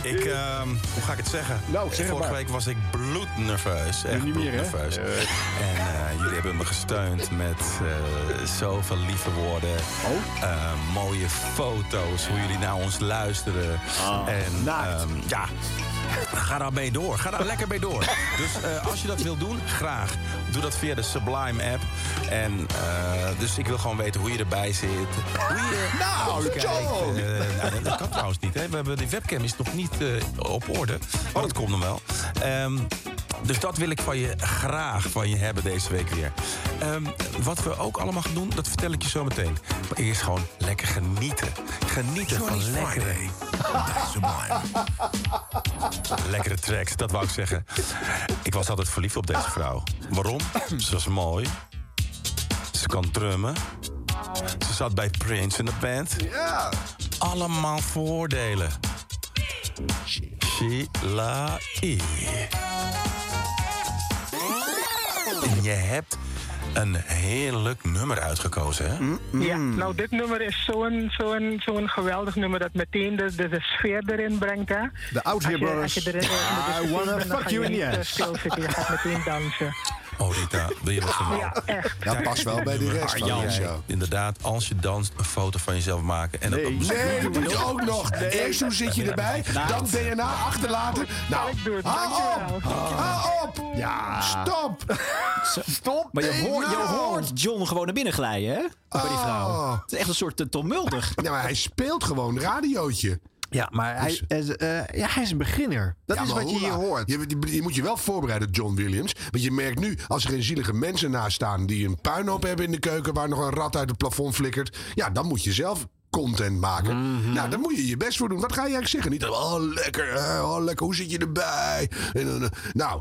[SPEAKER 5] Ik, ehm, hoe ga ik het zeggen?
[SPEAKER 2] Nou, zeg het
[SPEAKER 5] Vorige
[SPEAKER 2] maar.
[SPEAKER 5] week was ik bloednerveus. Echt
[SPEAKER 2] niet meer, hè?
[SPEAKER 5] bloednerveus. En eh, jullie hebben me gesteund met eh, zoveel lieve woorden.
[SPEAKER 2] Oh.
[SPEAKER 5] Eh, mooie foto's, hoe jullie naar ons luisteren.
[SPEAKER 2] Ah,
[SPEAKER 5] en ehm, ja, ga daar mee door. Ga daar lekker mee door. Dus eh, als je dat wilt doen, graag. Doe dat via de Sublime app. En eh, dus ik wil gewoon weten hoe je erbij zit. Hoe je
[SPEAKER 2] Nou,
[SPEAKER 5] kijkt.
[SPEAKER 2] John!
[SPEAKER 5] Eh, nou, dat kan trouwens niet. Hè. We hebben, die webcam is nog niet eh, op orde. Maar dat komt nog wel. Ehm, dus dat wil ik van je graag van je hebben deze week weer. Ehm, wat we ook allemaal gaan doen, dat vertel ik je zo meteen. Maar eerst gewoon lekker genieten. Genieten
[SPEAKER 27] Johnny's
[SPEAKER 5] van lekkere... Lekkere tracks, dat wou ik zeggen. Ik was altijd verliefd op deze vrouw. Waarom? Ze was mooi. Ze kan drummen. Ze zat bij Prince in de band.
[SPEAKER 2] Ja.
[SPEAKER 5] Allemaal voordelen. Sheila E. En je hebt een heerlijk nummer uitgekozen, hè?
[SPEAKER 20] Ja,
[SPEAKER 23] Mm.
[SPEAKER 20] nou dit nummer is zo'n zo'n zo'n geweldig nummer dat meteen de, de, de sfeer erin brengt. Hè?
[SPEAKER 2] De Out Here
[SPEAKER 20] als je, Als
[SPEAKER 2] Brothers.
[SPEAKER 20] je erin in de discussie
[SPEAKER 2] I wanna
[SPEAKER 20] bent, dan
[SPEAKER 2] fuck
[SPEAKER 20] ga je
[SPEAKER 2] you in the
[SPEAKER 20] niet, eh,
[SPEAKER 2] ass.
[SPEAKER 20] stilzitten, je gaat meteen dansen.
[SPEAKER 5] Oh, Rita, wil je wat van me?
[SPEAKER 20] Ah, Ja, echt.
[SPEAKER 1] Dat past wel bij de rest van de
[SPEAKER 5] Arjan,
[SPEAKER 1] show.
[SPEAKER 5] Inderdaad, als je danst, een foto van jezelf maken. En dat op een
[SPEAKER 1] Nee, dat moet je ook nog. Eerst hoe zit je erbij,
[SPEAKER 5] Nou.
[SPEAKER 1] dan DNA achterlaten. Nou, hou op! Hou op!
[SPEAKER 2] Ja.
[SPEAKER 1] Stop! Stop!
[SPEAKER 3] Maar je,
[SPEAKER 1] nee,
[SPEAKER 3] hoort, je
[SPEAKER 1] nou.
[SPEAKER 3] hoort John gewoon naar binnen glijden, hè? Bij die vrouw. Het is echt een soort eh, Tom Mulder.
[SPEAKER 1] Oh. Ja, maar hij speelt gewoon radiootje. Dus-
[SPEAKER 2] Ja, maar hij,
[SPEAKER 3] eh,
[SPEAKER 2] ja, hij is een beginner. Dat is wat je hier hoort.
[SPEAKER 1] Je, je- je moet je wel voorbereiden, John Williams. Want je merkt nu, als er geen zielige mensen naast staan... die een puinhoop hebben in de keuken... waar nog een rat uit het plafond flikkert... ja, dan moet je zelf content maken.
[SPEAKER 2] Mhm.
[SPEAKER 1] Nou, daar moet je je best voor doen. Wat ga je eigenlijk zeggen? Niet, oh, lekker, hè, oh, lekker, hoe zit je erbij? En, dan, eh, nou,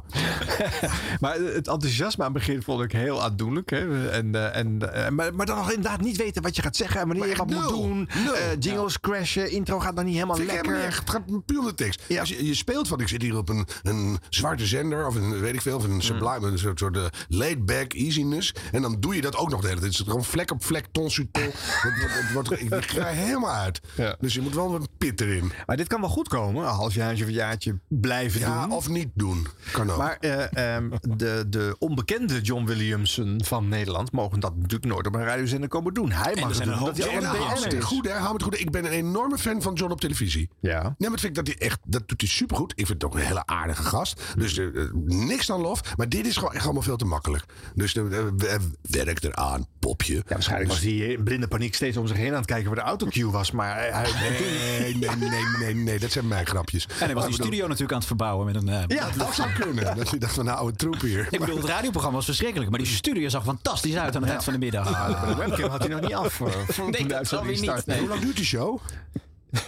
[SPEAKER 2] Maar het enthousiasme aan het begin vond ik heel aandoenlijk. Hè? En, eh, en, eh, maar, maar dan nog inderdaad niet weten wat je gaat zeggen en wanneer je wat moet doen. Eh, jingles crashen, intro gaat dan niet helemaal
[SPEAKER 1] Vind ik
[SPEAKER 2] lekker.
[SPEAKER 1] helemaal niet echt. Het gaat puur om de tekst. Als je, je speelt van, ik zit hier op een, een zwarte zender of een, weet ik veel, of een sublime, een soort, soort eh, laid-back easiness. En dan doe je dat ook nog de hele tijd. Het is gewoon vlek op vlek, ton sur ton. Het wordt- het wordt- ik, ik ga er helemaal uit. Dus je moet wel een pit erin.
[SPEAKER 2] Maar dit kan wel goed komen, een halfjaartje of een jaartje blijven
[SPEAKER 1] Ja,
[SPEAKER 2] doen.
[SPEAKER 1] of niet doen. Kan ook.
[SPEAKER 2] Maar eh, ehm, de, de onbekende John Williamson van Nederland mogen dat natuurlijk nooit op een radiozender komen doen. Hij mag
[SPEAKER 1] er
[SPEAKER 2] het
[SPEAKER 1] zijn
[SPEAKER 2] doen.
[SPEAKER 1] een hoop
[SPEAKER 2] hij
[SPEAKER 1] en
[SPEAKER 2] al een
[SPEAKER 1] hou
[SPEAKER 2] BN'er
[SPEAKER 1] het
[SPEAKER 2] is.
[SPEAKER 1] goed, hè? Hou het goed. Ik ben een enorme fan van John op televisie.
[SPEAKER 2] Ja. Nee,
[SPEAKER 1] maar dat vind ik dat hij echt. Dat doet hij supergoed. Ik vind het ook een hele aardige gast. Dus eh, eh, niks dan lof. Maar dit is gewoon echt allemaal veel te makkelijk. Dus eh, eh, we- werk eraan, popje. Ja,
[SPEAKER 2] Waarschijnlijk was
[SPEAKER 1] dus,
[SPEAKER 2] hij in blinde paniek steeds om zich heen aan het kijken waar de autocue was. Maar hij...
[SPEAKER 1] Nee, nee, nee, nee, nee, dat zijn mijn grapjes.
[SPEAKER 3] En hij was die studio natuurlijk aan het verbouwen met een... eh,
[SPEAKER 1] Ja, dat zou kunnen. Dat je dacht van, nou, een troep hier.
[SPEAKER 3] Ik bedoel, het radioprogramma was verschrikkelijk, maar die studio zag fantastisch uit aan het eind van de middag.
[SPEAKER 2] Ah, de webcam had hij nog niet af, eh, voor- toen de
[SPEAKER 3] nee, dat zal
[SPEAKER 2] uitzending
[SPEAKER 3] weer niet.
[SPEAKER 2] startte.
[SPEAKER 3] Nee.
[SPEAKER 1] Hoe lang duurt die show?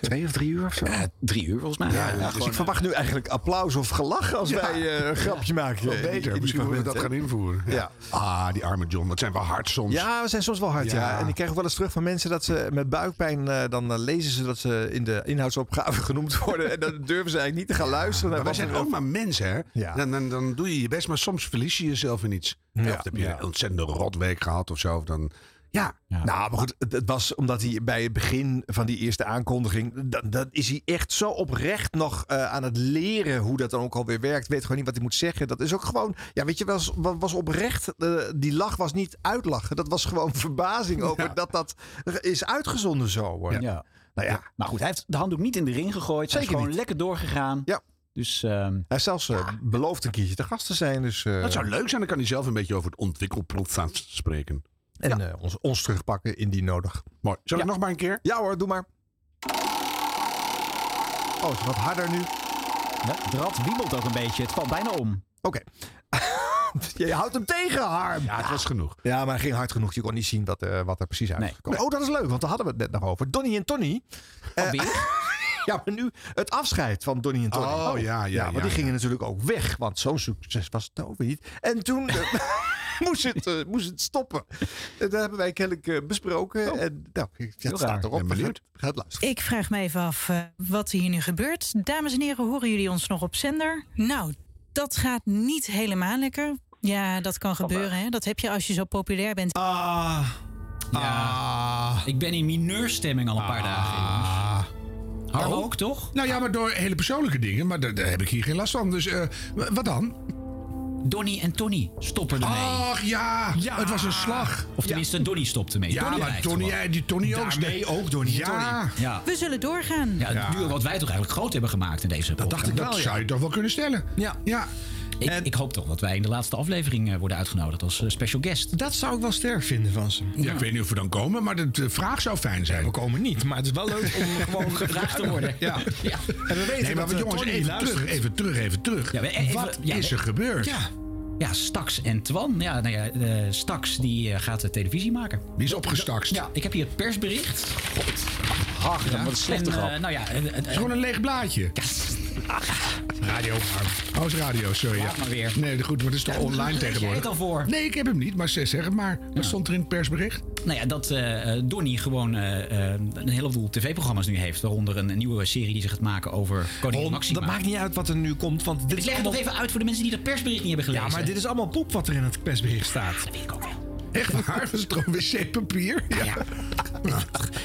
[SPEAKER 2] Twee of drie uur of zo?
[SPEAKER 30] drie uur volgens mij.
[SPEAKER 2] Ja,
[SPEAKER 30] Ja,
[SPEAKER 2] dus
[SPEAKER 30] gewoon,
[SPEAKER 2] ik verwacht nu eigenlijk applaus of gelach als
[SPEAKER 30] Ja.
[SPEAKER 2] wij eh, een grapje maken.
[SPEAKER 1] Wel beter. Misschien moeten we dat gaan invoeren. Ja. Ah, die arme John. Wat zijn we hard soms.
[SPEAKER 2] Ja, we zijn soms wel hard. Ja. En ik krijg ook wel eens terug van mensen dat ze met buikpijn. eh, dan eh, lezen ze dat ze in de inhoudsopgave genoemd worden. En dan durven ze eigenlijk niet te gaan luisteren.
[SPEAKER 1] Maar
[SPEAKER 2] naar
[SPEAKER 1] wij
[SPEAKER 2] wat
[SPEAKER 1] zijn
[SPEAKER 2] er-
[SPEAKER 1] ook maar mensen, hè?
[SPEAKER 2] Ja.
[SPEAKER 1] Dan, dan, dan doe je je best, maar soms verlies je jezelf in iets.
[SPEAKER 2] Ja.
[SPEAKER 1] Of heb je
[SPEAKER 2] Ja.
[SPEAKER 1] een ontzettende rotweek gehad of zo. Of dan, eh, ja.
[SPEAKER 2] Nou, maar goed, het, het was omdat hij bij het begin van die eerste aankondiging. Dan, dan is hij echt zo oprecht nog eh, aan het leren hoe dat dan ook alweer werkt. Weet gewoon niet wat hij moet zeggen. Dat is ook gewoon. Ja, weet je, was, wa- was oprecht. eh, die lach was niet uitlachen. Dat was gewoon verbazing over dat dat is uitgezonden zo. hoor.
[SPEAKER 7] Ja.
[SPEAKER 2] Nou ja.
[SPEAKER 7] Maar goed, hij heeft de handdoek niet in de ring gegooid. Hij is
[SPEAKER 2] Zeker
[SPEAKER 7] gewoon
[SPEAKER 2] niet.
[SPEAKER 7] lekker doorgegaan.
[SPEAKER 2] Ja.
[SPEAKER 7] Dus, ehm,
[SPEAKER 2] Hij is zelfs eh, beloofd een keertje te gast te zijn. Dus, eh,
[SPEAKER 1] Dat zou leuk zijn. Dan kan hij zelf een beetje over het ontwikkelproces spreken.
[SPEAKER 2] En eh, ons, ons terugpakken indien nodig.
[SPEAKER 1] Mooi. Zal ik nog maar een keer?
[SPEAKER 2] Ja hoor, doe maar. Oh, het is wat harder nu.
[SPEAKER 7] Ja, de rat wiebelt ook een beetje. Het valt bijna om.
[SPEAKER 2] Oké. Je houdt hem tegen, Harm. Ah.
[SPEAKER 1] Ja, het was genoeg.
[SPEAKER 2] Ja, maar hij ging hard genoeg. Je kon niet zien wat, eh, wat er precies uit is gekomen. Oh, dat is leuk, want daar hadden we het net nog over. Donnie en Tony. Eh, ja, maar nu het afscheid van Donnie en Tony.
[SPEAKER 1] Oh, ja, ja,
[SPEAKER 2] maar
[SPEAKER 1] ja,
[SPEAKER 2] die
[SPEAKER 1] ja.
[SPEAKER 2] gingen natuurlijk ook weg, want zo'n succes was het ook weer niet. En toen eh, moest, het, eh, moest het stoppen. En dat hebben wij kennelijk eh, besproken.
[SPEAKER 7] Oh.
[SPEAKER 2] En, nou,
[SPEAKER 19] Heel
[SPEAKER 2] het staat
[SPEAKER 19] raar.
[SPEAKER 2] erop.
[SPEAKER 19] Ben
[SPEAKER 2] We gaan-
[SPEAKER 19] benieuwd.
[SPEAKER 2] we gaan het luisteren.
[SPEAKER 19] Ik vraag me even af eh, wat hier nu gebeurt. Dames en heren, horen jullie ons nog op zender? Nou, dat gaat niet helemaal lekker. Ja, dat kan gebeuren. Hè? Dat heb je als je zo populair bent.
[SPEAKER 3] Ah. Ja. Ik ben in mineurstemming al een paar dagen. jongens. Harm
[SPEAKER 1] Oh.
[SPEAKER 3] ook, toch?
[SPEAKER 1] Ah. Nou ja, maar door hele persoonlijke dingen. Maar daar, daar heb ik hier geen last van. Dus eh, w- wat dan?
[SPEAKER 3] Donnie en Tony stoppen ermee.
[SPEAKER 1] Ach ja, het was een slag.
[SPEAKER 3] Of tenminste, Donnie stopt ermee.
[SPEAKER 1] Ja,
[SPEAKER 3] Donnie
[SPEAKER 1] maar
[SPEAKER 3] blijft
[SPEAKER 1] Donnie,
[SPEAKER 3] gewoon.
[SPEAKER 1] eh, die Tony ook.
[SPEAKER 3] Daarmee ook Donnie en
[SPEAKER 1] Ja.
[SPEAKER 3] Tony. Ja.
[SPEAKER 19] We zullen doorgaan.
[SPEAKER 3] Ja, het duo wat wij toch eigenlijk groot hebben gemaakt in deze Dat
[SPEAKER 1] dacht ik wel, Dat ja. zou je toch wel kunnen stellen.
[SPEAKER 3] Ja.
[SPEAKER 1] ja.
[SPEAKER 3] Ik, ik hoop toch dat wij in de laatste aflevering eh, worden uitgenodigd als eh, special guest.
[SPEAKER 23] Dat zou ik wel sterk vinden van ze.
[SPEAKER 1] Ja, ik weet niet of we dan komen, maar de, de vraag zou fijn zijn.
[SPEAKER 23] We komen niet, maar het is wel leuk om gewoon gevraagd te worden.
[SPEAKER 1] Ja.
[SPEAKER 3] Ja.
[SPEAKER 23] En we weten
[SPEAKER 1] Nee, maar
[SPEAKER 23] dat, eh,
[SPEAKER 1] jongens,
[SPEAKER 23] Tony
[SPEAKER 1] even
[SPEAKER 23] luistert.
[SPEAKER 1] terug, even terug, even terug.
[SPEAKER 3] Ja, maar even-
[SPEAKER 1] Wat
[SPEAKER 3] ja,
[SPEAKER 1] is er
[SPEAKER 3] we-
[SPEAKER 1] gebeurd?
[SPEAKER 3] Ja. Ja, Stax en Twan. Ja, nou ja, eh, Stax die eh, gaat de televisie maken.
[SPEAKER 1] Die is opgestakst.
[SPEAKER 3] Ja, ik heb hier het persbericht.
[SPEAKER 1] Ach,
[SPEAKER 3] Ja. En, eh, nou ja, eh, eh,
[SPEAKER 1] Gewoon een leeg blaadje. Radio. House radio, sorry.
[SPEAKER 3] Laat maar weer.
[SPEAKER 1] Nee, goed, maar dat is toch
[SPEAKER 3] Ja, leg
[SPEAKER 1] online
[SPEAKER 3] jij
[SPEAKER 1] tegenwoordig?
[SPEAKER 3] het al voor?
[SPEAKER 1] Nee, ik heb hem niet, maar ze zeg het maar. Wat stond er in het persbericht?
[SPEAKER 3] Nou ja, dat eh eh, Donnie gewoon eh, eh, een heleboel tv-programma's nu heeft. Waaronder een, een nieuwe serie die ze gaat maken over Koningin Maxima.
[SPEAKER 23] Dat maakt niet uit wat er nu komt, want dit
[SPEAKER 3] Ik
[SPEAKER 23] is
[SPEAKER 3] leg het nog
[SPEAKER 23] allemaal-
[SPEAKER 3] even uit voor de mensen die dat persbericht niet hebben
[SPEAKER 23] Ja,
[SPEAKER 3] gelezen.
[SPEAKER 23] maar dit is allemaal poep wat er in het persbericht staat.
[SPEAKER 3] Dat weet ik ook wel.
[SPEAKER 1] Echt waar? Dat is toch wc-papier? Ja.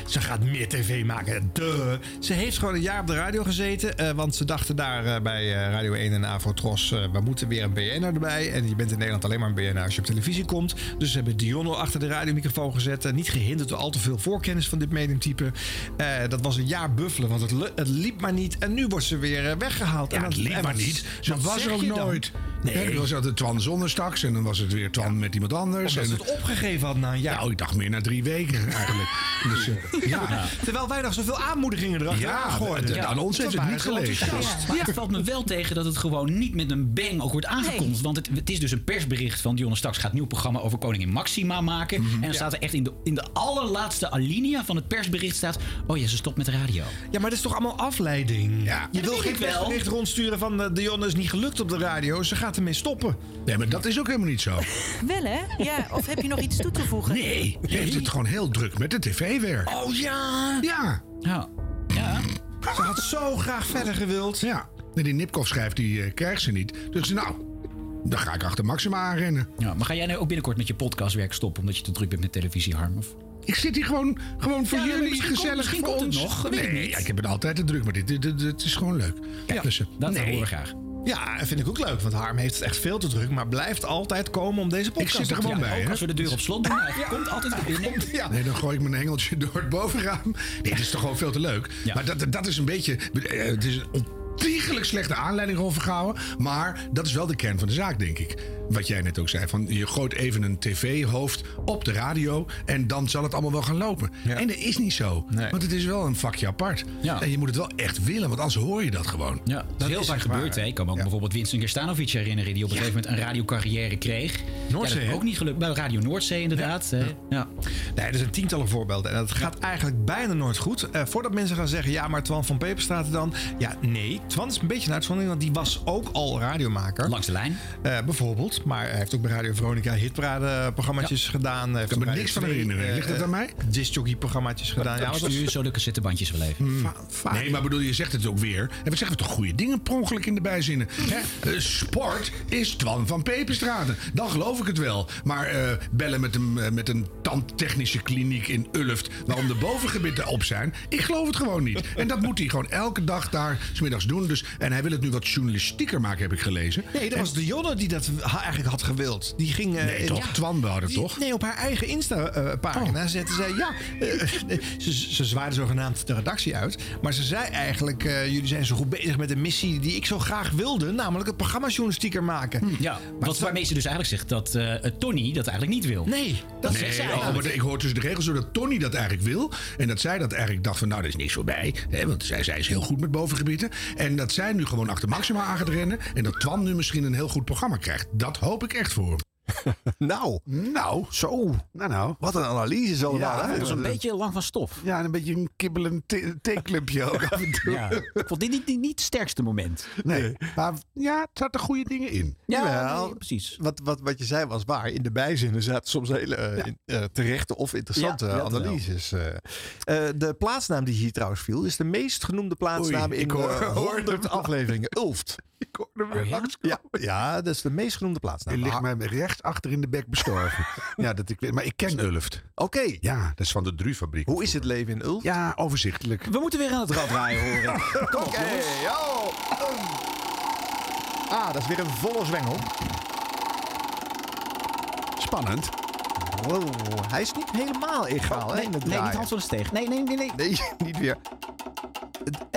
[SPEAKER 23] Ze gaat meer tv maken. Duh. Ze heeft gewoon een jaar op de radio gezeten. eh, want ze dachten daar eh, bij eh, Radio 1 en Avrotros... eh, we moeten weer een BN'er erbij. En je bent in Nederland alleen maar een BN'er als je op televisie komt. Dus ze hebben Dionno achter de radiomicrofoon gezet. eh, niet gehinderd door al te veel voorkennis van dit mediumtype. Eh, dat was een jaar buffelen, want het, lu- het liep maar niet. En nu wordt ze weer eh, weggehaald.
[SPEAKER 1] Ja,
[SPEAKER 23] en
[SPEAKER 1] het
[SPEAKER 23] dat-
[SPEAKER 1] liep
[SPEAKER 23] en
[SPEAKER 1] maar
[SPEAKER 23] wat-
[SPEAKER 1] niet.
[SPEAKER 23] wat
[SPEAKER 1] Dat was
[SPEAKER 23] zeg
[SPEAKER 1] ook
[SPEAKER 23] je dan?
[SPEAKER 1] nooit.
[SPEAKER 23] Nee.
[SPEAKER 1] Nee. Dan was altijd Twan zonder straks en dan was het weer Twan met iemand anders.
[SPEAKER 23] Omdat
[SPEAKER 1] en
[SPEAKER 23] ze het opgegeven had na een jaar.
[SPEAKER 1] Nou, ik dacht meer na drie weken eigenlijk. dus, eh, ja.
[SPEAKER 23] Terwijl wij nog zoveel aanmoedigingen erachter
[SPEAKER 1] Ja,
[SPEAKER 23] gooiden.
[SPEAKER 1] het- aan ons heeft
[SPEAKER 23] We
[SPEAKER 1] het
[SPEAKER 23] waren
[SPEAKER 1] niet
[SPEAKER 23] zo
[SPEAKER 1] gelegen.
[SPEAKER 23] enthousiast.
[SPEAKER 3] Maar het valt me wel tegen dat het gewoon niet met een bang ook wordt aangekondigd. Want het, het is dus een persbericht van Dionne Staks gaat een nieuw programma over Koningin Maxima maken.
[SPEAKER 23] Mhm.
[SPEAKER 3] En dan staat er echt in de, in de allerlaatste alinea van het persbericht staat... Oh ja, ze stopt met de radio.
[SPEAKER 23] Ja, maar dat is toch allemaal afleiding? Je
[SPEAKER 3] dat
[SPEAKER 23] wil
[SPEAKER 3] denk
[SPEAKER 23] geen
[SPEAKER 3] ik wel.
[SPEAKER 23] persbericht rondsturen van eh, Dionne is niet gelukt op de radio. Ze gaat ermee stoppen.
[SPEAKER 1] Nee, maar dat is ook helemaal niet zo.
[SPEAKER 19] Wel hè? Ja, of heb je nog iets toe te voegen?
[SPEAKER 1] Nee, je heeft het gewoon heel druk met het tv-werk.
[SPEAKER 23] Oh ja!
[SPEAKER 3] Ah.
[SPEAKER 1] Ja.
[SPEAKER 3] Ja. ja.
[SPEAKER 23] Ze had zo graag verder gewild.
[SPEAKER 1] Ja. En die Nipkoff schrijft, die eh, krijgt ze niet. Dus nou, dan ga ik achter Maxima aanrennen.
[SPEAKER 3] ja. Maar ga jij nou ook binnenkort met je podcastwerk stoppen... omdat je te druk bent met televisie, Harm? Of?
[SPEAKER 1] Ik zit hier gewoon, gewoon voor
[SPEAKER 3] Ja, nee,
[SPEAKER 1] jullie
[SPEAKER 3] misschien komt-
[SPEAKER 1] gezellig
[SPEAKER 3] misschien
[SPEAKER 1] voor
[SPEAKER 3] komt het
[SPEAKER 1] ons.
[SPEAKER 3] nog, dat weet ik
[SPEAKER 1] nee,
[SPEAKER 3] niet.
[SPEAKER 1] ja, ik heb het altijd te druk met dit. Dit, dit- dit is gewoon leuk. Ja, dus, eh,
[SPEAKER 3] Dat
[SPEAKER 1] nee.
[SPEAKER 3] horen we graag.
[SPEAKER 23] Ja, dat vind ik ook leuk. Want Harm heeft het echt veel te druk. Maar blijft altijd komen om deze podcast
[SPEAKER 1] Ik zit er
[SPEAKER 23] op te
[SPEAKER 1] gewoon
[SPEAKER 23] nemen.
[SPEAKER 1] bij,
[SPEAKER 3] Ook
[SPEAKER 1] hè?
[SPEAKER 3] als we de deur op slot doen, hij komt altijd binnen.
[SPEAKER 23] Ja.
[SPEAKER 1] Nee, dan gooi ik mijn engeltje door het bovenraam. Nee, dit is toch gewoon veel te leuk.
[SPEAKER 3] Ja.
[SPEAKER 1] Maar dat, dat is een beetje... eh, Het is een ontiegelijk slechte aanleiding over gehouden. Maar dat is wel de kern van de zaak, denk ik. Wat jij net ook zei. Van je gooit even een tv-hoofd op de radio. En dan zal het allemaal wel gaan lopen. En dat is niet zo. Want het is wel een vakje apart. En je moet het wel echt willen. Want anders hoor je dat gewoon.
[SPEAKER 3] Ja, dat is heel vaak gebeurd. Hè. Ik kan me ook bijvoorbeeld Winston Kerstanovic herinneren... die op een gegeven moment een radiocarrière kreeg.
[SPEAKER 2] Noordzee,
[SPEAKER 3] Ja, dat
[SPEAKER 2] hè?
[SPEAKER 3] is ook niet gelukt. Bij Radio Noordzee inderdaad. hè. Ja.
[SPEAKER 2] Nee, er zijn tientallen voorbeelden. En dat gaat eigenlijk bijna nooit goed. Eh, voordat mensen gaan zeggen, ja, maar Twan van Peperstraat dan. Ja, nee. Twan is een beetje een uitzondering, want die was ook al radiomaker. Eh,
[SPEAKER 3] Langs de lijn.
[SPEAKER 2] bijvoorbeeld. Maar hij heeft ook bij Radio Veronica hitparade-programmaatjes gedaan. Ik
[SPEAKER 1] kan me niks van herinneren. Ligt
[SPEAKER 2] eh,
[SPEAKER 1] dat aan mij?
[SPEAKER 2] Discjockey-programmaatjes gedaan.
[SPEAKER 1] dat
[SPEAKER 2] want dat-
[SPEAKER 1] stuur
[SPEAKER 3] dus zo de cassettebandjes wel even.
[SPEAKER 1] nee, maar bedoel, je zegt het ook weer. En we zeggen toch goede dingen per ongeluk in de bijzinnen. Hè? Eh, sport is Twan van Peperstraten. Dan geloof ik het wel. Maar eh, bellen met een, eh, met een tandtechnische kliniek in Ulft... waarom de bovengebitten op zijn, ik geloof het gewoon niet. En dat moet hij gewoon elke dag daar smiddags doen. Dus, en hij wil het nu wat journalistieker maken, heb ik gelezen.
[SPEAKER 2] Nee, dat
[SPEAKER 1] En-
[SPEAKER 2] was de Jonne die dat ha- eigenlijk had gewild. Die ging... eh,
[SPEAKER 1] Nee, toch? Twan
[SPEAKER 24] Oh,
[SPEAKER 1] wou dat,
[SPEAKER 2] Die-
[SPEAKER 1] toch?
[SPEAKER 2] Nee, op haar eigen Insta-pagina zette zij... Ja, eh, ze, ze zwaaide zogenaamd de redactie uit. Maar ze zei eigenlijk... eh, jullie zijn zo goed bezig met de missie die ik zo graag wilde. Namelijk het programma journalistieker maken.
[SPEAKER 24] Hm,
[SPEAKER 3] Ja, wat, waarmee ze dus eigenlijk zegt dat eh, Tony dat eigenlijk niet wil.
[SPEAKER 2] Nee,
[SPEAKER 3] dat
[SPEAKER 1] nee,
[SPEAKER 3] zegt ze
[SPEAKER 1] oh,
[SPEAKER 3] eigenlijk.
[SPEAKER 1] maar ik hoor tussen de regels door dat Tony dat eigenlijk wil. En dat zij dat eigenlijk dacht van, nou, dat is niks voorbij. Hè, want zij, zij is heel goed met bovengebieden. En dat zij nu gewoon achter Maxima aan gaat rennen. En dat Twan nu misschien een heel goed programma krijgt. Dat hoop ik echt voor hem.
[SPEAKER 24] Nou.
[SPEAKER 1] Nou.
[SPEAKER 24] Zo.
[SPEAKER 1] Nou, nou.
[SPEAKER 24] Wat een analyse is allemaal, hè?
[SPEAKER 1] dat is
[SPEAKER 24] Dat-
[SPEAKER 3] lang van stof.
[SPEAKER 1] Ja, en een beetje een kibbelend t- theeclubje ook af en toe.
[SPEAKER 3] Ja. Ik vond dit niet, niet, niet het sterkste moment.
[SPEAKER 1] Nee. Eh, Maar ja, het zaten goede dingen in.
[SPEAKER 24] Jawel.
[SPEAKER 3] precies.
[SPEAKER 24] Wat, wat, wat je zei was waar. In de bijzinnen zaten soms hele eh, in- eh, terechte of interessante
[SPEAKER 1] Ja, dat wel.
[SPEAKER 24] analyses. eh. Eh, de plaatsnaam die hier trouwens viel, is de meest genoemde plaatsnaam
[SPEAKER 1] Oei,
[SPEAKER 24] in
[SPEAKER 1] ik hoor-
[SPEAKER 24] de
[SPEAKER 1] hoor
[SPEAKER 24] 100 afleveringen. Ulft. ja? ja, dat is de meest genoemde plaatsnaam.
[SPEAKER 1] Die ligt mij rechts achter in de bek bestorven. ja, dat ik, weet- maar ik ken Ulft.
[SPEAKER 24] Oké.
[SPEAKER 1] Ja, dat is van de Drufabriek.
[SPEAKER 24] Hoe is het leven in Ulft?
[SPEAKER 1] Ja, overzichtelijk.
[SPEAKER 3] We moeten weer aan het rad draaien, horen.
[SPEAKER 24] Oké, oh. Ah, dat is weer een volle zwengel.
[SPEAKER 1] Spannend. Oh,
[SPEAKER 24] Wow, hij is niet helemaal egaal, hè?
[SPEAKER 3] nee,
[SPEAKER 24] in het
[SPEAKER 3] nee, niet
[SPEAKER 24] draaien.
[SPEAKER 3] Hans van der Steeg. Nee, nee, nee. Nee,
[SPEAKER 24] nee niet weer.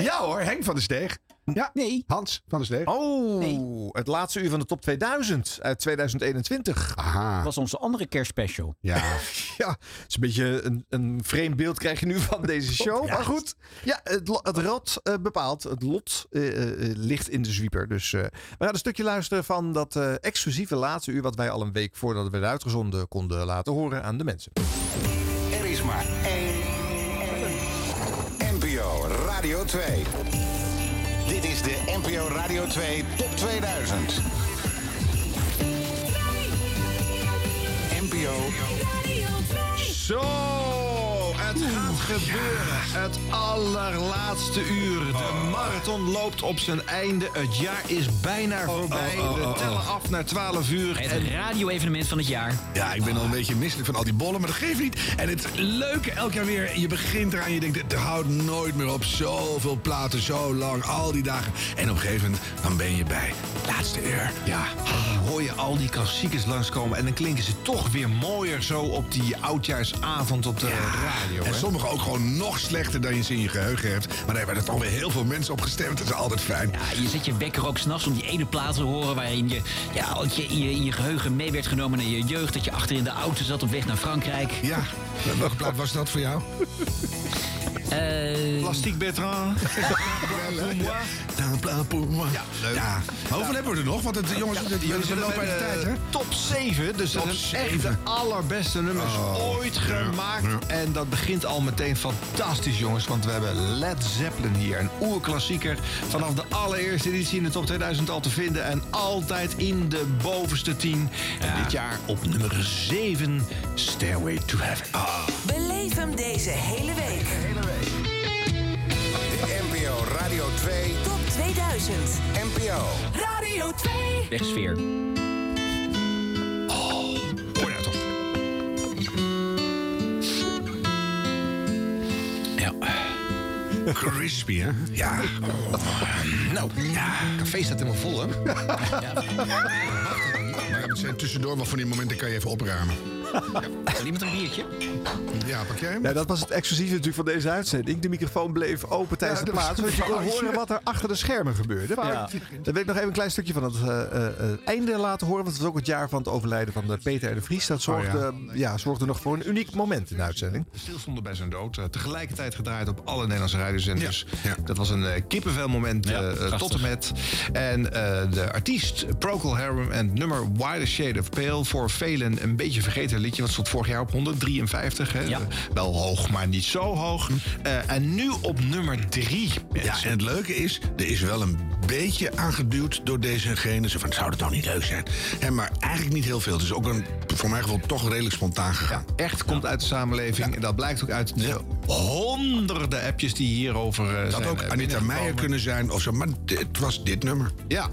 [SPEAKER 1] Ja hoor, Henk van der Steeg. Ja,
[SPEAKER 3] nee.
[SPEAKER 1] Hans van der Steeg.
[SPEAKER 24] Oh, het laatste uur van de top 2000 uit 2021.
[SPEAKER 1] Aha.
[SPEAKER 3] was onze andere kerstspecial.
[SPEAKER 1] Ja.
[SPEAKER 24] ja, het is een beetje een, een vreemd beeld krijg je nu van deze show. Maar goed, ja, het, lo- het rad eh, bepaalt. Het lot eh, eh, eh, ligt in de zwieper. Dus eh, we gaan een stukje luisteren van dat eh, exclusieve laatste uur... wat wij al een week voordat we werden uitgezonden konden laten horen aan de mensen.
[SPEAKER 23] Er is maar één. NPO Radio 2. Dit is de NPO Radio 2 Top 2000. NPO.
[SPEAKER 24] Zo, Oh, het gaat gebeuren. Het allerlaatste uur. De marathon loopt op zijn einde. Het jaar is bijna voorbij.
[SPEAKER 1] oh, oh, oh.
[SPEAKER 24] We tellen af naar 12 uur.
[SPEAKER 3] Het radio-evenement van het jaar.
[SPEAKER 1] Ja, ik ben al een beetje misselijk van al die bollen, maar dat geeft niet. En het leuke elk jaar weer, je begint eraan, je denkt, het houdt nooit meer op. Zoveel platen, zo lang, al die dagen. En op een gegeven moment, dan ben je bij. Laatste uur.
[SPEAKER 2] Ja, dan hoor je al die klassiekers langskomen. En dan klinken ze toch weer mooier zo op die oudjaarsavond op de radio.
[SPEAKER 1] En
[SPEAKER 2] hè?
[SPEAKER 1] sommige ook gewoon nog slechter dan je ze in je geheugen hebt. Maar daar hebben er toch weer heel veel mensen op gestemd. Dat is altijd fijn.
[SPEAKER 3] Ja, je zet je wekker ook s'nachts om die ene plaat te horen waarin je, ja, dat je, in je in je geheugen mee werd genomen naar je jeugd. Dat je achter in de auto zat op weg naar Frankrijk.
[SPEAKER 1] Ja, welke plaat was dat voor jou?
[SPEAKER 3] Eh,
[SPEAKER 2] Plastic Bertrand.
[SPEAKER 1] Ja, leuk. Ja. Hoeveel hebben we er nog? Want het, jongens,
[SPEAKER 2] Ja,
[SPEAKER 1] het,
[SPEAKER 2] jullie
[SPEAKER 1] we
[SPEAKER 2] zijn
[SPEAKER 1] lopen
[SPEAKER 2] bij
[SPEAKER 1] uit de
[SPEAKER 2] de
[SPEAKER 1] tijd, hè?
[SPEAKER 2] Top 7, dus
[SPEAKER 1] Top
[SPEAKER 2] dat zijn echt de
[SPEAKER 1] zeven. Oh,
[SPEAKER 2] allerbeste nummers ooit gemaakt. En dat begint al meteen fantastisch, jongens. Want we hebben Led Zeppelin hier, een oerklassieker. Vanaf de allereerste editie in de top 2000 al te vinden. En altijd in de bovenste 10. En dit jaar op nummer 7, Stairway to Heaven.
[SPEAKER 1] Ah.
[SPEAKER 7] Beleef hem deze hele week.
[SPEAKER 23] De NPO Radio 2
[SPEAKER 7] Top 2000.
[SPEAKER 23] NPO.
[SPEAKER 7] Radio 2.
[SPEAKER 3] Wegsfeer.
[SPEAKER 7] Oh,
[SPEAKER 2] Hoor nou toch.
[SPEAKER 1] Ja. Crispy, hè? Ja.
[SPEAKER 2] Nou, ja, café staat helemaal vol, hè?
[SPEAKER 1] Maar het zijn tussendoor wel van die momenten kan je even opruimen.
[SPEAKER 22] Wil iemand een biertje?
[SPEAKER 2] Ja, pak jij dat was het exclusief natuurlijk van deze uitzending. De microfoon bleef open tijdens
[SPEAKER 23] Ja,
[SPEAKER 2] de
[SPEAKER 23] dat was
[SPEAKER 2] plaats.
[SPEAKER 23] een
[SPEAKER 2] Zodat je kon
[SPEAKER 23] foutje.
[SPEAKER 2] horen wat er achter de schermen gebeurde. Maar
[SPEAKER 23] Ja.
[SPEAKER 2] daar wil ik nog even een klein stukje van het eh, eh, eh, einde laten horen. Want het was ook het jaar van het overlijden van eh, Peter R. de Vries. Dat zorgde,
[SPEAKER 24] ja.
[SPEAKER 2] ja. zorgde nog voor een uniek moment in de uitzending.
[SPEAKER 24] stilstonden bij zijn dood. Eh, tegelijkertijd gedraaid op alle Nederlandse radiozenders. Dus Dat was een eh kippenvelmoment eh, eh,
[SPEAKER 2] prachtig.
[SPEAKER 24] tot en met. En eh, de artiest Procol Harum en het nummer Why the Shade of Pale... voor velen een beetje vergeten liedje. Wat stond vorig jaar op 153. Hè? Wel hoog, maar niet zo hoog.
[SPEAKER 1] Hm.
[SPEAKER 24] Eh, en nu op nummer 3.
[SPEAKER 1] Ja, en het leuke is, er is wel een beetje aangeduwd door deze en gene. Zo van, zou dat toch niet leuk zijn? Hè, maar eigenlijk niet heel veel. Dus ook een, voor mijn gevoel toch redelijk spontaan gegaan.
[SPEAKER 24] echt komt uit de samenleving. En dat blijkt ook uit de honderden appjes die hierover eh,
[SPEAKER 1] Dat
[SPEAKER 24] zijn.
[SPEAKER 1] ook
[SPEAKER 24] eh,
[SPEAKER 1] Anita
[SPEAKER 24] binnengekomen.
[SPEAKER 1] Meijer kunnen zijn of zo. Maar d- het was dit nummer.
[SPEAKER 24] Ja,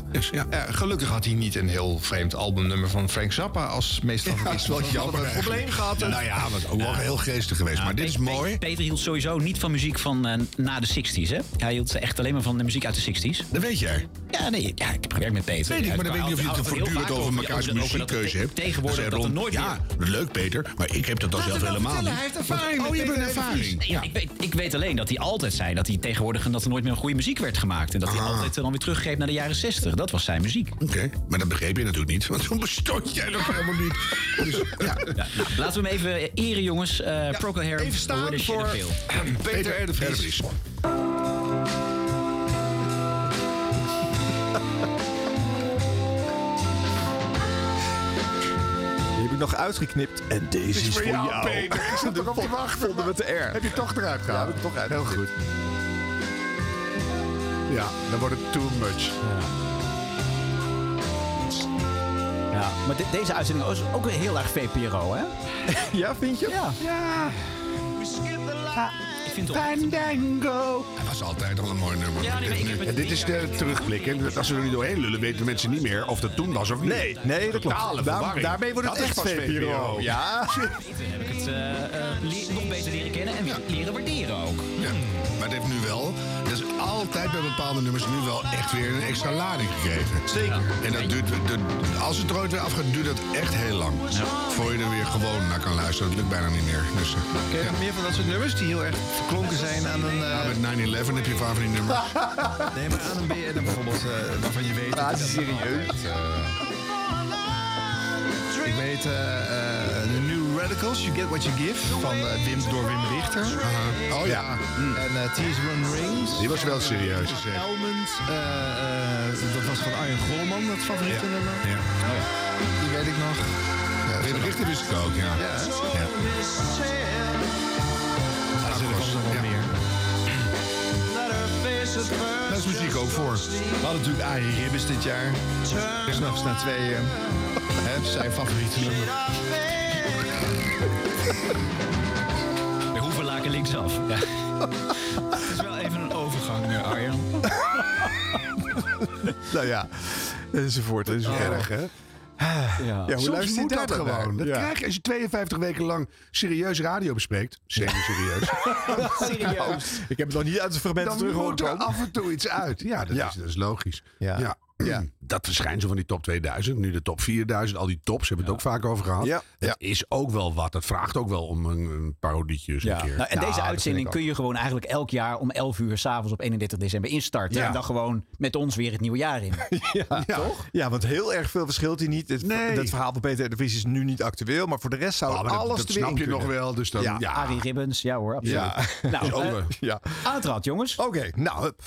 [SPEAKER 24] Eh, gelukkig had hij niet een heel vreemd albumnummer van Frank Zappa als meest favoriet.
[SPEAKER 1] Ja, is wel
[SPEAKER 24] Want we hadden
[SPEAKER 1] jammer
[SPEAKER 24] een probleem
[SPEAKER 1] eigenlijk.
[SPEAKER 24] gehad. hè?
[SPEAKER 1] Nou ja, wat ook wel heel geestig geweest.
[SPEAKER 22] Nou,
[SPEAKER 1] maar dit is
[SPEAKER 22] Pe- Pe-
[SPEAKER 1] mooi.
[SPEAKER 22] Peter hield sowieso niet van muziek van eh, na de 60s. Hè? Hij hield echt alleen maar van de muziek uit de 60s.
[SPEAKER 1] Dat weet jij.
[SPEAKER 22] Ja, nee, ja, ik heb gewerkt met Peter.
[SPEAKER 1] Weet ik,
[SPEAKER 22] Ja,
[SPEAKER 1] maar dan weet ik niet of je
[SPEAKER 22] houdt-
[SPEAKER 1] het
[SPEAKER 22] houdt heel
[SPEAKER 1] voortdurend
[SPEAKER 22] vaak
[SPEAKER 1] over
[SPEAKER 22] ja,
[SPEAKER 1] mekaars
[SPEAKER 22] over dat- over dat-
[SPEAKER 1] muziekkeuze hebt.
[SPEAKER 22] Tegenwoordig
[SPEAKER 1] Dan
[SPEAKER 22] dat
[SPEAKER 1] zei
[SPEAKER 22] er
[SPEAKER 1] Ron,
[SPEAKER 22] nooit meer...
[SPEAKER 1] Ja, leuk Peter, maar ik heb dat dan zelf helemaal niet. Want- Oh, je hebt een ervaring.
[SPEAKER 22] Ja. Ik, weet, ik weet alleen dat hij altijd zei dat hij tegenwoordig dat er
[SPEAKER 1] Ah.
[SPEAKER 22] nooit meer goede muziek werd gemaakt. En dat hij altijd eh, dan weer teruggreep naar de jaren 60. Dat was zijn muziek.
[SPEAKER 1] Oké, maar dat begreep je natuurlijk niet. Want toen bestond jij nog helemaal niet. Dus, ja.
[SPEAKER 22] Nou, laten we hem even eh, eren, jongens. Eh Procol Harum,
[SPEAKER 24] even staan
[SPEAKER 22] Where the Shit
[SPEAKER 24] voor
[SPEAKER 22] Appeal.
[SPEAKER 24] Peter R. de Vries.
[SPEAKER 2] Die heb ik nog uitgeknipt. En deze is, voor jou.
[SPEAKER 24] Peter. Ik zat erop te wachten.
[SPEAKER 2] Vonden we te erg.
[SPEAKER 24] Heb je toch eruit
[SPEAKER 2] Ja,
[SPEAKER 24] gehaald?
[SPEAKER 2] heb ik toch uit.
[SPEAKER 24] Heel goed.
[SPEAKER 2] Ja, dan wordt het too much.
[SPEAKER 3] Ja, maar de- deze uitzending is ook weer heel erg VPRO, hè?
[SPEAKER 2] ja, vind je? Ja.
[SPEAKER 1] ja.
[SPEAKER 22] Ik vind
[SPEAKER 1] Fandango. Het was altijd al een mooi nummer.
[SPEAKER 22] Ja, nee, maar ik heb het
[SPEAKER 1] En dit is de terugblik. En als we er nu doorheen lullen, weten mensen niet meer of dat toen was of niet.
[SPEAKER 2] Nee, nee, dat klopt.
[SPEAKER 1] Totale
[SPEAKER 2] Daar-
[SPEAKER 1] verwarring.
[SPEAKER 2] daarmee wordt het
[SPEAKER 1] Dat is
[SPEAKER 2] echt
[SPEAKER 1] pas
[SPEAKER 2] VPRO. Ja.
[SPEAKER 22] Dan heb ik het eh, eh, le- nog beter leren kennen en leren waarderen ook.
[SPEAKER 1] Ja, maar het heeft nu wel, dat is altijd bij bepaalde nummers, nu wel echt weer een extra lading gegeven. Zeker. En dat duurt, dat- als het er ooit weer afgaat, duurt dat echt heel lang. Voor je er weer gewoon naar kan luisteren. Dat lukt bijna niet meer. Dus, eh,
[SPEAKER 24] Ken je nog meer van dat soort nummers die heel erg verklonken zijn aan een... eh,
[SPEAKER 1] ja, met 9-11 heb je vaak van die nummers.
[SPEAKER 24] nee, maar aan een BN'er bijvoorbeeld, eh, waarvan je weet...
[SPEAKER 1] Ah,
[SPEAKER 24] dat die dat
[SPEAKER 1] serieus?
[SPEAKER 24] altijd, eh, ik weet eh eh, The New Radicals, You Get What You Give, van eh, Wim, door Wim Richter.
[SPEAKER 1] Oh ja.
[SPEAKER 24] En eh Tears Run Rings.
[SPEAKER 1] Die was wel serieus.
[SPEAKER 24] Elmond, eh, eh, dat was van Arjen Golman, dat favoriete nummer. Die weet ik nog. Ja,
[SPEAKER 1] Wim Richter wist ik ook, ja.
[SPEAKER 24] Ja.
[SPEAKER 1] Ja.
[SPEAKER 24] Ah, dat was nog wel meer.
[SPEAKER 1] Daar is muziek ook voor.
[SPEAKER 24] We hadden natuurlijk Arie Ribbes dit jaar. S'nachts na tweeën. Hè, zijn favoriete nummer.
[SPEAKER 22] We hoeven laken linksaf. Ja. Het is wel even een overgang, eh, Arjan.
[SPEAKER 2] Nou ja, enzovoort. Dat is
[SPEAKER 1] Oh.
[SPEAKER 2] erg, hè?
[SPEAKER 1] Ja,
[SPEAKER 2] hoe
[SPEAKER 1] Soms
[SPEAKER 2] luistert hij
[SPEAKER 1] moet
[SPEAKER 2] daar
[SPEAKER 1] dat
[SPEAKER 2] dan naar?
[SPEAKER 1] gewoon. Dat
[SPEAKER 2] Ja.
[SPEAKER 1] krijg je als je 52 weken lang serieus radio bespreekt. Semi-serieus.
[SPEAKER 2] Serieus. Ik heb het nog niet uit de fragmenten
[SPEAKER 1] Dan
[SPEAKER 2] terug horen
[SPEAKER 1] moet er
[SPEAKER 2] komen.
[SPEAKER 1] af en toe iets uit. Ja, dat, Is, dat is logisch.
[SPEAKER 2] Ja.
[SPEAKER 1] Ja. Dat verschijnsel van die top 2000, nu de top 4000, al die tops hebben we het ook vaak over gehad.
[SPEAKER 2] Ja.
[SPEAKER 1] Dat is ook wel wat. Dat vraagt ook wel om een, een parodietje eens een keer.
[SPEAKER 3] Nou, en deze uitzending kun je gewoon eigenlijk elk jaar om 11 uur s'avonds op 31 december instarten.
[SPEAKER 1] Ja.
[SPEAKER 3] En dan gewoon met ons weer het nieuwe jaar in.
[SPEAKER 2] Ja, toch? Ja, want heel erg veel verschilt hij niet. Het, Dat verhaal van Peter R. de Vries is nu niet actueel, maar voor de rest zou
[SPEAKER 1] Ah, maar dat-
[SPEAKER 2] alles
[SPEAKER 1] dat
[SPEAKER 2] er weer
[SPEAKER 1] snap
[SPEAKER 2] in
[SPEAKER 1] je
[SPEAKER 2] kunnen.
[SPEAKER 1] nog wel, dus dan- ja.
[SPEAKER 3] Arie Ribbons, ja hoor, absoluut.
[SPEAKER 2] Ja.
[SPEAKER 3] Nou,
[SPEAKER 2] Is ook
[SPEAKER 3] eh,
[SPEAKER 2] wel. ja.
[SPEAKER 3] aan het rad, jongens.
[SPEAKER 2] Oké, nou. hup.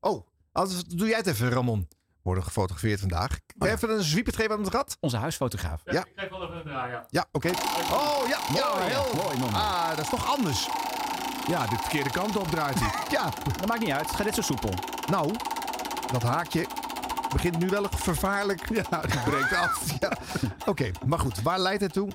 [SPEAKER 2] Oh, als- doe jij het even, Ramon. Worden gefotografeerd vandaag. Even een zwiepertreep aan het rad.
[SPEAKER 3] Oh Onze huisfotograaf.
[SPEAKER 2] Ja. Ik geef wel even een ja. oké. Oh ja, ja, heel. Mooi, Ah, dat is toch anders.
[SPEAKER 1] Ja, de verkeerde kant op draait hij.
[SPEAKER 2] ja,
[SPEAKER 3] dat maakt niet uit. Ga dit zo soepel.
[SPEAKER 2] Nou, dat haakje begint nu wel vervaarlijk. Ja, het breekt af. Ja. Oké, maar goed, waar leidt het toe?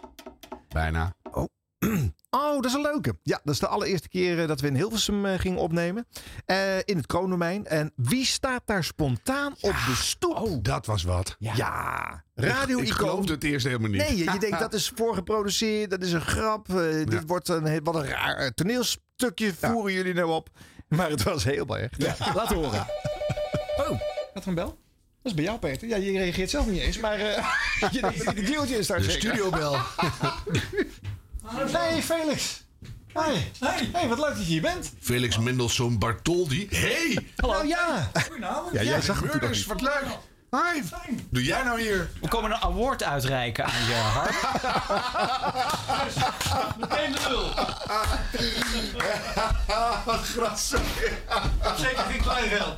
[SPEAKER 1] Bijna.
[SPEAKER 2] Oh. Oh, dat is een leuke. Ja, dat is de allereerste keer eh, dat we in Hilversum eh, gingen opnemen. Eh, in het Kroondomein. En wie staat daar spontaan op de stoep? Oh,
[SPEAKER 1] dat was wat.
[SPEAKER 2] Ja,
[SPEAKER 1] Ik- ik
[SPEAKER 2] radio-icoon.
[SPEAKER 1] geloofde het eerst helemaal niet.
[SPEAKER 2] Nee, je, je denkt dat is voorgeproduceerd, dat is een grap. eh, Dit wordt een, he- wat een raar eh, toneelstukje. Voeren jullie nou op? Maar het was heel erg.
[SPEAKER 22] Laat horen. Oh, gaat er een bel?
[SPEAKER 23] is bij jou, Peter. Ja, je reageert zelf niet eens, maar eh, je denkt dat je de guiltje is daar
[SPEAKER 1] De
[SPEAKER 23] zeker.
[SPEAKER 1] studiobel.
[SPEAKER 23] Hey Felix. Hey. Hey. hey, wat leuk dat je hier bent.
[SPEAKER 1] Felix Mendelssohn Bartoldi. Hey!
[SPEAKER 23] Hallo. Nou ja.
[SPEAKER 1] Goedenavond. Ja, jij zag het natuurlijk
[SPEAKER 23] Murders,
[SPEAKER 1] ook niet. leuk. Hi. Doe jij nou hier?
[SPEAKER 3] We komen een award uitreiken aan je hart.
[SPEAKER 26] Meteen de lul.
[SPEAKER 1] Wat grassig.
[SPEAKER 26] Zeker geen klein geld.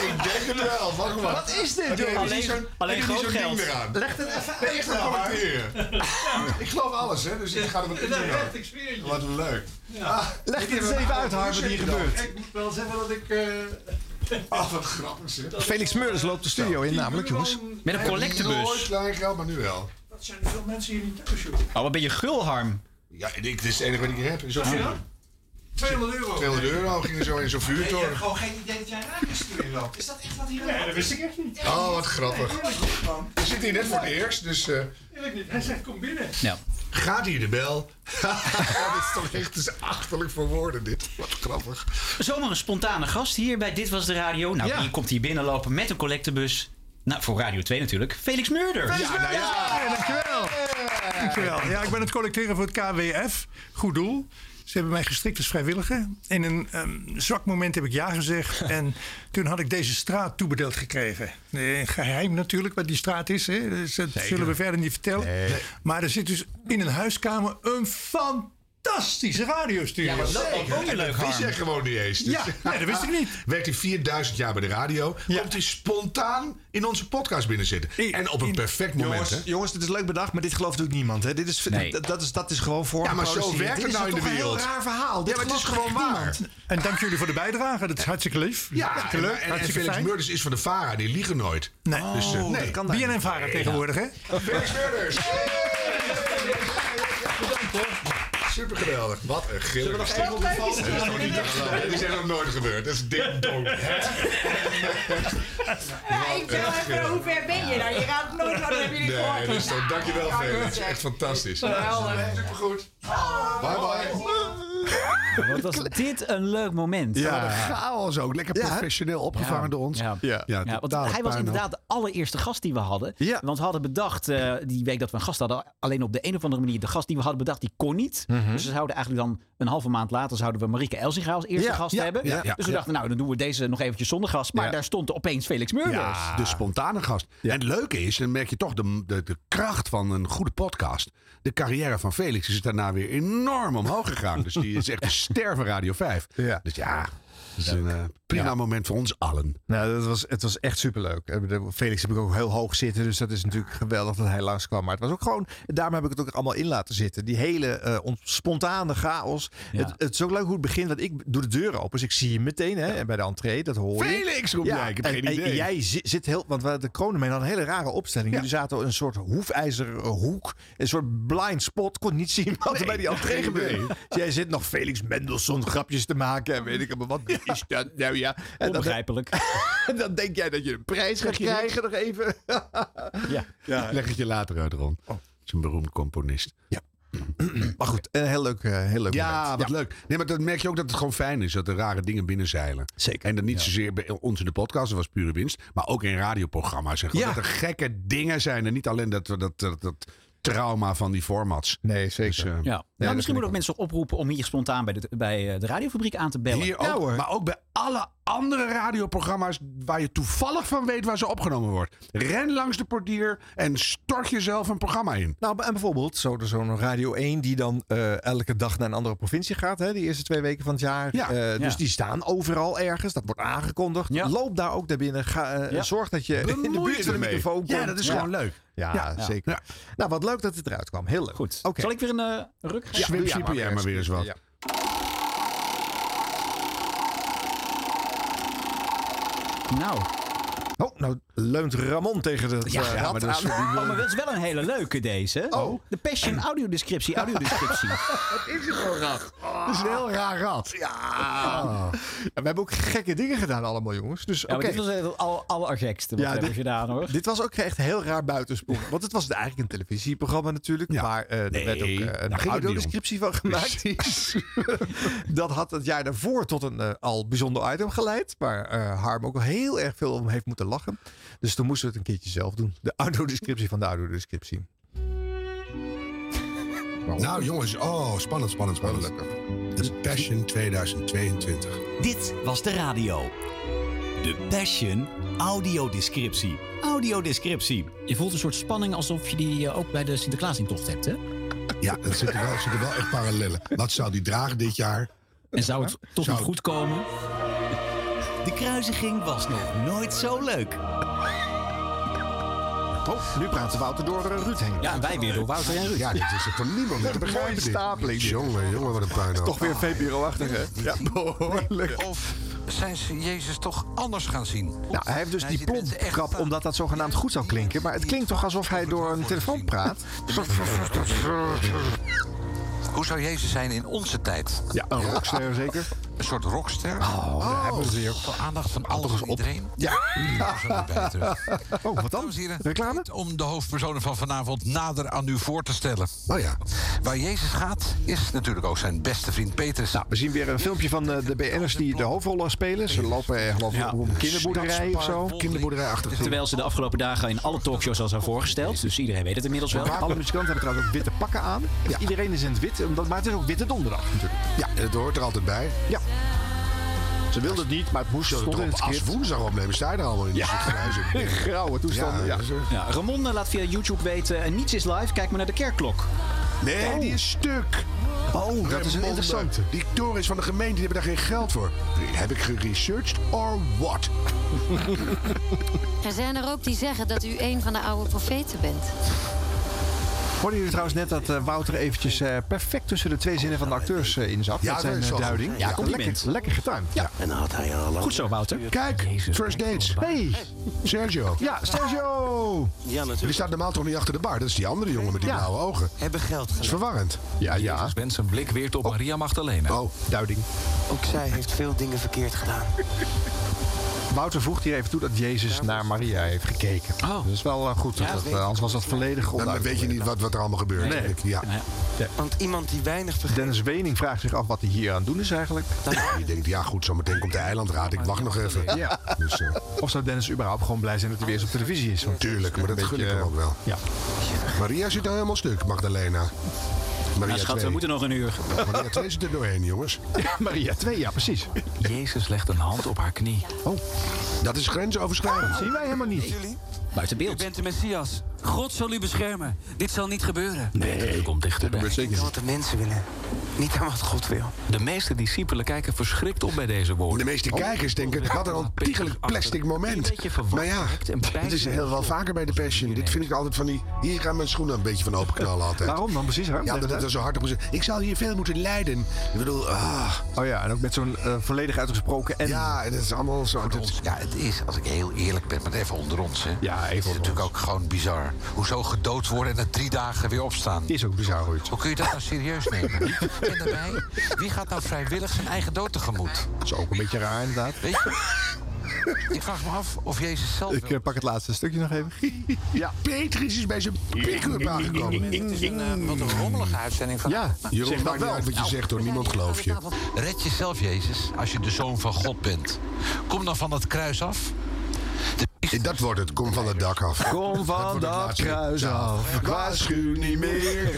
[SPEAKER 1] Ik denk het wel. Wacht maar.
[SPEAKER 26] Wat is dit,
[SPEAKER 1] Wat
[SPEAKER 26] joh?
[SPEAKER 1] doe je?
[SPEAKER 26] Alleen-
[SPEAKER 1] Doe zo'n-
[SPEAKER 26] alleen
[SPEAKER 1] doe je
[SPEAKER 26] groot
[SPEAKER 1] zo'n ding
[SPEAKER 26] geld.
[SPEAKER 1] weer aan?
[SPEAKER 26] Leg het even uit.
[SPEAKER 1] Echt wel,
[SPEAKER 26] Nou,
[SPEAKER 1] maar.
[SPEAKER 26] maar.
[SPEAKER 1] Ik geloof alles, hè? Dus ik ga er wat in
[SPEAKER 26] Ja,
[SPEAKER 1] doen.
[SPEAKER 26] echt, ik zweer je.
[SPEAKER 1] Wat leuk.
[SPEAKER 26] Ja.
[SPEAKER 1] Leg
[SPEAKER 26] Ik
[SPEAKER 1] dit
[SPEAKER 26] heb
[SPEAKER 1] eens
[SPEAKER 26] een
[SPEAKER 1] even
[SPEAKER 26] oude
[SPEAKER 1] uit, Harm, wat hier
[SPEAKER 26] douche
[SPEAKER 1] gebeurt.
[SPEAKER 26] Ik moet wel zeggen dat ik... eh,
[SPEAKER 1] Ach, Ah, wat grappig zeg.
[SPEAKER 23] Felix Meurders loopt de studio in, namelijk, jongens.
[SPEAKER 1] Met een collectebus. Nooit klein geld, maar nu wel.
[SPEAKER 26] Dat zijn veel mensen hier niet thuis, joh.
[SPEAKER 1] Oh, wat ben je gulharm? Ja, dit is het enige wat ik heb. in Zo'n
[SPEAKER 26] Ja.
[SPEAKER 1] vuur.
[SPEAKER 26] 200 euro.
[SPEAKER 1] 200 euro ging er zo in zo'n
[SPEAKER 26] Ik heb
[SPEAKER 1] vuurtoren.
[SPEAKER 26] gewoon geen idee dat jij radiostudio loopt. Is dat echt wat hier aan de hand
[SPEAKER 1] dat
[SPEAKER 26] is?
[SPEAKER 1] wist ik echt niet.
[SPEAKER 26] Echt
[SPEAKER 1] Oh, wat
[SPEAKER 26] niet?
[SPEAKER 1] grappig.
[SPEAKER 26] Nee, eerlijk niet, man.
[SPEAKER 1] We zitten hier net voor het eerst, dus... eh,
[SPEAKER 26] Eerlijk niet. Hij zegt kom binnen.
[SPEAKER 1] Ja. Gaat hier de bel? dit is toch echt dus achterlijk voor woorden, dit. Wat grappig.
[SPEAKER 3] Zomaar een spontane gast hier bij Dit Was De Radio. Nou, die komt hier binnenlopen met een collectebus. Nou, voor Radio 2 natuurlijk. Felix Murder.
[SPEAKER 15] Felix
[SPEAKER 7] nou
[SPEAKER 15] Murders! Ja, dankjewel.
[SPEAKER 1] Ah,
[SPEAKER 15] Dankjewel. Ja, ik ben het collecteren voor het KWF. Goed doel. Ze hebben mij gestrikt als vrijwilliger. In een ehm, zwak moment heb ik ja gezegd. En toen had ik deze straat toebedeeld gekregen. Eh, geheim natuurlijk wat die straat is. Hè. Dus dat zullen we verder niet vertellen. Maar er zit dus in een huiskamer een fantastische radiostudio.
[SPEAKER 1] Ja, maar dat- dat woon je En dat leuk, wist Harm. jij gewoon niet eens. Dus-
[SPEAKER 15] Ja, nee, dat wist ik niet.
[SPEAKER 1] Werkt hij 4000 jaar bij de radio. Komt hij spontaan in onze podcast binnenzitten. En op een perfect moment,
[SPEAKER 2] jongens,
[SPEAKER 1] hè?
[SPEAKER 2] jongens, dit is leuk bedacht, maar dit gelooft ook niemand. Hè. Dit is,
[SPEAKER 1] Nee.
[SPEAKER 2] dat, dat is, dat is gewoon voor.
[SPEAKER 1] Ja, maar zo werkt het nou in de wereld.
[SPEAKER 2] Een heel raar verhaal. Dit
[SPEAKER 1] Ja, maar het is
[SPEAKER 2] gelooft
[SPEAKER 1] gewoon
[SPEAKER 2] echt
[SPEAKER 1] waar.
[SPEAKER 2] niemand.
[SPEAKER 15] En dank jullie voor de bijdrage. Dat is hartstikke lief.
[SPEAKER 1] Ja,
[SPEAKER 15] hartstikke
[SPEAKER 1] en,
[SPEAKER 15] leuk.
[SPEAKER 1] en, en
[SPEAKER 15] hartstikke
[SPEAKER 1] Felix
[SPEAKER 15] fijn.
[SPEAKER 1] Murders is van de VARA. Die liegen nooit.
[SPEAKER 15] Nee,
[SPEAKER 1] Dus, eh, nee.
[SPEAKER 15] BNN-varen tegenwoordig, hè?
[SPEAKER 1] Felix Murders. Bedankt, hoor. Super geweldig. Wat een
[SPEAKER 2] Zullen we
[SPEAKER 1] gillige
[SPEAKER 2] nog even op de foto
[SPEAKER 1] Dat is toch niet te geloven. Dit is echt nog nooit gebeurd. Dat is dik dom.
[SPEAKER 16] Ja, ik wil
[SPEAKER 1] Ja,
[SPEAKER 16] even, hoe ver ben je nou? Je gaat het nooit, wat hebben jullie gehoord?
[SPEAKER 1] Nee, dat is toch, dankjewel
[SPEAKER 16] Ja,
[SPEAKER 1] Felix.
[SPEAKER 16] goed,
[SPEAKER 1] Dat is
[SPEAKER 16] zeg.
[SPEAKER 1] echt fantastisch.
[SPEAKER 16] Geweldig.
[SPEAKER 1] Supergoed. Bye bye.
[SPEAKER 3] Wat was dit een leuk moment.
[SPEAKER 1] Ja, wat een chaos ook. Lekker professioneel opgevangen
[SPEAKER 3] Ja.
[SPEAKER 1] door ons.
[SPEAKER 3] Ja.
[SPEAKER 1] Ja,
[SPEAKER 3] Ja, want
[SPEAKER 1] totale
[SPEAKER 3] hij was
[SPEAKER 1] puinhoop.
[SPEAKER 3] inderdaad de allereerste gast die we hadden. Want we hadden bedacht, eh, die week dat we een gast hadden, alleen op de een of andere manier, de gast die we hadden bedacht, die kon niet.
[SPEAKER 22] Mhm.
[SPEAKER 3] Dus we zouden eigenlijk dan een halve maand later zouden we Marieke Elsinga als eerste
[SPEAKER 1] Ja,
[SPEAKER 3] gast
[SPEAKER 1] ja,
[SPEAKER 3] hebben.
[SPEAKER 1] ja, ja,
[SPEAKER 3] dus we
[SPEAKER 1] ja.
[SPEAKER 3] dachten, nou, dan doen we deze nog eventjes zonder gast. Maar daar stond opeens Felix Murders.
[SPEAKER 1] Ja, de spontane gast. En het leuke is, dan merk je toch de, de, de kracht van een goede podcast. De carrière van Felix is daarna weer enorm omhoog gegaan. Dus die is echt een ster van Radio 5. Dus ja, dat is een eh, prima moment voor ons allen.
[SPEAKER 2] Nou, dat was, het was echt superleuk. Eh, de- Felix heb ik ook heel hoog zitten, dus dat is natuurlijk geweldig dat hij langskwam. Maar het was ook gewoon, daarom heb ik het ook allemaal in laten zitten. Die hele eh, ont- spontane chaos. Het, het is ook leuk hoe het begint, want ik doe de deur open, dus ik zie je meteen hè, en bij de entree, dat hoor je.
[SPEAKER 1] Felix, roep jij, ik heb
[SPEAKER 2] en,
[SPEAKER 1] geen
[SPEAKER 2] en-
[SPEAKER 1] idee.
[SPEAKER 2] en jij zi- zit heel, want we hadden de Kronenmijn had een hele rare opstelling. Jullie zaten in een soort hoefijzerhoek, een soort blind spot, kon niet zien wat er bij die entree
[SPEAKER 1] geen
[SPEAKER 2] gebeurde.
[SPEAKER 1] idee.
[SPEAKER 2] Dus jij zit nog Felix Mendelssohn grapjes te maken en weet ik allemaal wat is dat nou ja. En dat-
[SPEAKER 3] Onbegrijpelijk.
[SPEAKER 2] en dan denk jij dat je een prijs gaat
[SPEAKER 1] Zeg je niks?
[SPEAKER 2] krijgen nog even.
[SPEAKER 3] ja.
[SPEAKER 1] Ik Leg het je later uit, Ron. Het is een beroemd componist. Ja.
[SPEAKER 2] Oh. Maar goed, een heel leuk, eh, heel leuk
[SPEAKER 1] Ja,
[SPEAKER 2] moment.
[SPEAKER 1] wat
[SPEAKER 2] Ja.
[SPEAKER 1] leuk. Nee, maar dan merk je ook dat het gewoon fijn is dat er rare dingen binnenzeilen. Zeker. En dat niet zozeer bij ons in de podcast, dat was pure winst. Maar ook in radioprogramma's. En gewoon
[SPEAKER 2] Ja.
[SPEAKER 1] dat er gekke dingen zijn. En niet alleen dat, dat, dat, dat trauma van die formats. Dus, eh,
[SPEAKER 2] Nee, zeker.
[SPEAKER 3] Ja. Nou, misschien moeten ook mensen nog oproepen om hier spontaan bij de, bij eh, de radiofabriek aan te bellen.
[SPEAKER 1] Hier ook, maar ook bij alle andere radioprogramma's waar je toevallig van weet waar ze opgenomen wordt. Ren langs de portier en stort jezelf een programma in.
[SPEAKER 2] Nou, en bijvoorbeeld zo- zo'n Radio 1 die dan eh, elke dag naar een andere provincie gaat. Hè, die eerste twee weken van het jaar. Eh, Dus
[SPEAKER 1] Ja.
[SPEAKER 2] die staan overal ergens. Dat wordt aangekondigd. Loop daar ook naar binnen. Ga, eh,
[SPEAKER 1] Ja.
[SPEAKER 2] Zorg dat je in de
[SPEAKER 1] Bemoei je
[SPEAKER 2] buurt van de
[SPEAKER 1] ermee.
[SPEAKER 2] microfoon komt.
[SPEAKER 1] Ja, dat is gewoon leuk.
[SPEAKER 2] Ja,
[SPEAKER 1] Ja.
[SPEAKER 2] zeker. Nou, wat leuk dat het eruit kwam. Heel leuk. Goed.
[SPEAKER 3] Zal ik weer een eh, ruk gaan?
[SPEAKER 1] Swip, swip, jij maar weer eens wat.
[SPEAKER 2] Ja.
[SPEAKER 3] Nou.
[SPEAKER 2] Oh, nou leunt Ramon tegen het
[SPEAKER 3] Ja,
[SPEAKER 2] eh, rad
[SPEAKER 3] maar dat is,
[SPEAKER 2] aan.
[SPEAKER 3] oh, maar dat is wel een hele leuke deze. Oh. De Passion audiodescriptie, audiodescriptie.
[SPEAKER 2] Wat is het voor rat? Het is een heel raar Oh. rat. Ja.
[SPEAKER 1] Ah.
[SPEAKER 2] Ja, We hebben ook gekke dingen gedaan allemaal, jongens. Dus
[SPEAKER 3] Ja, maar
[SPEAKER 2] oké.
[SPEAKER 3] dit was het al- allergekste wat we hebben
[SPEAKER 2] dit-
[SPEAKER 3] gedaan hoor.
[SPEAKER 2] Dit was ook echt heel raar buitenspoel. Want het was eigenlijk een televisieprogramma natuurlijk. Maar eh, er werd ook eh,
[SPEAKER 1] daar ging het
[SPEAKER 3] nou,
[SPEAKER 2] een
[SPEAKER 1] niet om.
[SPEAKER 2] audiodescriptie van gemaakt. dat had het jaar daarvoor tot een eh, al bijzonder item geleid. Waar eh, Harm ook wel heel erg veel om heeft moeten lachen. Dus toen moesten we het een keertje zelf doen. De audiodescriptie van de audiodescriptie.
[SPEAKER 1] Nou jongens, oh, spannend, spannend, spannend. De Passion 2022.
[SPEAKER 7] Dit was de radio. De Passion Audiodescriptie. Audiodescriptie.
[SPEAKER 3] Je voelt een soort spanning alsof je die eh, ook bij de Sinterklaasintocht hebt, hè?
[SPEAKER 1] Ja, dat zitten wel, zitten wel echt parallellen. Wat zou die dragen dit jaar?
[SPEAKER 3] En zou Nou, het toch nog goed komen?
[SPEAKER 7] De kruisiging was nog nooit zo leuk.
[SPEAKER 2] Oh, nu praten Wouter door eh, Ruud heen.
[SPEAKER 3] Ja, wij weer door Wouter en Ruud.
[SPEAKER 1] Ja, dit is het voor niemand meer te begrijpen.
[SPEAKER 2] Mooie
[SPEAKER 1] dit.
[SPEAKER 2] stapeling. dit.
[SPEAKER 1] Jongen, jongen, wat een puinhoop.
[SPEAKER 2] Toch weer VPRO-achtig, hè? Ja, behoorlijk.
[SPEAKER 12] Of zijn ze Jezus toch anders gaan zien?
[SPEAKER 2] Nou, hij heeft dus die plompkrap omdat dat zogenaamd goed zou klinken. Maar het klinkt toch alsof hij door een telefoon praat?
[SPEAKER 12] Hoe zou Jezus zijn in onze tijd?
[SPEAKER 2] Ja, een rockster zeker.
[SPEAKER 12] Een soort rockster.
[SPEAKER 2] Oh, daar hebben we ze weer.
[SPEAKER 12] Veel aandacht van alles en iedereen.
[SPEAKER 2] Ja.
[SPEAKER 12] Oh, wat dan? Reclame? Om de hoofdpersonen van vanavond nader aan u voor te stellen.
[SPEAKER 1] Oh ja.
[SPEAKER 12] Waar Jezus gaat, is natuurlijk ook zijn beste vriend Petrus.
[SPEAKER 2] Nou, we zien weer een filmpje van eh, de BN'ers die de hoofdrollen spelen. Ze lopen eh, geloof ik om een kinderboerderij of zo.
[SPEAKER 1] Kinderboerderij
[SPEAKER 3] Terwijl ze de afgelopen dagen in alle talkshows al zijn voorgesteld. Dus iedereen weet het inmiddels wel.
[SPEAKER 2] Alle muzikanten hebben trouwens ook witte pakken aan. Dus Iedereen is in het wit, omdat, maar het is ook witte donderdag natuurlijk.
[SPEAKER 1] Ja, het hoort er altijd bij.
[SPEAKER 2] Ja. Ze wilden het niet, maar het moest.
[SPEAKER 1] Zullen we
[SPEAKER 2] Stond in
[SPEAKER 1] toch
[SPEAKER 2] het
[SPEAKER 1] op als
[SPEAKER 2] script.
[SPEAKER 1] woensdag opnemen? Sta je er allemaal in?
[SPEAKER 2] Ja. Grauwe toestanden, ja.
[SPEAKER 3] Ja, Ramon eh, laat via YouTube weten, eh, niets is live, kijk maar naar de kerkklok. Nou,
[SPEAKER 1] Nee, die is stuk.
[SPEAKER 2] Oh,
[SPEAKER 1] dat is een interessante. Die torens van de gemeente die hebben daar geen geld voor. Heb ik geresearched or what?
[SPEAKER 4] Er zijn er ook die zeggen dat u een van de oude profeten bent.
[SPEAKER 2] Hoorden jullie trouwens net dat eh, Wouter eventjes eh, perfect tussen de twee zinnen van de acteurs eh, in zat?
[SPEAKER 1] Ja,
[SPEAKER 2] met zijn
[SPEAKER 1] dat is
[SPEAKER 2] eh,
[SPEAKER 1] wel goed.
[SPEAKER 2] duiding.
[SPEAKER 1] Ja, compliment.
[SPEAKER 2] Lekker, lekker getuimd. Ja.
[SPEAKER 1] En had hij al
[SPEAKER 3] Goed zo, Wouter.
[SPEAKER 1] Kijk, first dates.
[SPEAKER 2] Hey,
[SPEAKER 1] Sergio.
[SPEAKER 2] Ja, Sergio!
[SPEAKER 1] Ja, natuurlijk. Die staat normaal toch niet achter de bar? Dat is die andere jongen met die
[SPEAKER 12] Ja.
[SPEAKER 1] blauwe ogen.
[SPEAKER 12] Hebben geld
[SPEAKER 1] Dat is verwarrend.
[SPEAKER 2] Ja, ja.
[SPEAKER 12] Wens zijn blik weer op Maria Magdalena.
[SPEAKER 1] Oh,
[SPEAKER 2] duiding.
[SPEAKER 20] Ook zij heeft veel dingen verkeerd gedaan.
[SPEAKER 2] Wouter voegt hier even toe dat Jezus naar Maria heeft gekeken.
[SPEAKER 12] Oh.
[SPEAKER 2] Dat is wel eh, goed.
[SPEAKER 20] Ja,
[SPEAKER 2] dat,
[SPEAKER 20] weet
[SPEAKER 2] eh, anders was dat volledig
[SPEAKER 1] Dan
[SPEAKER 2] onduidelijk.
[SPEAKER 1] weet je niet wat, wat er allemaal gebeurt.
[SPEAKER 2] Nee.
[SPEAKER 1] natuurlijk. Ja.
[SPEAKER 20] Want iemand die weinig vergeet...
[SPEAKER 2] Dennis Wening vraagt zich af wat hij hier aan het doen is eigenlijk.
[SPEAKER 1] Je denkt, ja goed, zometeen komt de eilandraad. Ik wacht nog even. Dus, eh,
[SPEAKER 2] Ja. Of zou Dennis überhaupt gewoon blij zijn dat hij weer eens op televisie is? Want
[SPEAKER 1] Tuurlijk, maar dat gun ik hem ook wel.
[SPEAKER 2] Ja.
[SPEAKER 1] Maria zit nou helemaal stuk, Magdalena. Maria
[SPEAKER 3] Nou, schat, we
[SPEAKER 1] twee.
[SPEAKER 3] moeten nog een uur.
[SPEAKER 1] Maria 2 zit er doorheen, jongens.
[SPEAKER 2] Maria 2, ja, precies.
[SPEAKER 12] Jezus legt een hand op haar knie. Ah.
[SPEAKER 2] Oh,
[SPEAKER 1] dat is grensoverschrijdend.
[SPEAKER 2] zien wij helemaal niet.
[SPEAKER 3] Buiten
[SPEAKER 20] U
[SPEAKER 3] beeld.
[SPEAKER 20] bent de Messias. God zal u beschermen. Dit zal niet gebeuren.
[SPEAKER 12] Nee, komt dichterbij.
[SPEAKER 20] Denk aan wat de mensen willen. Niet aan wat God wil.
[SPEAKER 12] De meeste discipelen kijken verschrikt op bij deze woorden.
[SPEAKER 1] De meeste
[SPEAKER 3] Oh.
[SPEAKER 1] kijkers denken, wat een ontiegelijk plastic moment. Maar ja, dit is heel wel vaker bij de Passion. Dit vind ik altijd van die, hier gaan mijn schoenen een beetje van open knallen altijd.
[SPEAKER 2] Waarom dan precies? Hè?
[SPEAKER 1] Ja, omdat het er zo hard op is. Ik zal hier veel moeten lijden. Ik bedoel, ah.
[SPEAKER 2] Oh ja, en ook met zo'n eh, volledig uitgesproken en...
[SPEAKER 1] Ja, en dat is allemaal zo. dat-
[SPEAKER 12] Ja, het is, als ik heel eerlijk ben, maar even onder ons. Hè.
[SPEAKER 2] Ja, even
[SPEAKER 12] het is
[SPEAKER 2] onder
[SPEAKER 12] natuurlijk ook gewoon bizar. Hoezo gedood worden en na drie dagen weer opstaan?
[SPEAKER 2] Is ook bizar, Ruud.
[SPEAKER 12] Hoe kun je dat nou serieus nemen? en daarbij, wie gaat nou vrijwillig zijn eigen dood tegemoet?
[SPEAKER 2] Dat is ook een beetje raar inderdaad.
[SPEAKER 12] Weet je? Ik vraag me af of Jezus zelf...
[SPEAKER 2] Ik eh, pak het laatste stukje nog even.
[SPEAKER 1] Ja, Petrus is bij zijn pick-up aangekomen.
[SPEAKER 12] Het is een eh, wat een rommelige uitzending van...
[SPEAKER 2] Ja,
[SPEAKER 1] Jeroen, maakt niet uit wat je zegt hoor. Niemand
[SPEAKER 12] Nou,
[SPEAKER 1] gelooft je.
[SPEAKER 12] Red jezelf, Jezus, als je de zoon van God bent. Kom dan van dat kruis af.
[SPEAKER 1] Dat wordt het. Kom van het dak af.
[SPEAKER 2] Kom van dat kruis
[SPEAKER 1] Nou,
[SPEAKER 2] af. Waarschuw niet meer.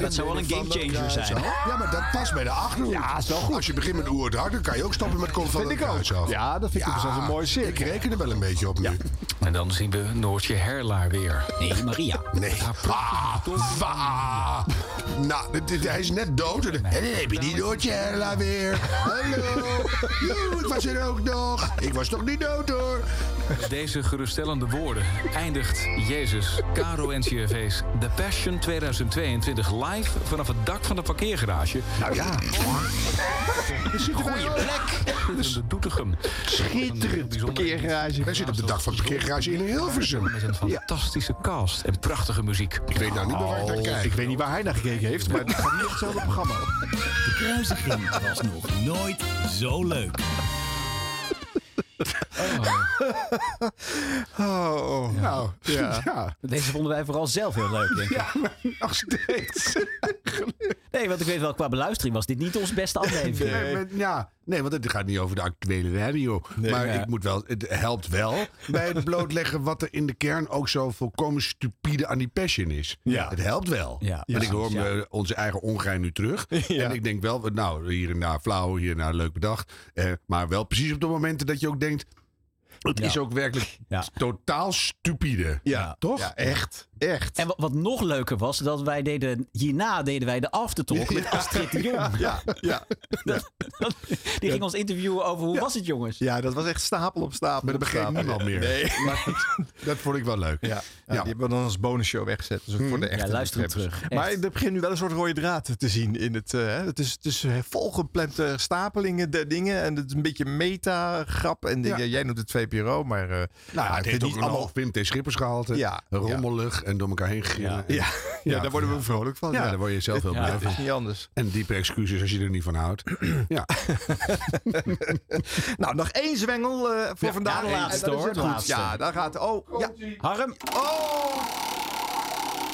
[SPEAKER 3] dat zou wel een gamechanger zijn.
[SPEAKER 1] Ja, maar dat past bij de achterhoek. Ja, is wel goed. Als je begint met oer dan kan je ook stoppen met kom van
[SPEAKER 2] Vind
[SPEAKER 1] het
[SPEAKER 2] ik ook.
[SPEAKER 1] kruis af.
[SPEAKER 2] Ja, dat vind ik zelfs een mooi cirkel.
[SPEAKER 1] Ik reken er wel een beetje op nu.
[SPEAKER 12] En dan zien we Noortje Herlaar weer.
[SPEAKER 3] Nee, Maria.
[SPEAKER 1] Nee. Ah, wa. Nou, dit- dit- hij is net dood. En en dan heb je die Noortjerla weer. Hallo. Joe, ik was er ook nog. Ik was toch niet dood hoor.
[SPEAKER 29] Met deze geruststellende woorden eindigt Jezus, Caro en CRV's The Passion 2022 live vanaf het dak van de parkeergarage.
[SPEAKER 1] Nou ja.
[SPEAKER 29] Goeie plek! De Doetinchem.
[SPEAKER 2] Schitterend parkeergarage.
[SPEAKER 1] Wij zitten op de dag van het parkeergarage in Hilversum.
[SPEAKER 29] Met een fantastische cast en prachtige muziek.
[SPEAKER 1] Ik weet nou niet meer waar ik naar
[SPEAKER 2] Ik
[SPEAKER 1] kijk.
[SPEAKER 2] weet niet waar hij naar gekeken heeft, maar het gaat niet echt hetzelfde programma.
[SPEAKER 7] De kruisiging was nog nooit zo leuk.
[SPEAKER 2] Oh, nou. Ja.
[SPEAKER 3] Deze vonden wij vooral zelf heel leuk, denk ik.
[SPEAKER 2] Nog steeds.
[SPEAKER 7] Nee, want ik weet wel, qua beluistering was dit niet ons beste aflevering.
[SPEAKER 1] Nee, maar- ja, nee, want het gaat niet over de actuele radio. maar
[SPEAKER 7] ja.
[SPEAKER 1] ik moet wel, het helpt wel bij het blootleggen wat er in de kern ook zo volkomen stupide aan die passion is.
[SPEAKER 2] Ja.
[SPEAKER 1] Het helpt wel.
[SPEAKER 2] Ja,
[SPEAKER 1] Want ik hoor
[SPEAKER 2] precies, ja.
[SPEAKER 1] eh, onze eigen ongein nu terug. En ik denk wel, nou, hier en daar flauw, hier en daar leuk bedacht. Eh, maar wel precies op de momenten dat je ook denkt... Het
[SPEAKER 7] Ja.
[SPEAKER 1] is ook werkelijk totaal stupide.
[SPEAKER 2] Ja,
[SPEAKER 1] toch?
[SPEAKER 2] echt. Echt.
[SPEAKER 7] En wa- wat nog leuker was, dat wij deden, hierna deden wij de aftertalk met Astrid de Jong.
[SPEAKER 2] Ja, ja.
[SPEAKER 7] Die ging ons interviewen over hoe was het, jongens?
[SPEAKER 2] Ja, dat was echt stapel op stapel.
[SPEAKER 1] Maar dat
[SPEAKER 2] op
[SPEAKER 1] begreep
[SPEAKER 2] stapel.
[SPEAKER 1] niemand meer.
[SPEAKER 2] Nee.
[SPEAKER 1] Maar dat vond ik wel leuk. Hmm.
[SPEAKER 2] Ja, ja, die hebben we dan als bonusshow weggezet. Dus ook voor de echte
[SPEAKER 7] Ja, luister hem
[SPEAKER 2] liefhebbers.
[SPEAKER 7] terug.
[SPEAKER 2] Maar er begint nu wel een soort rode draad te zien. In het, eh, hè. het is, het is eh, volgeplande stapelingen der dingen. En het is een beetje meta-grap. En de-
[SPEAKER 1] Ja.
[SPEAKER 2] ja, jij noemt het VPRO, maar... eh,
[SPEAKER 1] Nou, ja, het heeft
[SPEAKER 2] vind
[SPEAKER 1] ook
[SPEAKER 2] ik
[SPEAKER 1] een hoog Wim T. Schippers gehalte.
[SPEAKER 2] Ja,
[SPEAKER 1] rommelig en door elkaar heen gillen.
[SPEAKER 2] Ja, ja, daar worden we vrolijk van.
[SPEAKER 1] Ja,
[SPEAKER 2] Ja.
[SPEAKER 1] daar word je zelf heel
[SPEAKER 2] Ja,
[SPEAKER 1] blij
[SPEAKER 2] het
[SPEAKER 1] van.
[SPEAKER 2] is niet anders.
[SPEAKER 1] En diepe excuses als je er niet van houdt. ja.
[SPEAKER 2] Nou, nog één zwengel eh, voor
[SPEAKER 1] Ja,
[SPEAKER 2] vandaag.
[SPEAKER 1] ja, de
[SPEAKER 2] En
[SPEAKER 1] laatste,
[SPEAKER 2] dan is
[SPEAKER 1] hoor,
[SPEAKER 2] het
[SPEAKER 1] de
[SPEAKER 2] goed.
[SPEAKER 1] laatste.
[SPEAKER 2] Ja, daar gaat... Oh, ja.
[SPEAKER 7] Harm.
[SPEAKER 2] Oh!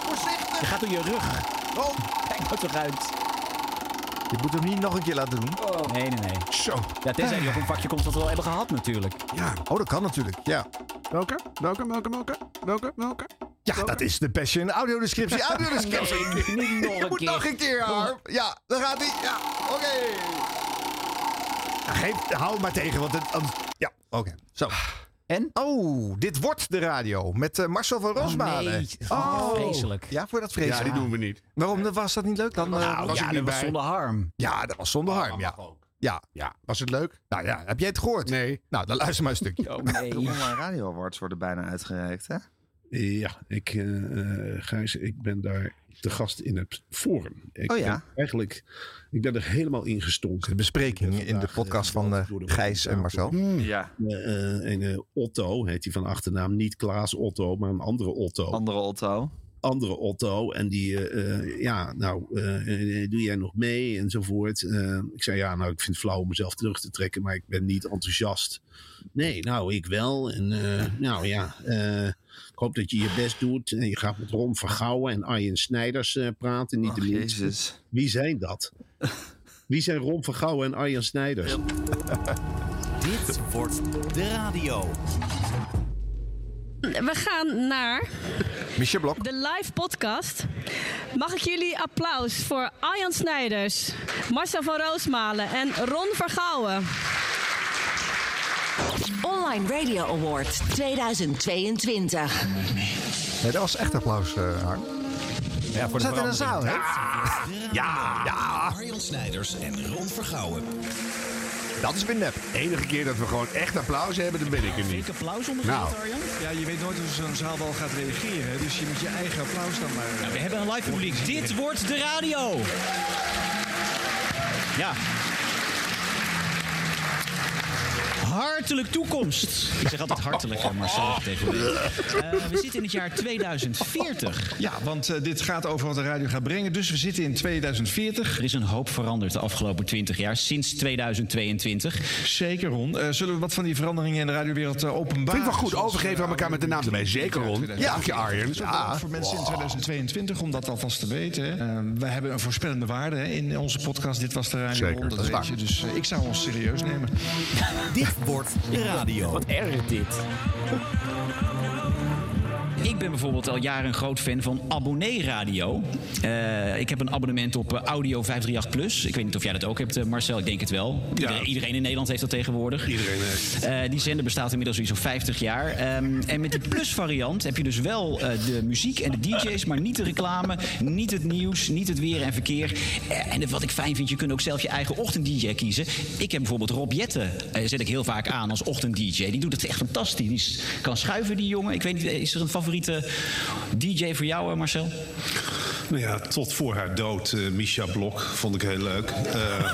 [SPEAKER 2] Voorzichtig!
[SPEAKER 7] Je gaat door je rug.
[SPEAKER 2] Oh,
[SPEAKER 7] kijk nou toch uit.
[SPEAKER 2] Je moet hem niet nog een keer laten doen. Ah.
[SPEAKER 7] Nee, nee, nee.
[SPEAKER 1] Zo.
[SPEAKER 7] Ja, tenzij je nog een vakje komt wat we al hebben gehad natuurlijk.
[SPEAKER 1] Ja.
[SPEAKER 2] Oh, dat kan natuurlijk. Ja.
[SPEAKER 1] Welke? Welke, welke, welke? Welke, welke?
[SPEAKER 2] Ja, dat is de Passion audiodescriptie. Audiodescriptie.
[SPEAKER 7] Nee, niet nog een
[SPEAKER 2] Je moet
[SPEAKER 7] keer.
[SPEAKER 2] nog een keer, Harm. Ja, daar gaat hij. Ja, oké. Ja, geef- hou maar tegen, want het... anders- Ja, oké. Zo.
[SPEAKER 7] En?
[SPEAKER 2] Oh, dit wordt de radio met eh, Marcel van Rosmalen.
[SPEAKER 7] nee. Oh, vreselijk.
[SPEAKER 2] Ja, voor dat vreselijk.
[SPEAKER 1] Ja, die doen we niet.
[SPEAKER 2] Waarom dan was dat niet leuk dan? Eh,
[SPEAKER 7] Nou,
[SPEAKER 2] was
[SPEAKER 7] ja,
[SPEAKER 2] ik
[SPEAKER 7] dat
[SPEAKER 2] niet
[SPEAKER 7] was
[SPEAKER 2] bij.
[SPEAKER 7] zonder harm.
[SPEAKER 2] Ja, dat was zonder harm, ja. Ja.
[SPEAKER 1] Oh, ja. Was het leuk?
[SPEAKER 2] Nou ja, heb jij het gehoord?
[SPEAKER 1] Nee.
[SPEAKER 2] Nou, dan luister maar een stukje.
[SPEAKER 7] Oh, nee.
[SPEAKER 31] Online Radio Awards worden bijna uitgereikt, hè?
[SPEAKER 16] Ja, ik, eh, eh, Gijs, ik ben daar te gast in het forum. Ik
[SPEAKER 31] Oh ja.
[SPEAKER 16] Ben eigenlijk, ik ben er helemaal in gestonken. De
[SPEAKER 2] bespreking in de podcast van eh, Gijs en Marcel.
[SPEAKER 16] Ja. en eh, Otto heet hij van achternaam. Niet Klaas Otto, maar een andere Otto. Andere Otto. Andere Otto. En die, eh, eh, ja, nou, eh, eh, doe jij nog mee enzovoort. Eh, ik zei, ja, nou, ik vind het flauw om mezelf terug te trekken, maar ik ben niet enthousiast. Nee, nou, ik wel. En eh, nou ja, eh, ik hoop dat je je best doet. En je gaat met Ron van Gouwen en Arjen Snijders eh, praten, niet de minste. Wie zijn dat? Wie zijn Ron van Gouwen en Arjen Snijders?
[SPEAKER 13] Dit wordt de radio.
[SPEAKER 8] We gaan naar
[SPEAKER 2] Michel Blok.
[SPEAKER 8] de live podcast. Mag ik jullie applaus voor Arjan Snijders, Marcel van Roosmalen en Ron Vergouwen.
[SPEAKER 4] Online Radio Award 2022.
[SPEAKER 2] Nee, dat was echt applaus, eh Harm. Ja,
[SPEAKER 4] voor de
[SPEAKER 2] Zat in een
[SPEAKER 4] verandering.
[SPEAKER 2] zaal, hè?
[SPEAKER 1] Ja, ja.
[SPEAKER 13] Arjan Snijders en Ron Vergouwen.
[SPEAKER 2] Dat is weer nep.
[SPEAKER 1] Enige keer dat we gewoon echt applaus hebben, dan ben ik er niet.
[SPEAKER 13] applaus
[SPEAKER 1] Nou.
[SPEAKER 13] Ja, je weet nooit hoe zo'n zaal wel gaat reageren. Dus je moet je eigen applaus dan maar...
[SPEAKER 31] eh,
[SPEAKER 3] We hebben een live publiek. Dit wordt de radio. Ja. Hartelijk toekomst. Ik zeg altijd hartelijk, hè, maar zo tegen me. Eh, We zitten in het jaar 2040.
[SPEAKER 31] Ja, want eh, dit gaat over wat de radio gaat brengen. Dus we zitten in 2040.
[SPEAKER 3] Er is een hoop veranderd de afgelopen 20 jaar, sinds 2022.
[SPEAKER 31] Zeker, Ron. Eh, zullen we wat van die veranderingen in de radiowereld eh, openbaren?
[SPEAKER 1] Vind ik wel goed.
[SPEAKER 31] Zoals,
[SPEAKER 1] Overgeven
[SPEAKER 31] eh,
[SPEAKER 1] aan elkaar met de naam erbij. Zeker, Ron. Dank je, Arjen.
[SPEAKER 2] Ah.
[SPEAKER 31] Ja. Voor mensen in 2022, om dat alvast te weten. Eh, we hebben een voorspellende waarde hè, in onze podcast. Dit was de radio.
[SPEAKER 1] Zeker,
[SPEAKER 31] Ron,
[SPEAKER 1] dat is
[SPEAKER 31] weet
[SPEAKER 1] waar.
[SPEAKER 31] je. Dus eh, ik zou ons serieus nemen.
[SPEAKER 13] Dit wordt de radio.
[SPEAKER 8] Wat erg dit.
[SPEAKER 3] Ik ben bijvoorbeeld al jaren een groot fan van Abonnee Radio. Eh, ik heb een abonnement op eh, Audio 538 Plus. Ik weet niet of jij dat ook hebt, eh, Marcel. Ik denk het wel. Iedereen, iedereen in Nederland heeft dat tegenwoordig. Iedereen die zender bestaat inmiddels zo'n 50 jaar. Ehm, en met die Plus variant heb je dus wel eh, de muziek en de DJ's, maar niet de reclame, niet het nieuws, niet het weer en verkeer. Eh, en wat ik fijn vind, je kunt ook zelf je eigen ochtend-DJ kiezen. Ik heb bijvoorbeeld Rob Jetten, eh, zet ik heel vaak aan als ochtend-DJ. Die doet het echt fantastisch. Die is- kan schuiven, die jongen. Ik weet niet, eh, is er een favoriete DJ voor jou, eh, Marcel?
[SPEAKER 16] Nou ja, tot voor haar dood, eh Misha Blok, vond ik heel leuk. Eh,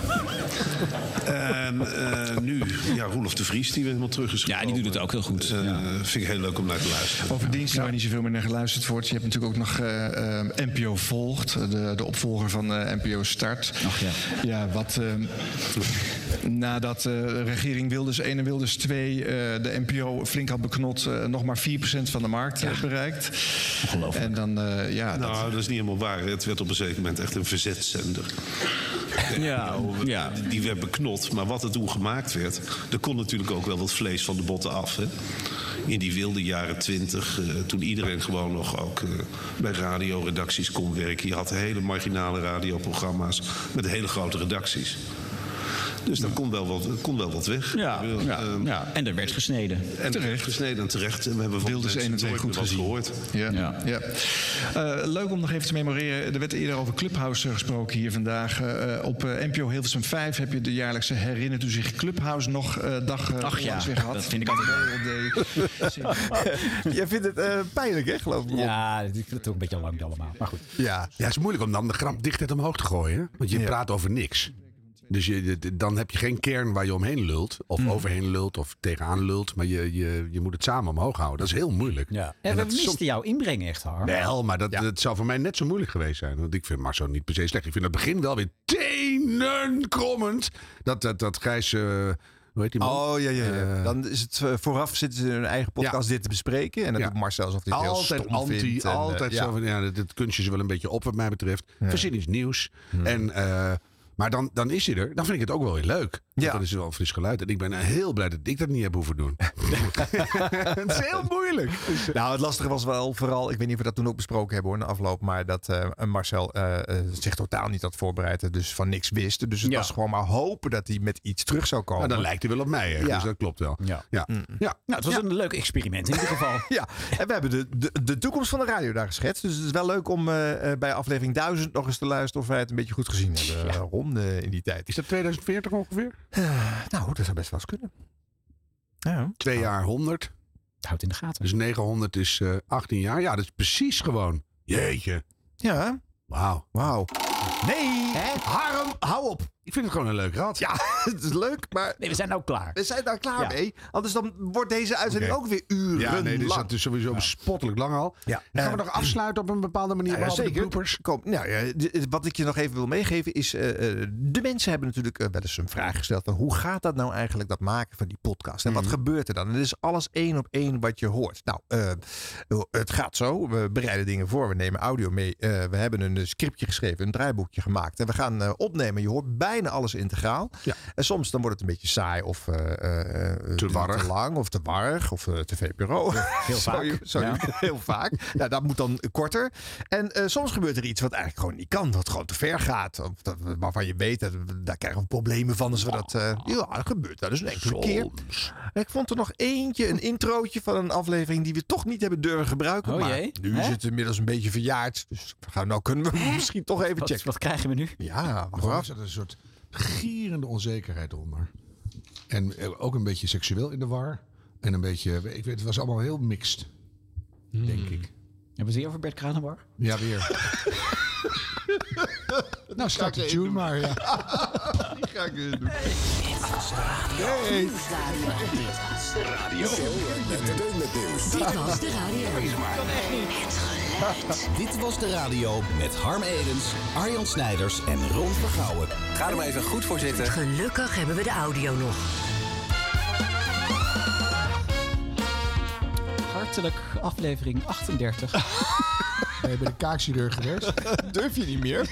[SPEAKER 16] en eh, nu, ja, Roelof de Vries, die weer helemaal terug is Ja, die doet het ook heel goed. Vind ik heel leuk om naar te luisteren.
[SPEAKER 31] Over diensten waar niet zoveel meer naar geluisterd wordt. Je hebt natuurlijk ook nog eh, eh, NPO Volgt, de, de opvolger van eh, NPO Start. ja. wat
[SPEAKER 7] ehm,
[SPEAKER 31] eh, nadat eh, de regering Wilders 1 en Wilders 2 eh, de NPO flink had beknot, eh, nog maar 4% van de markt eh, bereikt.
[SPEAKER 7] bereikt. En dan, eh, ja.
[SPEAKER 6] Nou, dat... is niet helemaal waar. Het werd op een zeker moment echt een verzetzender. Ja, ja. Die werd beknot. Maar wat er toen gemaakt werd... er kon natuurlijk ook wel wat vlees van de botten af. Hè? In die wilde jaren twintig, eh, toen iedereen gewoon nog ook eh, bij radioredacties kon werken. Je had hele marginale radioprogramma's met hele grote redacties. Dus dan kon wel wat, kon wel wat weg. Ja,
[SPEAKER 22] ja,
[SPEAKER 7] ehm,
[SPEAKER 22] En er werd gesneden.
[SPEAKER 6] En terecht. gesneden en terecht. En we hebben
[SPEAKER 7] Wilders
[SPEAKER 6] mensen
[SPEAKER 7] 1 en 2
[SPEAKER 6] nooit
[SPEAKER 7] goed
[SPEAKER 6] meer wat
[SPEAKER 7] gezien.
[SPEAKER 6] gehoord.
[SPEAKER 7] Ja. ja. Eh, leuk om nog even te memoreren. Er werd eerder over Clubhouse gesproken hier vandaag. Eh, op eh, NPO Hilversum 5 heb je de jaarlijkse Herinnert u zich Clubhouse nog eh, dag eh,
[SPEAKER 22] Ach ja,
[SPEAKER 7] onlangs weer gehad.
[SPEAKER 22] dat vind ik altijd-
[SPEAKER 2] Jij vindt het eh, pijnlijk, hè, geloof ik?
[SPEAKER 1] Ja,
[SPEAKER 3] ik vind het ook een beetje lang allemaal. Maar goed.
[SPEAKER 1] Ja. ja, het is moeilijk om dan de grapdichtheid omhoog te gooien. hè? Want je praat over niks. Dus je, de- de- dan heb je geen kern waar je omheen lult. Of
[SPEAKER 2] Mm.
[SPEAKER 1] overheen lult, of tegenaan lult. Maar je, je, je moet het samen omhoog houden. Dat is heel moeilijk. Ja.
[SPEAKER 3] Eh, we misten jouw inbreng echt, Harm.
[SPEAKER 1] Wel, maar dat, dat zou voor mij net zo moeilijk geweest zijn. Want ik vind Marzo niet per se slecht. Ik vind het begin wel weer tenenkrommend. Dat, dat, dat Gijs... eh, hoe heet die man?
[SPEAKER 2] Oh ja, ja, ja. dan is het eh, vooraf zitten ze in hun eigen podcast dit te bespreken. En dat
[SPEAKER 1] Ja.
[SPEAKER 2] doet Marcel alsof hij het heel
[SPEAKER 1] altijd
[SPEAKER 2] stom
[SPEAKER 1] anti,
[SPEAKER 2] vindt. en, eh,
[SPEAKER 1] altijd
[SPEAKER 2] ja.
[SPEAKER 1] zo van, ja, dit, dit kunstje is wel een beetje op wat mij betreft.
[SPEAKER 2] Ja. Hmm.
[SPEAKER 1] Verzin iets nieuws. En, eh, maar dan, dan is hij er. Dan vind ik het ook wel weer leuk. Ja. Dan is het wel een fris geluid. En ik ben heel blij dat ik dat niet heb hoeven doen. het is heel moeilijk.
[SPEAKER 2] Nou, het lastige was wel vooral, ik weet niet of we dat toen ook besproken hebben hoor, in de afloop, maar dat eh, Marcel eh, eh, zich totaal niet had voorbereid, en dus van niks wist. Dus het was gewoon maar hopen dat hij met iets terug zou komen.
[SPEAKER 1] Nou, dan lijkt hij wel op mij, hè?
[SPEAKER 2] Ja. Hmm.
[SPEAKER 1] dus dat klopt wel. Ja. Ja.
[SPEAKER 3] Nou, het was een leuk experiment in ieder geval.
[SPEAKER 2] ja, en we hebben de, de, de toekomst van de radio daar geschetst. Dus het is wel leuk om eh, eh, bij aflevering 1000 nog eens te luisteren of wij het een beetje goed gezien hebben. eh, Ron, eh, in die tijd. Is
[SPEAKER 1] dat 2040 ongeveer?
[SPEAKER 2] nou, dat zou best wel eens kunnen.
[SPEAKER 1] Twee jaar 100.
[SPEAKER 3] Houdt in de gaten.
[SPEAKER 1] Dus 900 is eh 18 jaar. Ja, dat is precies gewoon. Jeetje.
[SPEAKER 2] Ja.
[SPEAKER 1] Wauw.
[SPEAKER 2] Wauw. Nee, Harm, hou op.
[SPEAKER 1] Ik vind het gewoon een leuk rad.
[SPEAKER 2] Ja, het is leuk, maar...
[SPEAKER 3] Nee, we zijn nou klaar.
[SPEAKER 2] We zijn daar klaar
[SPEAKER 1] Ja.
[SPEAKER 2] mee. Anders dan wordt deze uitzending
[SPEAKER 1] Oké.
[SPEAKER 2] ook weer uren
[SPEAKER 1] Ja, nee, dit is,
[SPEAKER 2] lang.
[SPEAKER 1] het is sowieso bespottelijk lang al.
[SPEAKER 2] Ja.
[SPEAKER 1] Dan gaan we nog afsluiten op een bepaalde manier.
[SPEAKER 2] Ja, ja,
[SPEAKER 1] behalve de
[SPEAKER 2] zeker.
[SPEAKER 1] bloopers.
[SPEAKER 2] Kom, nou, ja, d- d- wat ik je nog even wil meegeven is... eh, eh, de mensen hebben natuurlijk eh, wel eens een vraag gesteld... van hoe gaat dat nou eigenlijk, dat maken van die podcast? En
[SPEAKER 1] Mhm.
[SPEAKER 2] wat gebeurt er dan? En het is alles één op één wat je hoort. Nou, eh, het gaat zo. We bereiden dingen voor. We nemen audio mee. Eh, we hebben een eh, scriptje geschreven, een draaiboekje gemaakt. En we gaan eh, opnemen. Je hoort bijna alles integraal. En soms dan wordt het een beetje saai of... te,
[SPEAKER 1] warrig.
[SPEAKER 2] te lang of te warrig of eh, te VPRO.
[SPEAKER 1] Heel
[SPEAKER 2] Zou je-
[SPEAKER 1] vaak,
[SPEAKER 2] zou je-
[SPEAKER 1] ja.
[SPEAKER 2] heel vaak. Nou, dat moet dan korter. En eh, soms gebeurt er iets wat eigenlijk gewoon niet kan. Wat gewoon te ver gaat. Of dat, waarvan je weet, dat, daar krijgen we problemen van als we dat... eh, ja, dat gebeurt wel eens een enkele keer. Ik vond er nog eentje, een introotje van een aflevering... die we toch niet hebben durven gebruiken.
[SPEAKER 3] Oh
[SPEAKER 2] maar
[SPEAKER 3] jee.
[SPEAKER 2] nu
[SPEAKER 3] Hè?
[SPEAKER 2] is het inmiddels een beetje verjaard. Dus ah, we gaan, nou kunnen we misschien toch even
[SPEAKER 3] Wat-
[SPEAKER 2] checken.
[SPEAKER 3] wat krijgen we nu?
[SPEAKER 2] Ja, wacht
[SPEAKER 1] Waarom
[SPEAKER 2] af.
[SPEAKER 1] zit er een soort gierende onzekerheid onder? En eh, ook een beetje seksueel in de war. En een beetje, ik weet, het was allemaal heel mixed. Denk ik.
[SPEAKER 3] Hmm. Hebben ze hier over Bert Kranenbar?
[SPEAKER 1] Ja, weer. nou, start de tune maar. Ja.
[SPEAKER 2] Die ga ik weer doen.
[SPEAKER 1] Nee.
[SPEAKER 14] Radio. Teun met nieuws.
[SPEAKER 4] Dit was de radio.
[SPEAKER 13] Dit was de radio met Harm Edens, Arjan Snijders en Ron Vergouwen. Ga er maar even goed voor zitten.
[SPEAKER 4] Gelukkig hebben we de audio nog.
[SPEAKER 3] Hartelijk aflevering 38.
[SPEAKER 1] Ben je bij de kaakchirurg geweest?
[SPEAKER 2] Durf je niet meer?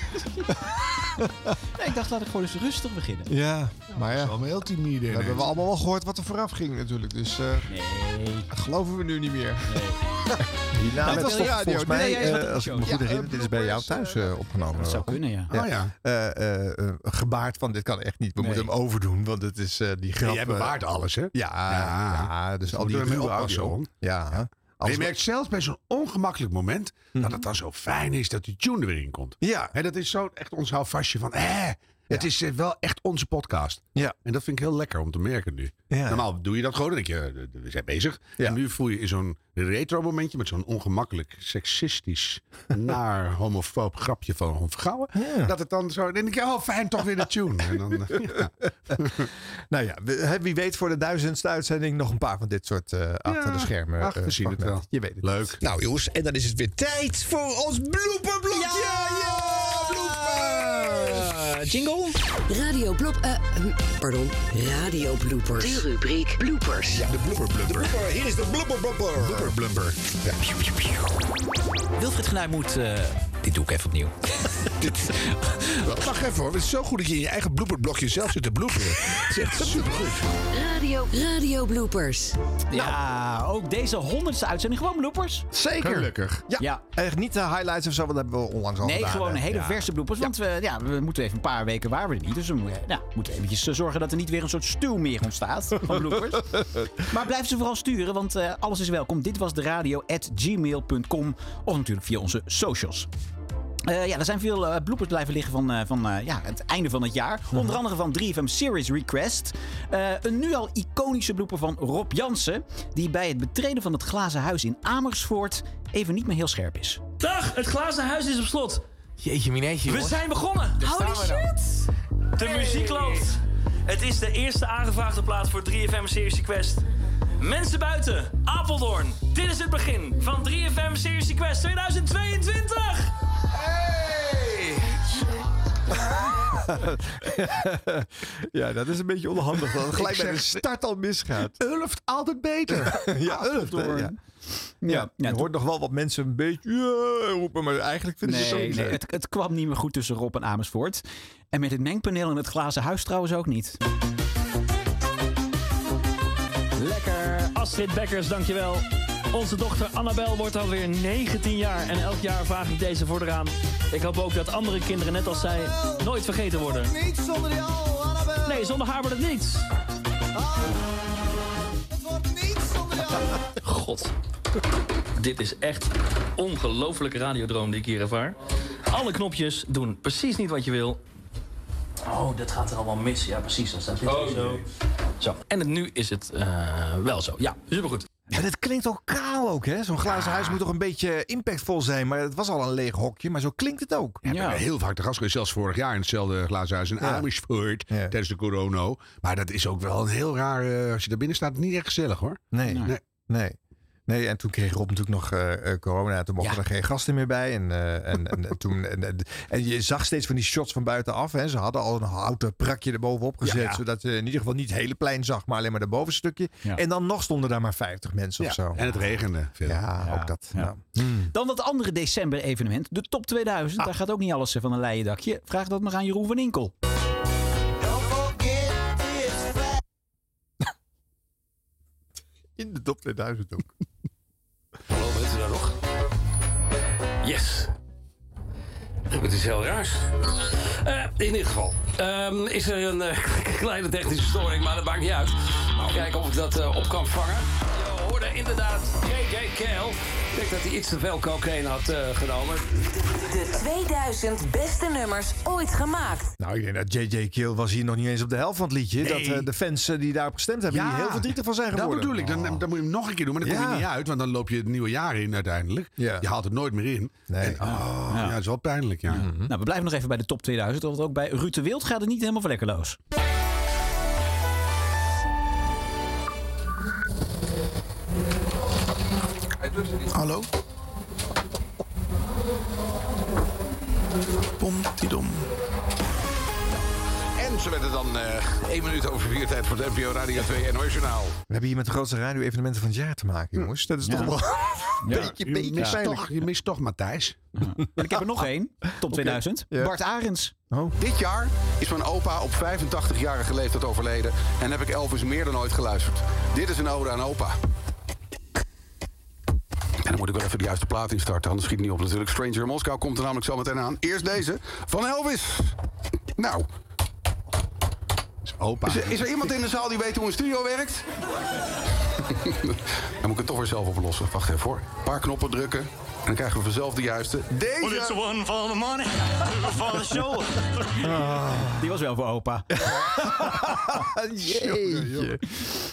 [SPEAKER 3] Nee, ik dacht, laat ik gewoon eens rustig beginnen.
[SPEAKER 2] Ja, maar ja. Dat is
[SPEAKER 1] allemaal heel timide.
[SPEAKER 2] We hebben we allemaal wel gehoord wat er vooraf ging natuurlijk. Dus eh, dat geloven we nu niet meer.
[SPEAKER 3] Nou,
[SPEAKER 2] dit
[SPEAKER 3] dat
[SPEAKER 2] was
[SPEAKER 3] wil
[SPEAKER 2] toch
[SPEAKER 3] je-
[SPEAKER 2] volgens
[SPEAKER 3] wil jij
[SPEAKER 2] mij,
[SPEAKER 3] eens wat
[SPEAKER 2] eh,
[SPEAKER 3] op
[SPEAKER 2] als
[SPEAKER 3] de
[SPEAKER 2] ik me
[SPEAKER 3] show?
[SPEAKER 2] goed
[SPEAKER 3] Ja,
[SPEAKER 2] herinner, dit is bij jou thuis eh, opgenomen.
[SPEAKER 3] Dat zou
[SPEAKER 2] Rob.
[SPEAKER 3] kunnen, ja.
[SPEAKER 1] Oh, ja.
[SPEAKER 2] Eh, eh, eh, gebaard van, dit kan echt niet. We moeten hem overdoen, want het is eh, die grap.
[SPEAKER 1] jij
[SPEAKER 2] eh,
[SPEAKER 1] bewaart alles, hè?
[SPEAKER 2] Ja, ja. dus al
[SPEAKER 1] moeten
[SPEAKER 2] die
[SPEAKER 1] we mee
[SPEAKER 2] ruwe
[SPEAKER 1] oppassen,
[SPEAKER 2] audio.
[SPEAKER 1] hoor.
[SPEAKER 2] Ja.
[SPEAKER 1] Maar je merkt zelfs bij zo'n ongemakkelijk moment dat het dan zo fijn is dat die tune er weer in komt.
[SPEAKER 2] Mhm. Ja.
[SPEAKER 1] En dat is zo echt ons houvastje van, hè, het is eh, wel echt onze podcast.
[SPEAKER 2] Ja.
[SPEAKER 1] En dat vind ik heel lekker om te merken nu.
[SPEAKER 2] Ja.
[SPEAKER 1] Normaal doe je dat gewoon, dan denk je, eh, we zijn bezig. En nu voel je in zo'n retro momentje met zo'n ongemakkelijk, seksistisch, naar homofoob grapje van Ron Vergouwen. Dat het dan zo, dan denk ik, oh fijn, toch weer de tune. En dan, eh, ja.
[SPEAKER 2] Nou ja, we- hè, wie weet voor de duizendste uitzending nog een paar van dit soort eh, achter de schermen.
[SPEAKER 1] ach,
[SPEAKER 2] eh,
[SPEAKER 1] we zien het
[SPEAKER 2] fragmenten.
[SPEAKER 1] wel.
[SPEAKER 2] Je weet het.
[SPEAKER 1] Leuk.
[SPEAKER 2] Nou jongens, en dan is het weer tijd voor ons blooperblokje. Ja, ja, bloopers.
[SPEAKER 4] jingle? Radio blop... eh, hm, pardon, radio bloopers. De rubriek bloopers. Ja, de blooper blooper.
[SPEAKER 5] Hier is de blubber blubber. Blubber blubber.
[SPEAKER 32] Wilfried Genuij moet... eh, dit doe ik even opnieuw.
[SPEAKER 33] Wacht even hoor. Het is zo goed dat je in je eigen blooperblokje zelf zit te bloeperen. Het is echt supergoed.
[SPEAKER 4] Radio, radio bloopers.
[SPEAKER 3] Ja, ook deze honderdste uitzending gewoon bloopers.
[SPEAKER 2] Zeker. Ja. Echt niet de highlights of zo, want dat hebben we onlangs al
[SPEAKER 3] Nee,
[SPEAKER 2] gedaan.
[SPEAKER 3] gewoon
[SPEAKER 2] hè.
[SPEAKER 3] een hele
[SPEAKER 2] Ja.
[SPEAKER 3] verse bloepers. Want we, ja, we moeten even een paar weken waar we er niet. Dus we moeten- nou, we moeten eventjes eh, zorgen dat er niet weer een soort stuw meer ontstaat van bloepers. maar blijf ze vooral sturen, want eh, alles is welkom. Dit was de radio at gmail.com of natuurlijk via onze socials. Eh, ja, er zijn veel eh bloepers blijven liggen van, eh, van eh, ja, het einde van het jaar.
[SPEAKER 2] Mhm.
[SPEAKER 3] Onder andere van 3FM Series Request. Eh, een nu al iconische bloeper van Rob Jansen. Die bij het betreden van het glazen huis in Amersfoort even niet meer heel scherp is.
[SPEAKER 20] Dag, het glazen huis is op slot.
[SPEAKER 32] Jeetje, minetje,
[SPEAKER 20] We zijn begonnen. Holy shit. De muziek loopt. Het is de eerste aangevraagde plaats voor 3FM Series Quest. Mensen buiten, Apeldoorn. Dit is het begin van 3FM Series Quest 2022.
[SPEAKER 2] ja, dat is een beetje onhandig. Dat het gelijk
[SPEAKER 23] Ik
[SPEAKER 2] bij de
[SPEAKER 23] zeg-
[SPEAKER 2] start al misgaat.
[SPEAKER 23] Ulft altijd beter.
[SPEAKER 2] ja, Ulft. hè, Ja. Ja, je hoort nog wel wat mensen een beetje "Ja," roepen, maar eigenlijk vinden
[SPEAKER 3] Nee,
[SPEAKER 2] ze het zo
[SPEAKER 3] nee het, het kwam niet meer goed tussen Rob en Amersfoort. En met het mengpaneel en het glazen huis trouwens ook niet.
[SPEAKER 20] Lekker. Astrid Bekkers, dankjewel. Onze dochter Annabel wordt alweer 19 jaar en elk jaar vraag ik deze voor haar aan. Ik hoop ook dat andere kinderen, net als zij, nooit vergeten worden.
[SPEAKER 7] Niet zonder jou, Annabel.
[SPEAKER 20] Nee, zonder haar wordt het niets.
[SPEAKER 7] Het wordt niet zonder jou.
[SPEAKER 20] God. Dit is echt ongelooflijke radiodroom die ik hier ervaar. Alle knopjes doen precies niet wat je wil. Oh, dat gaat er allemaal mis. Ja, precies. Dan staat dit
[SPEAKER 27] Oh,
[SPEAKER 20] weer zo. zo. En het- nu is het eh, wel zo. Ja, supergoed.
[SPEAKER 2] En het klinkt ook kaal ook, hè? Zo'n glazen huis moet toch een beetje impactvol zijn. Maar het was al een leeg hokje, maar zo klinkt het ook.
[SPEAKER 23] Ja, ik ben Heel vaak de gast geweest, zelfs vorig jaar in hetzelfde glazen huis in Amersfoort tijdens de corona. Maar dat is ook wel een heel raar, eh, als je daar binnen staat, niet echt gezellig hoor.
[SPEAKER 2] Nee, nee. nee. en toen kreeg Rob natuurlijk nog eh, eh, corona. Toen mochten er geen gasten meer bij. En, eh, en, en, en toen, en, en- en je zag steeds van die shots van buitenaf. Hè. Ze hadden al een houten prakje erbovenop gezet.
[SPEAKER 23] ja.
[SPEAKER 2] Zodat je in ieder geval niet het hele plein zag, maar alleen maar dat bovenstukje.
[SPEAKER 23] Ja.
[SPEAKER 2] En dan nog stonden daar maar 50 mensen
[SPEAKER 23] Ja,
[SPEAKER 2] of zo.
[SPEAKER 23] En het regende veel.
[SPEAKER 2] Ja, ook dat. nou.
[SPEAKER 3] Dan dat andere december evenement, de Top 2000.
[SPEAKER 2] Ah.
[SPEAKER 3] Daar gaat ook niet alles eh, van een leien dakje. Vraag dat maar aan Jeroen van Inkel.
[SPEAKER 2] In de top 2000 ook.
[SPEAKER 1] Hallo, bent u daar nog? Yes. Het is heel raars. Eh, in ieder geval, ehm, is er een eh, kleine technische storing, maar dat maakt niet uit. Nou, kijken of ik dat eh, op kan vangen. Je hoorde inderdaad J.J. Kale. Ik denk dat hij iets te veel cocaïne had eh, genomen.
[SPEAKER 13] De 2000 beste nummers ooit gemaakt.
[SPEAKER 2] Nou, ik denk dat J.J. Kill was hier nog niet eens op de helft van het liedje. Dat
[SPEAKER 23] Nee.
[SPEAKER 2] eh, de fans eh, die daarop gestemd hebben, die heel verdrietig van zijn geworden. Oh.
[SPEAKER 23] Dat bedoel ik. Dan, dan moet je hem nog een keer doen. Maar dan kom
[SPEAKER 2] Ja.
[SPEAKER 23] je niet uit. Want dan loop je het nieuwe jaar in uiteindelijk. Je haalt het nooit meer in. En, oh, ja. dat is wel pijnlijk. Ja.
[SPEAKER 3] Nou, we blijven nog even bij de Top 2000. Want ook bij Ruud de Wild gaat het niet helemaal vlekkeloos.
[SPEAKER 1] Hallo?
[SPEAKER 5] Pomtidom.
[SPEAKER 1] En ze werden dan eh één minuut over vier tijd voor het NPO Radio 2 NOS Journaal.
[SPEAKER 2] We hebben hier met de grootste radio-evenementen van het jaar te
[SPEAKER 23] Hm.
[SPEAKER 2] maken, jongens. Dat is toch wel een beetje,
[SPEAKER 23] je,
[SPEAKER 2] beetje
[SPEAKER 23] mist
[SPEAKER 2] pijnlijk.
[SPEAKER 23] toch, je mist toch Matthijs.
[SPEAKER 3] En ik heb er
[SPEAKER 1] Ah.
[SPEAKER 3] nog één. Top 2000. Bart Arends.
[SPEAKER 2] Oh.
[SPEAKER 1] Dit jaar is mijn opa op 85-jarige leeftijd overleden en heb ik Elvis meer dan ooit geluisterd. Dit is een ode aan opa. En dan moet ik wel even de juiste plaat instarten, anders schiet het niet op natuurlijk. Stranger in Moskou komt er namelijk zo meteen aan. Eerst deze van Elvis. Nou.
[SPEAKER 23] Opa.
[SPEAKER 1] Is er, is er iemand in de zaal die weet hoe een studio werkt? dan moet ik het toch weer zelf oplossen. Wacht even hoor. Een paar knoppen drukken. En dan krijgen we vanzelf de juiste. Deze.
[SPEAKER 7] Oh,
[SPEAKER 34] Well, it's one for the money, two for the show.
[SPEAKER 1] Ah.
[SPEAKER 3] Die was wel voor opa.
[SPEAKER 23] Oh,
[SPEAKER 2] Jeetje.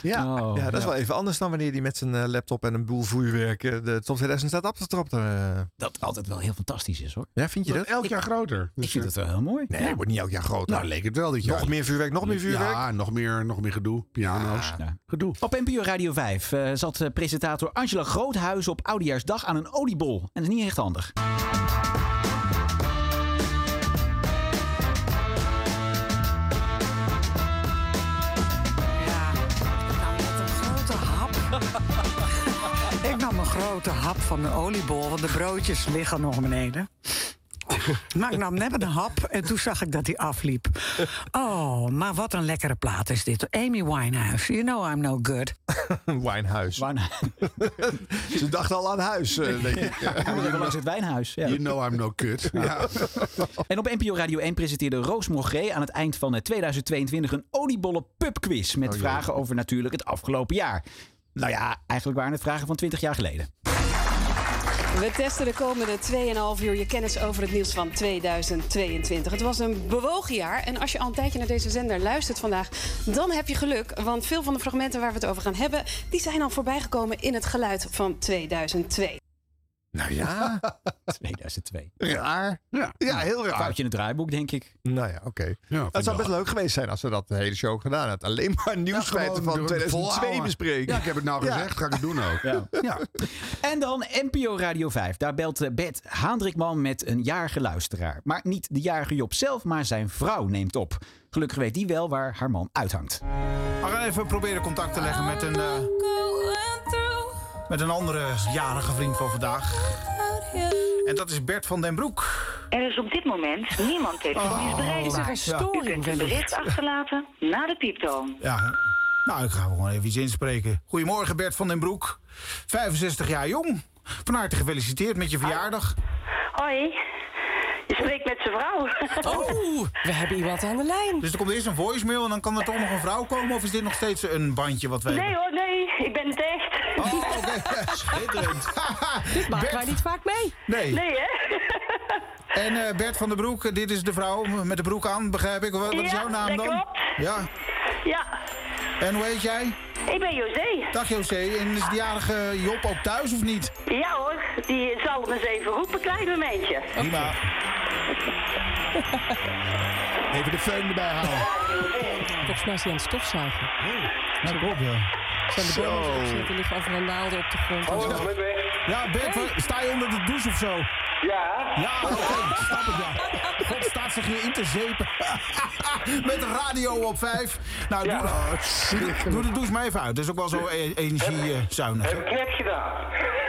[SPEAKER 2] Ja,
[SPEAKER 3] Oh,
[SPEAKER 2] ja, dat is
[SPEAKER 3] ja.
[SPEAKER 2] wel even anders dan wanneer die met zijn eh, laptop en een boel vuurwerk eh, de top 2000 staat af te trappen.
[SPEAKER 3] Dat altijd wel heel fantastisch is hoor.
[SPEAKER 2] Ja, vind je dat?
[SPEAKER 23] Elk jaar groter.
[SPEAKER 3] Ik vind het wel heel mooi.
[SPEAKER 2] Nee, het wordt niet elk jaar groter.
[SPEAKER 23] Nou, leek het wel dit jaar.
[SPEAKER 2] Nog meer vuurwerk, nog meer vuurwerk.
[SPEAKER 23] Ja, nog meer, nog meer gedoe. Piano's. Gedoe.
[SPEAKER 3] Op NPO Radio 5 eh, zat eh, presentator Angela Groothuizen op Oudejaarsdag aan een oliebol. En dat is niet echt handig.
[SPEAKER 15] nam een grote hap van de oliebol, want de broodjes liggen nog beneden. Maar ik nam net een hap en toen zag ik dat hij afliep. Oh, maar wat een lekkere plaat is dit. Amy Winehouse, you know I'm no good.
[SPEAKER 2] Wijnhuis. Ze dachten al aan huis, eh, denk ik.
[SPEAKER 3] Hoe lang zit Wijnhuis? Ja.
[SPEAKER 1] You know I'm no good.
[SPEAKER 3] Nou.
[SPEAKER 1] Ja.
[SPEAKER 3] En op NPO Radio 1 presenteerde Roos Mogré aan het eind van eh, 2022 een oliebollen pubquiz.
[SPEAKER 2] Oh,
[SPEAKER 3] Met vragen over natuurlijk het afgelopen jaar. Nou ja, eigenlijk waren het vragen van 20 jaar geleden.
[SPEAKER 16] We testen de komende 2,5 uur je kennis over het nieuws van 2022. Het was een bewogen jaar en als je al een tijdje naar deze zender luistert vandaag, dan heb je geluk. Want veel van de fragmenten waar we het over gaan hebben, die zijn al voorbijgekomen in het geluid van 2002.
[SPEAKER 2] Nou ja.
[SPEAKER 3] 2002.
[SPEAKER 2] Raar. Ja, ja heel raar.
[SPEAKER 3] Foutje in het draaiboek, denk ik.
[SPEAKER 2] Nou ja, oké. het zou
[SPEAKER 3] wel.
[SPEAKER 2] best leuk geweest zijn als ze dat de hele show gedaan had. Alleen maar
[SPEAKER 1] Nou,
[SPEAKER 2] nieuwsfeiten van 2002 bespreken.
[SPEAKER 1] Ja, ik heb het nou
[SPEAKER 2] Ja.
[SPEAKER 1] gezegd, ga ik het doen ook.
[SPEAKER 3] Ja. En dan NPO Radio 5. Daar belt eh, Bert Haandrikman met een jarige luisteraar. Maar niet de jarige Job zelf, maar zijn vrouw neemt op. Gelukkig weet die wel waar haar man uithangt.
[SPEAKER 23] We gaan even proberen contact te leggen met een, eh, met een andere jarige vriend van vandaag. En dat is Bert van den Broek.
[SPEAKER 12] Er is op dit moment niemand telefonisch
[SPEAKER 23] Oh,
[SPEAKER 12] bereikbaar.
[SPEAKER 23] Is er een storing?
[SPEAKER 12] U kunt een bericht achterlaten na de pieptoon.
[SPEAKER 23] Ja, nou, ik ga gewoon even iets inspreken. Goedemorgen Bert van den Broek. 65 jaar jong. Van harte gefeliciteerd met je verjaardag.
[SPEAKER 12] Hoi, je spreekt met zijn vrouw.
[SPEAKER 23] Oh, we hebben iemand aan de lijn. Dus er komt eerst een voicemail en dan kan er toch nog een vrouw komen? Of is dit nog steeds een bandje wat wij...
[SPEAKER 12] Nee hoor, nee, ik ben het echt.
[SPEAKER 23] Oh, oké. Schitterend.
[SPEAKER 12] Dit
[SPEAKER 23] maken wij niet
[SPEAKER 12] vaak mee.
[SPEAKER 23] Nee.
[SPEAKER 12] Nee hè?
[SPEAKER 23] En eh, Bert van den Broek, eh, dit is de vrouw met de broek aan, begrijp ik. Wat, wat is
[SPEAKER 12] Ja,
[SPEAKER 23] jouw naam
[SPEAKER 12] dat
[SPEAKER 23] dan?
[SPEAKER 12] klopt.
[SPEAKER 23] Ja.
[SPEAKER 12] Ja,
[SPEAKER 23] En hoe heet jij?
[SPEAKER 12] ik ben José.
[SPEAKER 23] Dag José. En is de jarige Job ook thuis of niet?
[SPEAKER 12] Ja hoor, die zal hem eens even roepen, klein momentje.
[SPEAKER 23] Prima. Even de föhn erbij houden.
[SPEAKER 35] Volgens mij is hij aan het stofzuigen.
[SPEAKER 23] Nou, klopt ja.
[SPEAKER 35] Zijn de
[SPEAKER 23] Zo. Oh,
[SPEAKER 35] bomen opgezet, er liggen overal naalden op de grond. Dus- en zo.
[SPEAKER 23] Ja, Bert, wat- sta je onder de douche of zo? Ja. Ja, oké, snap ik ja. God staat zich hier in te zeepen. Met de radio op vijf. Nou, doe,
[SPEAKER 35] Oh,
[SPEAKER 23] doe, doe de douche maar even uit. Dat is ook wel zo e- energiezuinig. Heb ik net gedaan.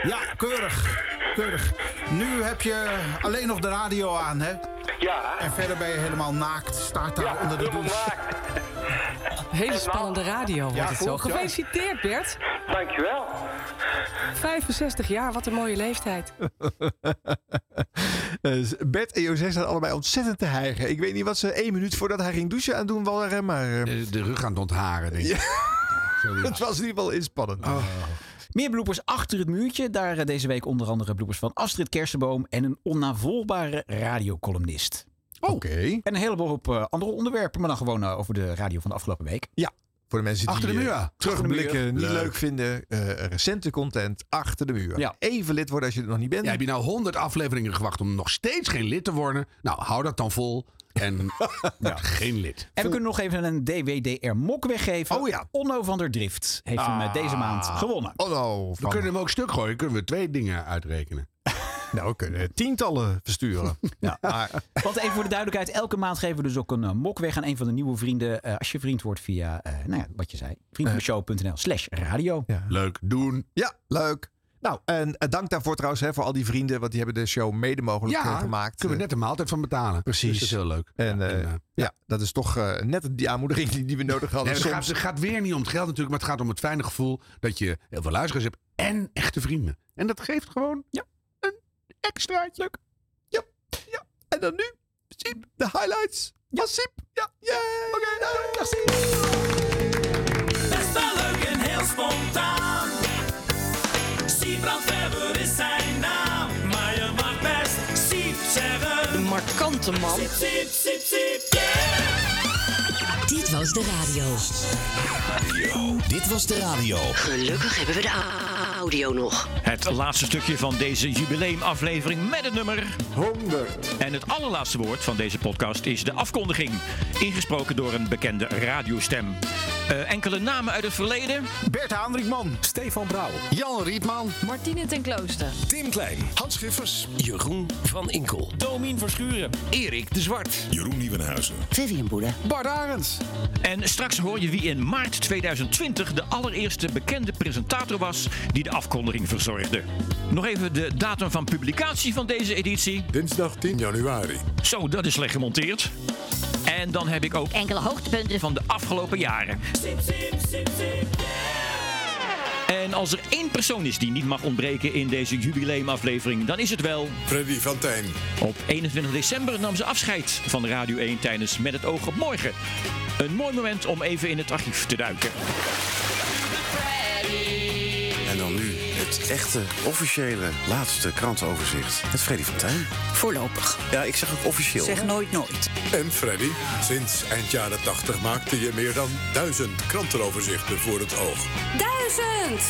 [SPEAKER 23] Ja, keurig. Keurig. Nu heb je alleen nog de radio aan, hè? Ja. En verder ben je helemaal naakt. Staat daar onder de douche.
[SPEAKER 35] Hele spannende radio wordt
[SPEAKER 23] Ja,
[SPEAKER 35] het zo.
[SPEAKER 23] klopt, ja.
[SPEAKER 35] Gefeliciteerd Bert.
[SPEAKER 23] Dankjewel.
[SPEAKER 35] 65 jaar, wat een mooie leeftijd.
[SPEAKER 2] Eh, Bert en José staan allebei ontzettend te hijgen. Ik weet niet wat ze één minuut voordat hij ging douchen aan doen waren, maar... eh,
[SPEAKER 1] De, rug aan het ontharen, denk ik.
[SPEAKER 2] het was in ieder geval inspannend.
[SPEAKER 3] Oh. Meer bloepers achter het muurtje. Daar eh, deze week onder andere bloepers van Astrid Kersenboom en een onnavolgbare radiocolumnist.
[SPEAKER 2] Oké.
[SPEAKER 3] En een heleboel op eh, andere onderwerpen, maar dan gewoon eh, over de radio van de afgelopen week.
[SPEAKER 2] Ja, voor de mensen
[SPEAKER 3] Achter
[SPEAKER 2] die
[SPEAKER 3] de muur.
[SPEAKER 2] eh,
[SPEAKER 3] Achter de
[SPEAKER 2] terugblikken
[SPEAKER 3] muur.
[SPEAKER 2] niet leuk,
[SPEAKER 3] Leuk.
[SPEAKER 2] vinden. eh, recente content achter de muur.
[SPEAKER 1] Ja.
[SPEAKER 2] Even lid worden als je er nog niet bent.
[SPEAKER 1] Ja, heb je nou 100 afleveringen gewacht om nog steeds geen lid te worden? Nou, hou dat dan vol en ja, geen lid.
[SPEAKER 3] En we kunnen nog even een DWDR-mok weggeven. Oh ja. Onno van der Drift heeft hem
[SPEAKER 2] Ah.
[SPEAKER 3] eh, deze maand gewonnen.
[SPEAKER 2] Onno.
[SPEAKER 1] Ah. We kunnen hem ook stuk gooien. Kunnen we twee dingen uitrekenen.
[SPEAKER 2] Nou, we kunnen tientallen versturen. ja,
[SPEAKER 3] Want even voor de duidelijkheid, elke maand geven we dus ook een eh, mok weg aan een van de nieuwe vrienden. eh, als je vriend wordt via, eh, nou ja, wat je zei,
[SPEAKER 2] Eh.
[SPEAKER 3] vriendvandeshow.nl slash radio.
[SPEAKER 1] Leuk doen.
[SPEAKER 2] Ja, leuk. Nou, en eh, dank daarvoor trouwens hè, voor al die vrienden, want die hebben de show mede mogelijk
[SPEAKER 1] Ja,
[SPEAKER 2] eh, gemaakt.
[SPEAKER 1] kunnen we net een maaltijd van betalen. Dus
[SPEAKER 2] Precies.
[SPEAKER 1] dat is heel leuk.
[SPEAKER 2] En, eh, ja, dat is toch eh, net die aanmoediging die, die we nodig hadden.
[SPEAKER 1] Nee, maar het, gaat,
[SPEAKER 2] soms.
[SPEAKER 1] het gaat weer niet om het geld natuurlijk, maar het gaat om het fijne gevoel dat je heel veel luisteraars hebt en echte vrienden. En dat geeft gewoon een extraatje. Leuk.
[SPEAKER 2] En dan nu, Siep, de highlights. Ja, Siep. Ja, Oké, nou, dag Siep.
[SPEAKER 20] Best wel leuk en heel spontaan. Siebrand Weber is zijn naam. Maar je mag best Siep zeggen.
[SPEAKER 15] Een markante man.
[SPEAKER 20] Siep, siep, siep, siep, yeah.
[SPEAKER 4] Dit was de radio.
[SPEAKER 13] Dit was de radio.
[SPEAKER 4] Gelukkig hebben we de a- audio nog.
[SPEAKER 29] Het laatste stukje van deze jubileumaflevering met het nummer 100. En het allerlaatste woord van deze podcast is de afkondiging, ingesproken door een bekende radiostem. Eh, enkele namen uit het verleden. Bert Haandrikman. Stefan Brouw.
[SPEAKER 36] Jan Rietman.
[SPEAKER 16] Martine ten Klooster.
[SPEAKER 37] Tim Klein. Hans Schiffers. Jeroen van Inkel. Domien Verschuren. Erik de Zwart. Jeroen Nieuwenhuizen.
[SPEAKER 29] Vivian Boede.
[SPEAKER 37] Bart Arends.
[SPEAKER 29] En straks hoor je wie in maart 2020 de allereerste bekende presentator was die de afkondiging verzorgde. Nog even de datum van publicatie van deze editie. Dinsdag 10 januari. Zo, dat is slecht gemonteerd. En dan heb ik ook enkele hoogtepunten van de afgelopen jaren.
[SPEAKER 7] Sip, sip, sip, sip.
[SPEAKER 29] En als er één persoon is die niet mag ontbreken in deze jubileumaflevering, dan is het wel. Freddy van Tijn. Op 21 december nam ze afscheid van Radio 1 tijdens Met het Oog op Morgen. Een mooi moment om even in het archief te duiken.
[SPEAKER 16] En dan nu het echte, officiële, laatste krantenoverzicht. Met Freddy van Tijn.
[SPEAKER 38] Voorlopig.
[SPEAKER 16] Ja, ik zeg ook officieel.
[SPEAKER 38] Zeg nooit nooit.
[SPEAKER 17] En Freddy, sinds eind jaren 80 maakte je meer dan duizend krantenoverzichten voor het oog.
[SPEAKER 16] Duizend!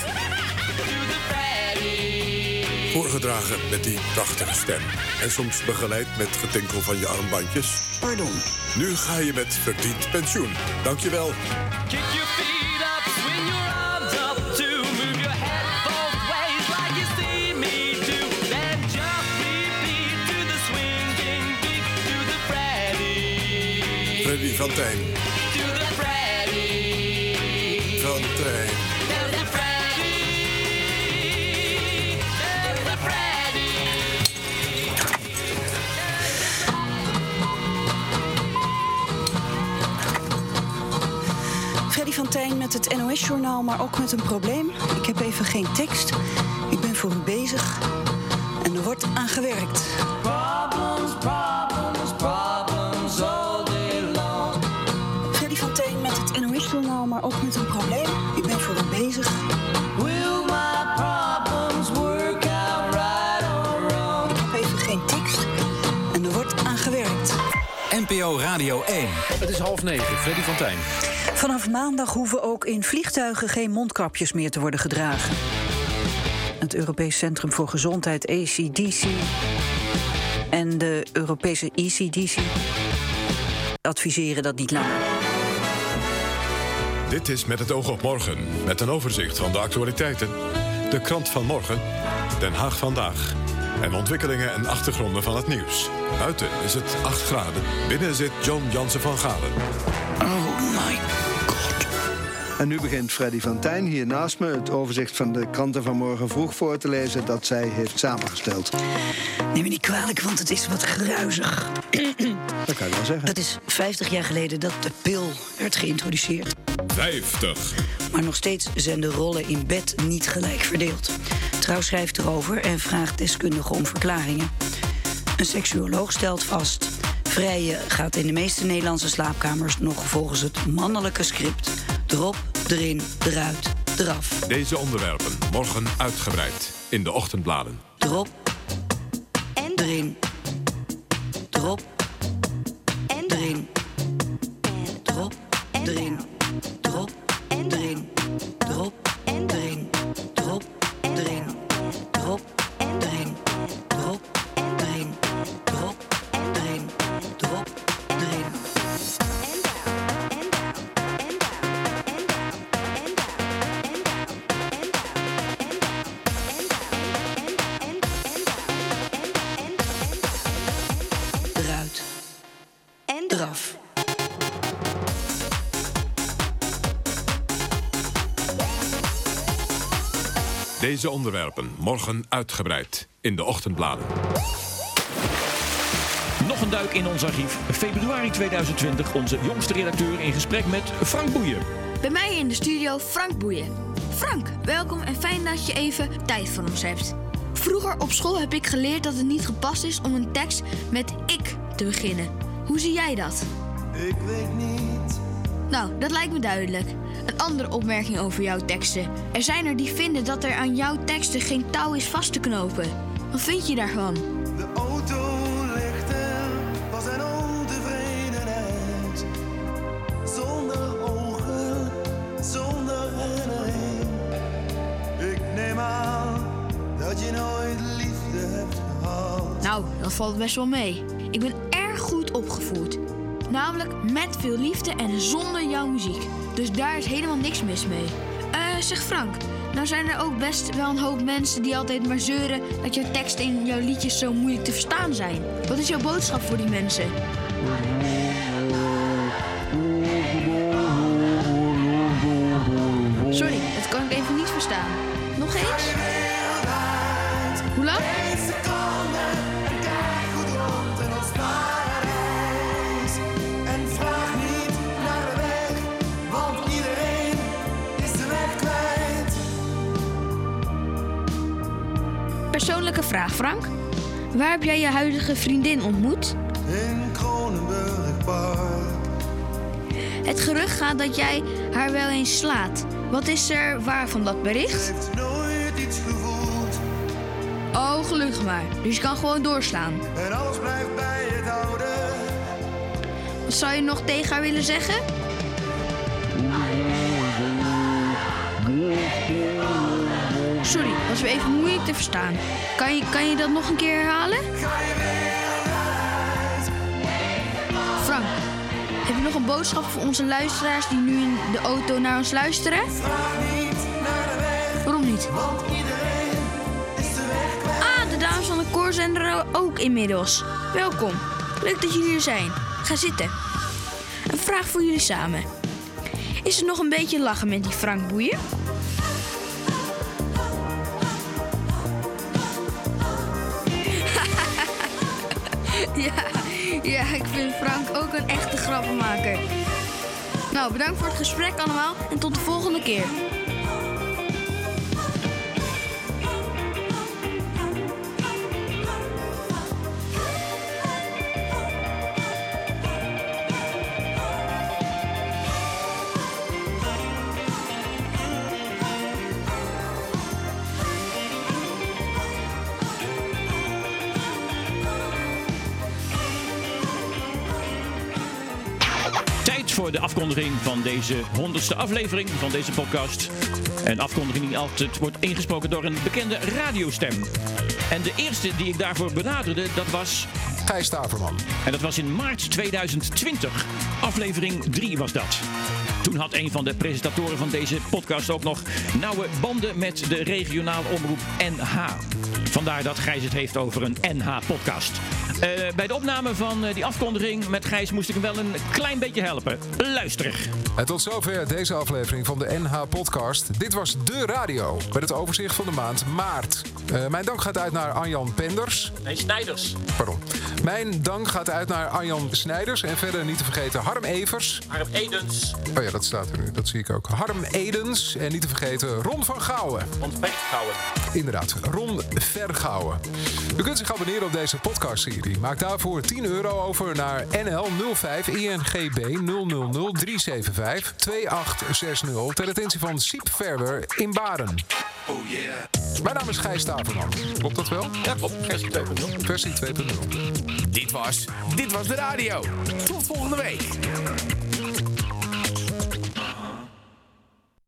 [SPEAKER 17] Voorgedragen met die prachtige stem. En soms begeleid met getinkel van je armbandjes. Pardon. Nu ga je met verdiend pensioen. Dankjewel. Freddy van Tijn. Van Tijn.
[SPEAKER 8] Freddy van Tijn met het NOS-journaal, maar ook met een probleem. Ik heb even geen tekst. Ik ben voor u bezig. En er wordt aan gewerkt.
[SPEAKER 7] Problems, problems, problems all day long.
[SPEAKER 8] Freddy van Tijn met het NOS-journaal, maar ook met een probleem. Ik ben voor u bezig.
[SPEAKER 7] Will my problems work out right or wrong?
[SPEAKER 8] Ik heb even geen tekst. En er wordt aan gewerkt.
[SPEAKER 37] NPO Radio 1. Het is half negen. Freddy van Tijn.
[SPEAKER 8] Vanaf maandag hoeven ook in vliegtuigen geen mondkapjes meer te worden gedragen. Het Europees Centrum voor Gezondheid, E ECDC, en de Europese E ECDC adviseren dat niet langer.
[SPEAKER 17] Dit is Met het oog op morgen. Met een overzicht van de actualiteiten. De krant van morgen. Den Haag vandaag. En ontwikkelingen en achtergronden van het nieuws. Buiten is het 8 graden. Binnen zit John Jansen van Galen.
[SPEAKER 2] En nu begint Freddy van Tijn hier naast me het overzicht van de kranten van morgen vroeg voor te lezen dat zij heeft samengesteld.
[SPEAKER 8] Neem me niet kwalijk, want het is wat gruizig.
[SPEAKER 2] Dat kan je wel zeggen.
[SPEAKER 8] Het is 50 jaar geleden dat de pil werd geïntroduceerd.
[SPEAKER 17] 50.
[SPEAKER 8] Maar nog steeds zijn de rollen in bed niet gelijk verdeeld. Trouw schrijft erover en vraagt deskundigen om verklaringen. Een seksuoloog stelt vast... Vrije gaat in de meeste Nederlandse slaapkamers nog volgens het mannelijke script... erop, erin, eruit, eraf.
[SPEAKER 17] Deze onderwerpen morgen uitgebreid in de ochtendbladen.
[SPEAKER 8] Erop. En erin. Erop. En erin. Erop. Erin. Erop. En erin. Erop. En erin. Erop. En erin. Erop. En erin. Erop. En erin. Erop. En erin. Erop. Erin. Eruit. En eraf.
[SPEAKER 17] Deze onderwerpen morgen uitgebreid in de ochtendbladen.
[SPEAKER 29] Nog een duik in ons archief. Februari 2020 onze jongste redacteur in gesprek met Frank Boeien.
[SPEAKER 9] Bij mij in de studio Frank Boeien. Frank, welkom en fijn dat je even tijd voor ons hebt. Vroeger op school heb ik geleerd dat het niet gepast is om een tekst met ik te beginnen. Hoe zie jij dat?
[SPEAKER 7] Ik weet niet.
[SPEAKER 9] Nou, dat lijkt me duidelijk. Een andere opmerking over jouw teksten. Er zijn er die vinden dat er aan jouw teksten geen touw is vast te knopen. Wat vind je daarvan?
[SPEAKER 7] De auto ligt er, was een ontevredenheid. Zonder ogen, zonder herinnering. Ik neem aan dat je nooit liefde hebt gehad.
[SPEAKER 9] Nou, dat valt best wel mee. Ik ben erg goed opgevoed. Namelijk met veel liefde en zonder jouw muziek. Dus daar is helemaal niks mis mee. Eh, zeg Frank, nou zijn er ook best wel een hoop mensen die altijd maar zeuren dat jouw teksten in jouw liedjes zo moeilijk te verstaan zijn. Wat is jouw boodschap voor die mensen? Sorry, dat kan ik even niet verstaan. Nog eens? Hoe lang?
[SPEAKER 20] En vraag niet naar de weg, want iedereen is de weg kwijt.
[SPEAKER 9] Persoonlijke vraag, Frank. Waar heb jij je huidige vriendin ontmoet?
[SPEAKER 20] In Kronenburg Park.
[SPEAKER 9] Het gerucht gaat dat jij haar wel eens slaat. Wat is er waar van dat bericht?
[SPEAKER 20] Nooit iets gevoeld.
[SPEAKER 9] Oh, gelukkig maar. Dus je kan gewoon doorslaan.
[SPEAKER 20] En alles blijft bij het oude.
[SPEAKER 9] Wat zou je nog tegen haar willen zeggen? Sorry, was weer even moeilijk te verstaan. Kan je, kan je dat nog een keer herhalen? Frank, heb je nog een boodschap voor onze luisteraars die nu in de auto naar ons luisteren? Waarom niet? Ah, de dames van de koor zijn er ook inmiddels. Welkom. Leuk dat jullie er zijn. Ga zitten. Een vraag voor jullie samen. Is er nog een beetje lachen met die Frank Boeien? ja, ja, ik vind Frank ook een echte grappenmaker. Nou, bedankt voor het gesprek allemaal en tot de volgende keer.
[SPEAKER 29] Tijd voor de afkondiging van deze honderdste aflevering van deze podcast. Een afkondiging die altijd wordt ingesproken door een bekende radiostem. En de eerste die ik daarvoor benaderde, dat was... Gijs Staverman. En dat was in maart 2020. Aflevering 3 was dat. Toen had een van de presentatoren van deze podcast ook nog nauwe banden met de regionaal omroep NH. Vandaar dat Gijs het heeft over een NH-podcast. Eh, bij de opname van eh, die afkondiging met Gijs moest ik hem wel een klein beetje helpen. Luister.
[SPEAKER 24] En tot zover deze aflevering van de NH Podcast. Dit was De Radio, met het overzicht van de maand maart. Eh, mijn dank gaat uit naar Arjan Penders.
[SPEAKER 29] Nee, Snijders.
[SPEAKER 24] Pardon. Mijn dank gaat uit naar Arjan Snijders. En verder niet te vergeten Harm Evers.
[SPEAKER 29] Harm Edens.
[SPEAKER 24] Oh ja, dat staat er nu. Dat zie ik ook. Harm Edens. En niet te vergeten Ron van Gouwen.
[SPEAKER 29] Ron Vergouwen.
[SPEAKER 24] Inderdaad, Ron Vergouwen. U kunt zich abonneren op deze podcastserie. Maak daarvoor 10 euro over naar NL 05 INGB 000375 2860 ter attentie van Siep Verwer in Baren.
[SPEAKER 20] Oh yeah.
[SPEAKER 24] Mijn naam is Gijs Staverman. Klopt dat wel? Ja, klopt. Versie 2.0. Versie 2.0.
[SPEAKER 13] Dit was, dit was de radio. Tot volgende week.